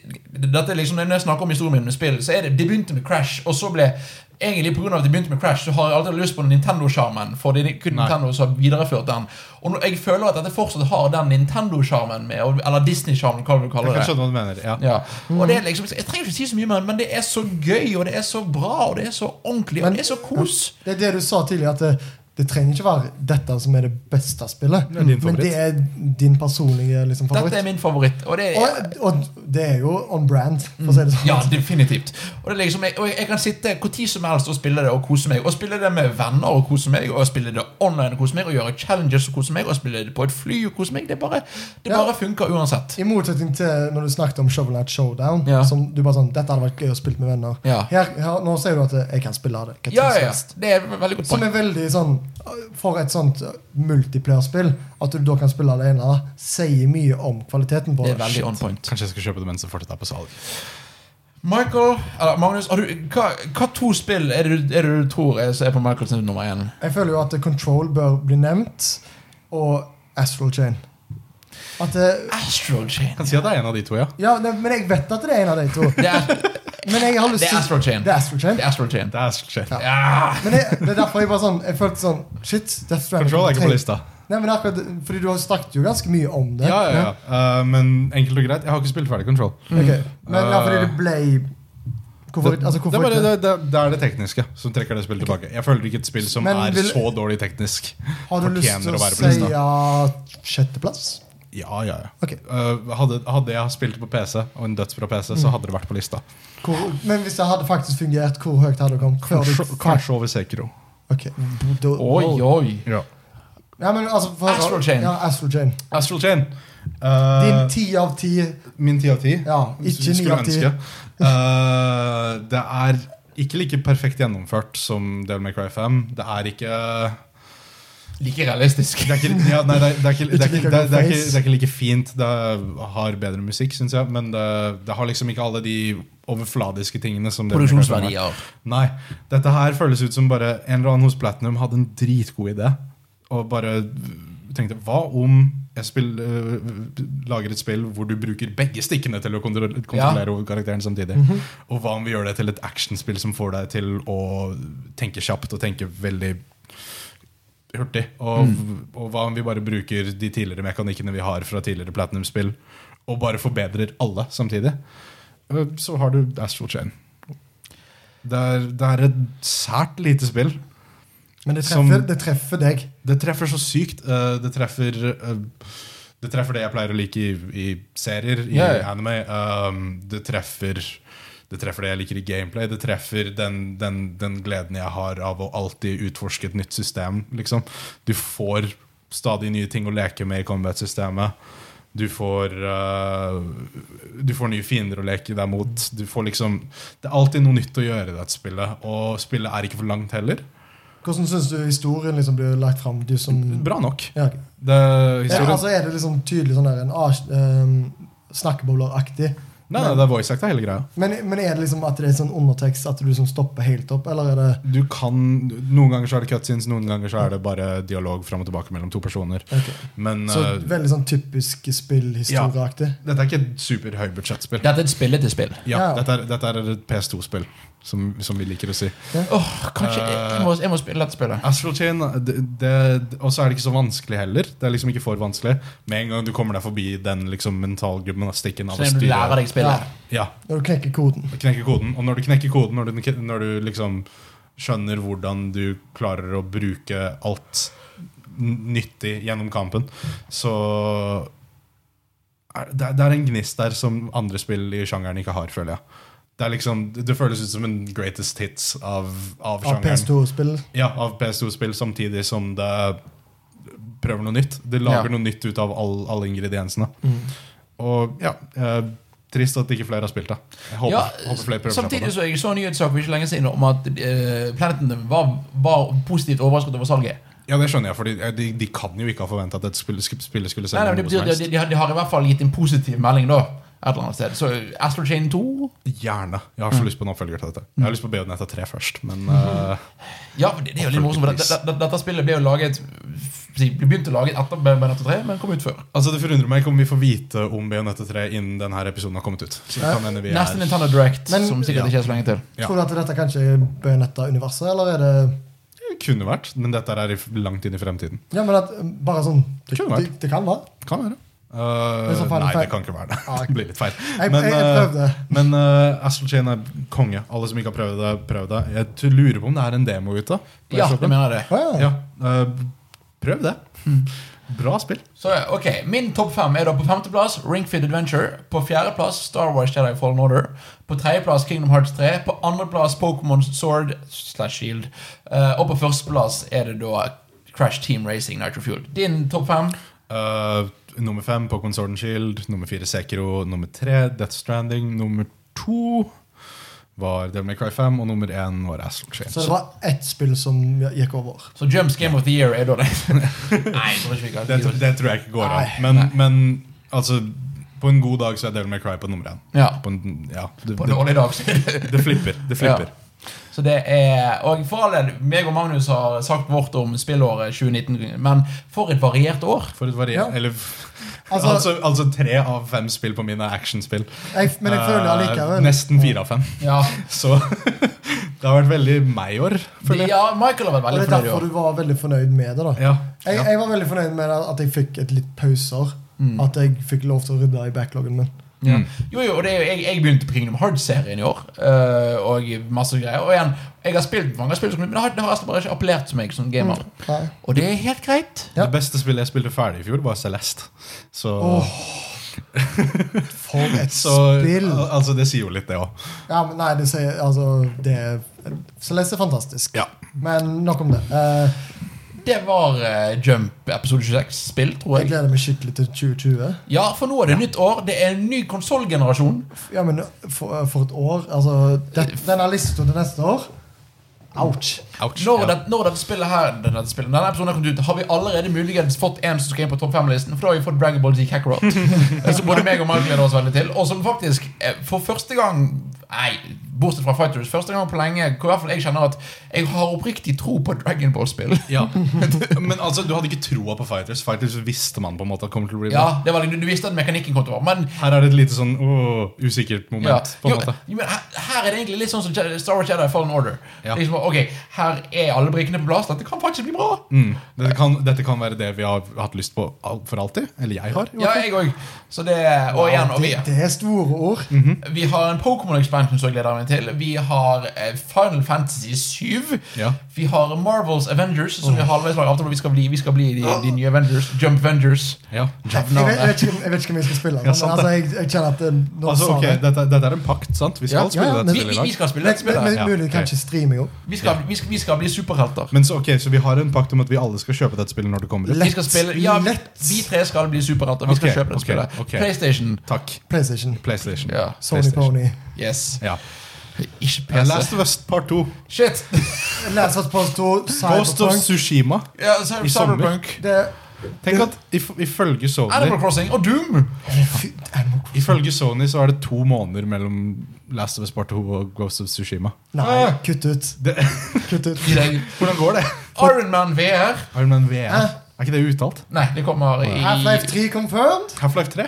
Speaker 1: dette er liksom, Når jeg snakker om historien min med spill, så er det Det begynte med Crash, og så ble Egentlig pga. at det begynte med Crash, så har jeg alltid lyst på den Nintendo-sjarmen. For det er kun
Speaker 2: Nei.
Speaker 1: Nintendo som har videreført den. Og nå- jeg føler at dette fortsatt har den Nintendo-sjarmen med, og- eller Disney-sjarmen, hva du kaller
Speaker 2: Jeg kan
Speaker 1: det.
Speaker 2: skjønne hva du mener. Ja.
Speaker 1: Ja. Og det er liksom, Jeg trenger ikke si så mye, men- men det er så gøy, og det er så bra, og det er så ordentlig, og
Speaker 3: Men-
Speaker 1: det er så kos.
Speaker 3: Det er det du sa tidligere, at det, Det trenger ikke være dette som er det beste spillet,
Speaker 2: Det er din
Speaker 3: men
Speaker 2: favoritt.
Speaker 3: det er din personlige liksom,
Speaker 1: Dette
Speaker 3: favoritt.
Speaker 1: er min favoritt. Og det er,
Speaker 3: og, og det er jo on brand, for å si det sånn.
Speaker 1: ja, definitivt. Og, det er liksom, jeg, og jeg kan sitte hvor tid som helst og spille det og kose meg. Og spille det med venner og kose meg, og spille det online og kose meg, og gjøre challenges og kose meg, og spille det på et fly og kose meg. Det bare, det
Speaker 3: Ja.
Speaker 1: bare funker uansett.
Speaker 3: I motsetning til når du snakket om Shovel Night Showdown.
Speaker 1: Ja.
Speaker 3: Som du bare sånn, dette hadde vært gøy å spille med venner
Speaker 1: Ja.
Speaker 3: her, her, Nå sier du at jeg kan spille det. hva tid
Speaker 1: Ja,
Speaker 3: som
Speaker 1: ja, ja.
Speaker 3: helst.
Speaker 1: Det er et veldig godt
Speaker 3: Som
Speaker 1: poeng.
Speaker 3: er veldig sånn For et sånt uh, multiplayer-spill, at du da kan spille alene, sier mye om kvaliteten på
Speaker 1: Det er veldig on point.
Speaker 2: Kanskje jeg skal kjøpe det mens det fortsatt er på salg.
Speaker 1: Michael, eller Magnus, har du, hva, hva to spill er det, du- er det du tror er, er på Michaels nummer én?
Speaker 3: Jeg føler jo at Control bør bli nevnt, og Astral Chain. At det,
Speaker 1: Astral Chain.
Speaker 2: Kan si at det er en av de to, ja.
Speaker 3: ja, det, men jeg vet at det er en av de to.
Speaker 1: Det er,
Speaker 3: Men jeg har lyst
Speaker 1: *laughs* det er
Speaker 3: til-
Speaker 1: Astral Chain.
Speaker 3: Det er Astral Chain.
Speaker 1: Det er Astral Chain.
Speaker 2: Det er skjedd.
Speaker 3: Ja.
Speaker 1: Ja.
Speaker 3: Men jeg, det er derfor jeg bare sånn Jeg følte sånn Shit, Death Stranding
Speaker 2: Control er ikke
Speaker 3: trenger-
Speaker 2: på lista.
Speaker 3: Nei, men akkurat, Fordi du har snakket jo ganske mye om det.
Speaker 2: Ja, ja, ja. Uh, men enkelt og greit, jeg har ikke spilt ferdig Control.
Speaker 3: Ok, Men ja, fordi det ble Hvorfor,
Speaker 2: Mm. Det, det,
Speaker 3: altså,
Speaker 2: er
Speaker 3: hvorfor
Speaker 2: bare,
Speaker 3: ikke?
Speaker 2: det, det, det er det tekniske som trekker det spillet tilbake. Jeg føler ikke et spill som
Speaker 3: Men
Speaker 2: er
Speaker 3: vil-
Speaker 2: så dårlig teknisk.
Speaker 3: Har du lyst
Speaker 2: fortjener
Speaker 3: til
Speaker 2: å
Speaker 3: å,
Speaker 2: være på
Speaker 3: si
Speaker 2: lista?
Speaker 3: ja, sjetteplass?
Speaker 2: Ja, ja, ja.
Speaker 3: Ok.
Speaker 2: Uh, hadde, hadde jeg spilt det på PC, og en dødsbra PC,
Speaker 3: Mm.
Speaker 2: så hadde det vært på lista.
Speaker 3: Hvor, men hvis det hadde faktisk fungert, hvor høyt hadde det kommet? Før du-
Speaker 2: Kanskje, kanskje over Sekiro.
Speaker 3: Ok, da-
Speaker 1: Oi, oi.
Speaker 2: Ja.
Speaker 3: Ja, men altså for,
Speaker 1: Astral Chain.
Speaker 3: Ja, Astral Chain.
Speaker 2: Astral Chain.
Speaker 3: Din
Speaker 2: Uh,
Speaker 3: ti av ti
Speaker 2: min ti av ti.
Speaker 3: Ja, ikke ni
Speaker 2: Skulle
Speaker 3: av ti.
Speaker 2: ønske. Eh, det er ikke like perfekt gjennomført som Devil May Cry 5. Det er ikke
Speaker 1: Like realistisk.
Speaker 2: Det er ikke, ja, nei, det er, det er, ikke, det er, ikke, det er, det er, ikke,
Speaker 3: Face.
Speaker 2: det er ikke like fint. Det har bedre musikk, syns jeg, men det, det har liksom ikke alle de overfladiske tingene. som Devil May Cry 5 har.
Speaker 1: Produksjonsverdier.
Speaker 2: Nei. Dette her føles ut som bare en eller annen hos Platinum hadde en dritgod idé. Og bare tenkte Hva om jeg spill- øh, lager et spill hvor du bruker begge stikkene til å kontro- kontrollere karakteren samtidig? Og hva om vi gjør det til et actionspill som får deg til å tenke kjapt og tenke veldig hurtig? Og, og hva om vi bare bruker de tidligere mekanikkene vi har fra tidligere Platinum-spill, og bare forbedrer alle samtidig? Øh, Så har du Astral Chain. Det er, det er et sært lite spill.
Speaker 3: Men det
Speaker 2: Som-
Speaker 3: treffer, det treffer deg.
Speaker 2: Det treffer så sykt. eh, det treffer eh, Det treffer det jeg pleier å like i, i serier, i
Speaker 1: Ja, ja.
Speaker 2: anime. Um, det treffer det treffer det jeg liker i gameplay. Det treffer den, den, den gleden jeg har av å alltid utforske et nytt system. Liksom. Du får stadig nye ting å leke med i combat-systemet. Du får eh, Du får nye fiender å leke deg mot. Du får liksom Det er alltid noe nytt å gjøre i dette spillet, og spillet er ikke for langt heller.
Speaker 3: Hvordan syns du historien liksom blir lagt fram? Du som
Speaker 2: Bra nok.
Speaker 3: ja, ok.
Speaker 2: Det,
Speaker 3: Mm. ja,
Speaker 2: historien,
Speaker 3: altså, Er det liksom tydelig sånn der en ah, ehm, snakkebobleraktig?
Speaker 2: Nei, nei, det er voice act, det er hele greia.
Speaker 3: Men, men er det liksom at det er sånn undertekst at du liksom stopper helt opp, eller er det
Speaker 2: Du kan, Noen ganger så er det cutscenes, noen ganger så er det bare dialog fram og tilbake mellom to personer.
Speaker 3: Ok.
Speaker 2: Men
Speaker 3: Så
Speaker 2: eh,
Speaker 3: veldig sånn typisk spillhistorieaktig.
Speaker 2: dette er ikke et superhøybudsjettspill.
Speaker 1: Dette er et spillete spill.
Speaker 2: Ja,
Speaker 3: Ja.
Speaker 2: dette, er- dette er et PS2-spill, som, som vi liker å si.
Speaker 1: Åh, kanskje jeg, jeg, må, jeg må spille dette spillet.
Speaker 2: Astral Chain, det, det, og så er det ikke så vanskelig heller. Det er liksom ikke for vanskelig. Med en gang du kommer deg forbi den liksom mentalgymnastikken av
Speaker 1: Så du lærer deg
Speaker 3: Ja,
Speaker 1: spillet.
Speaker 2: Ja,
Speaker 3: når du knekker koden.
Speaker 2: knekker koden. Og når du knekker koden, når du, når du liksom skjønner hvordan du klarer å bruke alt n- nyttig gjennom kampen, så er, det, er- det er en gnist der som andre spill i sjangeren ikke har, føler jeg. Det, er liksom, det føles ut som en greatest hits av, av
Speaker 3: Av
Speaker 2: sjangeren.
Speaker 3: PS2-spill.
Speaker 2: Ja, av PS2-spill, samtidig som det prøver noe nytt. Det lager
Speaker 1: Ja. Mm.
Speaker 2: noe nytt ut av all, alle ingrediensene. Og ja eh, Trist at ikke flere har spilt det. Jeg håper,
Speaker 1: Ja,
Speaker 2: håper flere prøver seg på
Speaker 1: samtidig
Speaker 2: det.
Speaker 1: så jeg så en nyhetssak for ikke lenge siden om at eh, Planeten var, var positivt overrasket over salget.
Speaker 2: Ja, det skjønner jeg, for de, de kan jo ikke ha forventa at et spill, sk- spill skulle
Speaker 1: Nei,
Speaker 2: selge
Speaker 1: nei, men det
Speaker 2: noe
Speaker 1: betyr
Speaker 2: som
Speaker 1: at de,
Speaker 2: helst.
Speaker 1: de, har- de har i hvert fall gitt en positiv melding, da. Et eller annet sted. Så Astral Chain 2
Speaker 2: Gjerne. Jeg
Speaker 1: Mm.
Speaker 2: har så lyst på en oppfølger til dette. Jeg har lyst på Beonetta 3 først, men eh,
Speaker 1: Ja, men det, det er jo litt morsomt. for Dette, dette, dette spillet ble jo laget Ble begynt å lage etter Benetto 3, men kom ut før.
Speaker 2: altså det forundrer meg ikke om vi får vite om Beonetta 3 innen denne episoden har kommet ut. Så det kan hende vi
Speaker 1: Neste
Speaker 2: er
Speaker 1: Nintendo Direct,
Speaker 3: Men-
Speaker 1: som sikkert
Speaker 2: Ja.
Speaker 1: ikke er så lenge til.
Speaker 2: Ja.
Speaker 3: Tror du at dette kanskje er Bøyenetta-universet, eller er det
Speaker 2: Kunne vært, men dette er i f- langt inn i fremtiden.
Speaker 3: Ja, men at um, bare sånn Det,
Speaker 2: Kunne vært.
Speaker 3: det, det kan være.
Speaker 2: Kan være. Eh,
Speaker 3: Det er så feil-
Speaker 2: nei, det
Speaker 3: feil.
Speaker 2: kan ikke være det.
Speaker 3: Ah,
Speaker 2: *laughs*
Speaker 3: ok.
Speaker 2: det blir litt feil.
Speaker 3: Jeg,
Speaker 2: Men,
Speaker 3: jeg, jeg
Speaker 2: eh,
Speaker 3: prøvde.
Speaker 2: Men eh, Astral Chain er konge. Alle som ikke har prøvd det, prøv det. Jeg t- lurer på om det er en demo ute. på
Speaker 1: Ja,
Speaker 2: eShopen.
Speaker 1: det mener jeg det.
Speaker 3: Å, ja.
Speaker 2: Ja, eh, prøv det.
Speaker 3: Mm.
Speaker 2: Bra spill.
Speaker 1: Så ok, Min topp fem er da på femteplass Ringfit Adventure. På fjerdeplass Star Wars Jedi Fallen Order. På tredjeplass Kingdom Hearts 3. På andreplass Pokémon Sword slash Shield. Eh, og på førsteplass er det da Crash Team Racing Nitro Fuel. Din topp fem?
Speaker 2: Eh, nummer fem Pokémon Sword and Shield. Nummer fire Sekiro. Nummer tre Death Stranding. Nummer to var Devil May Cry 5, og nummer én var Astral Chain.
Speaker 3: Så det var ett spill som gikk over.
Speaker 1: Så Jumps Game of the Year er da
Speaker 3: *laughs*
Speaker 1: det. Nei, jeg tror ikke vi kan
Speaker 2: Det, tr- det tror jeg ikke går an.
Speaker 3: Nei,
Speaker 2: Men, men altså, på en god dag så er Devil May Cry på nummer én.
Speaker 1: Ja.
Speaker 2: På en, ja, det,
Speaker 1: På en dårlig dag. *laughs* så er det-
Speaker 2: det, det flipper. Det flipper.
Speaker 1: Så det er, og for all del, meg og Magnus har sagt vårt om spillåret 2019, men for et variert år.
Speaker 2: For et varier...
Speaker 3: Ja.
Speaker 2: Eller
Speaker 3: *laughs* Altså-
Speaker 2: altså, altså tre av fem spill på mine er actionspill.
Speaker 3: Jeg, men jeg føler
Speaker 2: Eh,
Speaker 3: allikevel
Speaker 2: Nesten fire av fem. *laughs*
Speaker 1: Ja,
Speaker 2: Så det har vært veldig meg i år, føler jeg.
Speaker 1: ja Michael har vært
Speaker 3: Og det
Speaker 1: veldig
Speaker 3: er
Speaker 1: fornøyd i år.
Speaker 3: derfor du var veldig fornøyd med det. da
Speaker 2: Ja.
Speaker 3: Jeg,
Speaker 2: Ja.
Speaker 3: jeg var veldig fornøyd med at jeg fikk et litt pauser. At jeg fikk lov til å rydde i backloggen min.
Speaker 1: Ja. Jo, jo, og det er jo, jeg, jeg begynte på Kingdom Hearts-serien i år. eh, og masse greier. Og igjen, jeg har spilt mange spill, men det har, det har resten bare ikke appellert til meg som gamer.
Speaker 3: Nei.
Speaker 1: Mm. Og det er helt greit.
Speaker 3: Ja.
Speaker 2: Det beste spillet jeg spilte ferdig i fjor, var Celeste. Så,
Speaker 3: For et
Speaker 2: så
Speaker 3: spill!
Speaker 2: al- altså, det sier jo litt, det òg.
Speaker 3: Ja, men nei, det sier Altså, det er Celeste er fantastisk.
Speaker 2: Ja.
Speaker 3: Men nok om det. Eh,
Speaker 1: Det var eh, Jump episode 26-spill, tror
Speaker 3: jeg
Speaker 1: jeg.
Speaker 3: gleder meg skikkelig til 2020.
Speaker 1: Ja, for nå er det nytt år. Det er en ny konsollgenerasjon.
Speaker 3: Ja, men for, eh, for et år Altså, det, denne lista til neste år Ouch.
Speaker 2: Ouch.
Speaker 1: Når,
Speaker 2: Ja.
Speaker 1: det, når dette spillet her denne, spillet, denne episoden har kommet ut, har vi allerede muligens fått en som skal inn på topp fem-listen. For da har vi fått Dragon Ball Z
Speaker 2: *laughs*
Speaker 1: Kakarot. eh, som både meg og Mark gleder oss veldig til. Og som faktisk, eh, for første gang Nei, bortsett fra Fighters, første gang på lenge hvor i hvert fall jeg kjenner at jeg har oppriktig tro på Dragon Ball-spill.
Speaker 2: Ja. *laughs* Men altså, du hadde ikke troa på Fighters. Fighters visste man på en måte at kommer til å bli det.
Speaker 1: Ja, det var, du, du visste at mekanikken kom til å være men
Speaker 2: Her er det et lite sånn åh, usikkert moment.
Speaker 1: Ja.
Speaker 2: på
Speaker 1: Jo, eh,
Speaker 2: en måte.
Speaker 1: jo, men her, her er det egentlig litt sånn som Je- Star Wars Jedi Fallen Order.
Speaker 2: Ja.
Speaker 1: Liksom, ok, Her er alle brikkene på plass. Dette kan faktisk bli bra.
Speaker 2: Mm. Dette, kan, dette kan være det vi har hatt lyst på al- for alltid. Eller jeg har. i hvert
Speaker 1: Ja,
Speaker 2: fall.
Speaker 1: jeg òg. Så det Og igjen, og vi,
Speaker 3: det, det er store ord.
Speaker 2: Mm,
Speaker 1: vi har en Pokémon-expansion som jeg gleder meg til. Vi har eh, Final Fantasy 7.
Speaker 2: Ja.
Speaker 1: Vi har Marvels Avengers, som vi har halvveis laget avtale om vi skal bli. Vi skal bli de, de nye Avengers. Jump Avengers.
Speaker 2: Ja.
Speaker 3: Jeg, jeg, vet, jeg, vet ikke, jeg vet ikke hvem jeg skal spille. Men,
Speaker 2: sant det.
Speaker 3: altså, jeg, jeg kjenner at det, nå
Speaker 2: Altså,
Speaker 3: sa
Speaker 2: ok,
Speaker 3: jeg-
Speaker 2: dette, dette er en pakt, sant? Vi skal
Speaker 3: Ja, ja,
Speaker 2: spille
Speaker 3: ja,
Speaker 2: dette
Speaker 3: men-
Speaker 1: Vi,
Speaker 2: spillet
Speaker 1: vi,
Speaker 2: i dag.
Speaker 1: vi skal spille
Speaker 3: Men,
Speaker 1: et
Speaker 3: men,
Speaker 1: spill her.
Speaker 3: men
Speaker 2: Ja,
Speaker 3: mulig du kan
Speaker 2: ok.
Speaker 3: ikke streame, jo.
Speaker 1: Vi skal, vi, skal, vi skal bli superhelter.
Speaker 2: Men så, ok, så vi har en pakt om at vi alle skal kjøpe dette spillet når det kommer ut?
Speaker 1: Vi skal spille Ja, vi,
Speaker 3: lett.
Speaker 1: vi tre skal bli superhelter. Vi skal
Speaker 2: Ok,
Speaker 1: kjøpe det
Speaker 2: ok,
Speaker 1: spillet.
Speaker 2: ok.
Speaker 1: PlayStation.
Speaker 2: Takk.
Speaker 3: PlayStation.
Speaker 2: PlayStation.
Speaker 1: Ja.
Speaker 3: Sony
Speaker 2: PlayStation.
Speaker 3: Pony.
Speaker 1: Yes.
Speaker 2: Ja.
Speaker 1: Ikke
Speaker 2: Eh,
Speaker 1: PC.
Speaker 2: Last of Us Part 2.
Speaker 1: Shit!
Speaker 3: Last of Us Part 2,
Speaker 2: Ghost of
Speaker 3: Cyberpunk
Speaker 2: Tsushima.
Speaker 1: Ja, så-
Speaker 2: I sommer.
Speaker 1: Cyberpunk.
Speaker 3: det,
Speaker 2: Tenk at if, ifølge Sony
Speaker 1: Animal Crossing og Doom!
Speaker 3: fy, Animal Crossing.
Speaker 2: Ifølge Sony så er det to måneder mellom Last of Us Part 2 og Ghost of Tsushima.
Speaker 3: Nei, kutt ut.
Speaker 2: Ah. Det-
Speaker 3: Kutt ut.
Speaker 1: I dag.
Speaker 2: Hvordan går det?
Speaker 1: Iron Man VR.
Speaker 2: Iron Man VR.
Speaker 3: Hæ?
Speaker 2: Er ikke det uttalt?
Speaker 1: Nei, det kommer i
Speaker 3: Half-Life 3 confirmed?
Speaker 2: Half-Life 3?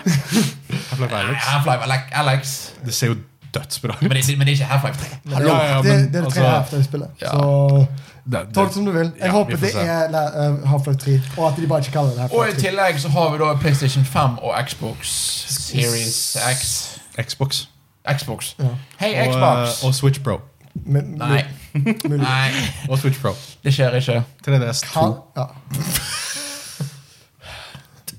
Speaker 2: *laughs* Half-Life
Speaker 1: Nei,
Speaker 2: Alex.
Speaker 1: Half-Life Alex- Alex.
Speaker 2: Det ser jo dødsbra
Speaker 1: Men
Speaker 2: ut.
Speaker 1: det, men det er ikke Half-Life 3.
Speaker 2: Hallo. Ja, ja,
Speaker 3: det,
Speaker 2: men
Speaker 3: det er det
Speaker 2: altså-
Speaker 3: tredje Half-Life-spillet.
Speaker 1: Ja.
Speaker 3: Så
Speaker 2: Det- det-
Speaker 3: tolk som du vil. Jeg
Speaker 2: Ja, vi
Speaker 3: håper
Speaker 2: får
Speaker 3: det
Speaker 2: se. E
Speaker 3: er eh, Half-Life 3, og at de bare ikke kaller det
Speaker 1: Og i
Speaker 3: Half-Life 3.
Speaker 1: tillegg så har vi da PlayStation 5 og Xbox Series X.
Speaker 2: Xbox.
Speaker 1: Xbox.
Speaker 3: Ja.
Speaker 1: Hei,
Speaker 2: Og,
Speaker 1: Xbox!
Speaker 2: eh, og Switch Pro.
Speaker 3: Men-
Speaker 1: Nei.
Speaker 3: mulig- mulig.
Speaker 1: Nei,
Speaker 2: Og Switch Pro.
Speaker 1: det skjer ikke.
Speaker 2: 3DS 2.
Speaker 3: Ka- Ja.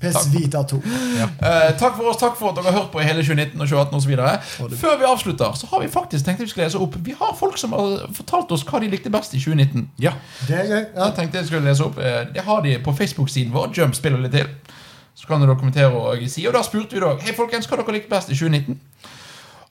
Speaker 3: PS Vita 2.
Speaker 1: Eh, takk for oss, takk for at dere har hørt på i hele 2019 og 2018 og så videre Før vi avslutter, så har vi faktisk tenkt at vi skal lese opp Vi har folk som har fortalt oss hva de likte best i 2019.
Speaker 2: Ja.
Speaker 3: Det er gøy. Ja.
Speaker 1: Jeg tenkte jeg skulle lese opp eh, Jeg har de på Facebook-siden vår. Jump spiller litt til. Så kan dere kommentere og si. Og da spurte vi da Hei folkens, hva dere likte best i 2019.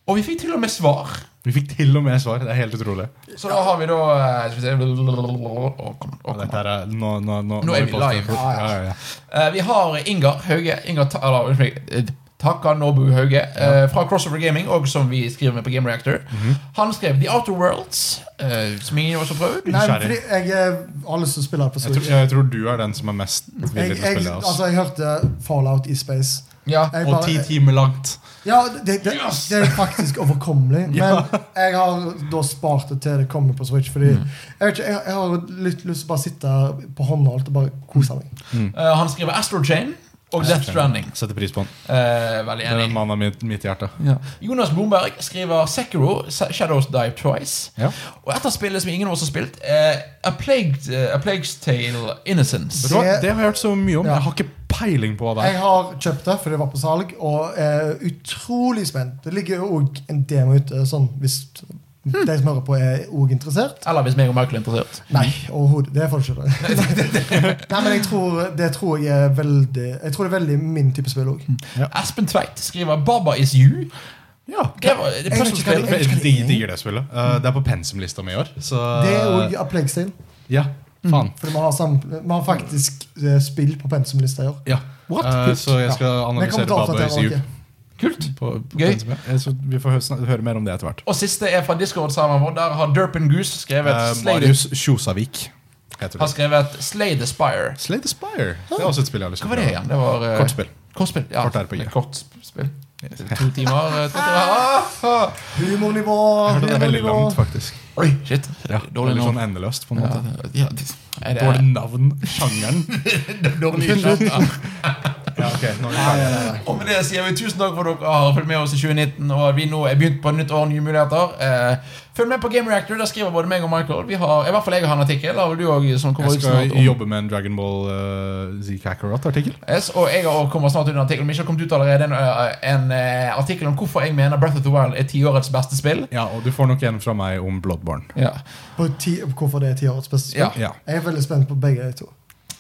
Speaker 1: Og vi fikk til og med svar.
Speaker 2: Vi fikk til og med svar. Det er helt utrolig.
Speaker 1: Så da har vi da eh, Skal vi se Å, kom, å,
Speaker 2: Og
Speaker 1: kom.
Speaker 2: dette her er, nå, nå, nå,
Speaker 1: Nå er vi
Speaker 2: på oss.
Speaker 1: live.
Speaker 2: Ja, ja, ja.
Speaker 1: Eh, Vi har Ingar Hauge Ingar, Ta- eller, unnskyld, eh, Taka Nobu Hauge eh, fra Crossover Gaming, og som vi skriver med på Game Reactor.
Speaker 2: Mhm.
Speaker 1: Han skrev The Outer Worlds, eh, som ingen av oss har prøvd.
Speaker 3: Nei, men
Speaker 2: Nysgjerrig.
Speaker 3: fordi jeg eh, har lyst til å spille det på
Speaker 2: Jeg, tror,
Speaker 3: Switch.
Speaker 2: jeg tror du er den som er mest
Speaker 3: Jeg,
Speaker 2: villig til å
Speaker 3: jeg,
Speaker 2: spille av oss.
Speaker 3: altså, jeg hørte Fallout i Space.
Speaker 1: Ja.
Speaker 3: Jeg
Speaker 2: Og ti timer langt.
Speaker 3: Ja, det, det, det er faktisk overkommelig. Men
Speaker 2: *laughs* Ja.
Speaker 3: jeg har da spart det til det kommer på Switch. Fordi
Speaker 2: Mm.
Speaker 3: jeg, vet ikke, jeg, jeg har litt lyst til å bare sitte på håndholdt og bare kose meg.
Speaker 2: Mm.
Speaker 1: Eh, Han skriver Astro Chain. og Death Stranding.
Speaker 2: Setter pris på den.
Speaker 1: Eh, veldig
Speaker 2: Det er en
Speaker 1: enig.
Speaker 2: mann av mitt, mitt hjerte.
Speaker 1: Jonas Blomberg skriver Sekiro, Sa- Shadows Die Twice.
Speaker 2: Ja.
Speaker 1: Og et av spillene som ingen av oss har spilt, eh, A, Plague, eh, A Plague's Tale Innocence.
Speaker 2: Vet du hva? Det har jeg hørt så mye om.
Speaker 3: Ja.
Speaker 2: Jeg har ikke peiling på hva det er.
Speaker 3: Jeg har kjøpt det fordi det var på salg, og er utrolig spent. Det ligger jo òg en demo ute, sånn hvis de som hører på, er òg interessert.
Speaker 1: Eller hvis meg og Michael er interessert.
Speaker 3: Nei, overhodet. Det er folk ikke. Nei, men jeg tror, det tror jeg er veldig Jeg tror det er veldig min type spill òg.
Speaker 1: Espen Tveit skriver Baba Is You.
Speaker 2: Ja.
Speaker 1: Det var det er
Speaker 3: Jeg vet ikke hva
Speaker 1: puzzlespill.
Speaker 3: det
Speaker 2: Jeg dig- digger det spillet. Eh, det er på pensumlista mi i år. Så
Speaker 3: Det
Speaker 2: Eh.
Speaker 3: er Mm. òg av Plague-stil.
Speaker 2: Ja. Faen.
Speaker 3: For vi har, sam, vi har faktisk eh, spill på pensumlista i år.
Speaker 2: Ja.
Speaker 1: What?
Speaker 2: Eh, så jeg skal analysere
Speaker 3: Vi kommer til å
Speaker 2: Baba Is
Speaker 3: oppdatere
Speaker 2: You.
Speaker 3: dere.
Speaker 1: Kult.
Speaker 2: På, på
Speaker 1: Gøy.
Speaker 2: pensum, ja. Eh, Så vi får hø- snak- høre mer om det etter hvert.
Speaker 1: Og siste er fra Discord-serveren vår. Der har Derpen Goose skrevet
Speaker 2: Eh,
Speaker 1: Slay the-
Speaker 2: Marius Kjosavik heter
Speaker 1: har
Speaker 2: det.
Speaker 1: skrevet Slay the Spire.
Speaker 2: Slay the Spire. Det er også et spill jeg har lyst
Speaker 1: Hva var
Speaker 2: til
Speaker 1: det igjen? Det var eh,
Speaker 2: Kortspill.
Speaker 1: Kortspill, ja.
Speaker 2: Kort RPG.
Speaker 1: Kortspill. To timer. eh, to timer. Ah, ah.
Speaker 3: Humornivå!
Speaker 2: Jeg hørte det er veldig
Speaker 3: humornivå.
Speaker 2: langt, faktisk.
Speaker 1: Oi, shit.
Speaker 2: Ja,
Speaker 1: Dårlig
Speaker 2: Dårlig
Speaker 1: navn.
Speaker 2: sånn endeløst, på en
Speaker 1: Ja,
Speaker 2: måte.
Speaker 1: ja, det- er det-
Speaker 2: Dårlig navn. Sjangeren.
Speaker 1: Dårlig skjønt. Ja.
Speaker 2: *laughs* Ja, ok, nå er vi ferdige.
Speaker 1: Og med det sier vi tusen takk for at dere har fulgt med oss i 2019, og at vi nå er begynt på et nytt år, nye muligheter. Eh, følg med på Game Reactor, der skriver både meg og Michael. Vi har, I hvert fall jeg har en artikkel, har vel du også, som kommer
Speaker 2: Jeg
Speaker 1: ut snart.
Speaker 2: skal
Speaker 1: om-
Speaker 2: jobbe med en Dragon Ball uh, Z Kakarot-artikkel.
Speaker 1: Yes, og jeg har- kommer snart ut en artikkel, om ikke har kommet ut allerede, en, eh, en eh, artikkel om hvorfor jeg mener Breath of the Wild er tiårets beste spill.
Speaker 2: Ja, og du får nok en fra meg om Bloodborne.
Speaker 1: Ja,
Speaker 3: På ti, hvorfor det er tiårets beste spill?
Speaker 1: Ja.
Speaker 2: Ja.
Speaker 3: Jeg er veldig spent på begge de to.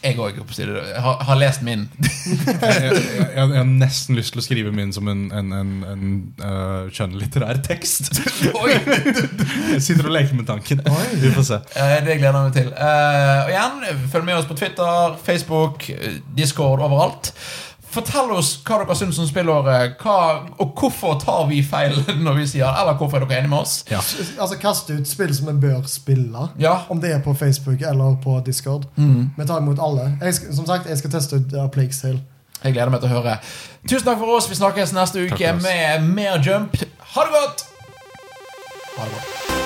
Speaker 1: jeg òg har, har lest min.
Speaker 2: *laughs*
Speaker 1: *laughs*
Speaker 2: Jeg, jeg, jeg har nesten lyst til å skrive min som en, en, en, en eh, skjønnlitterær tekst.
Speaker 1: Oi.
Speaker 2: Jeg *laughs* sitter og leker med tanken.
Speaker 3: Oi.
Speaker 2: Vi får se.
Speaker 1: Eh, Det gleder jeg meg til. Eh, og igjen, følg med oss på Twitter, Facebook, eh, Discord, overalt. Fortell oss hva dere syns om spillåret, hva, og hvorfor tar vi feil *laughs* når vi sier Eller hvorfor er dere enige med oss?
Speaker 2: Ja.
Speaker 3: Altså Kast ut spill som vi bør spille.
Speaker 1: Ja.
Speaker 3: Om det er på Facebook eller på Discord. Vi tar imot alle. Jeg skal, som sagt, jeg skal teste ut uh, Plague Sale.
Speaker 1: Jeg gleder meg til å høre. Tusen takk for oss. Vi snakkes neste
Speaker 2: Takk for
Speaker 1: uke
Speaker 2: oss.
Speaker 1: med mer jump. Ha det godt!
Speaker 3: Ha det bra.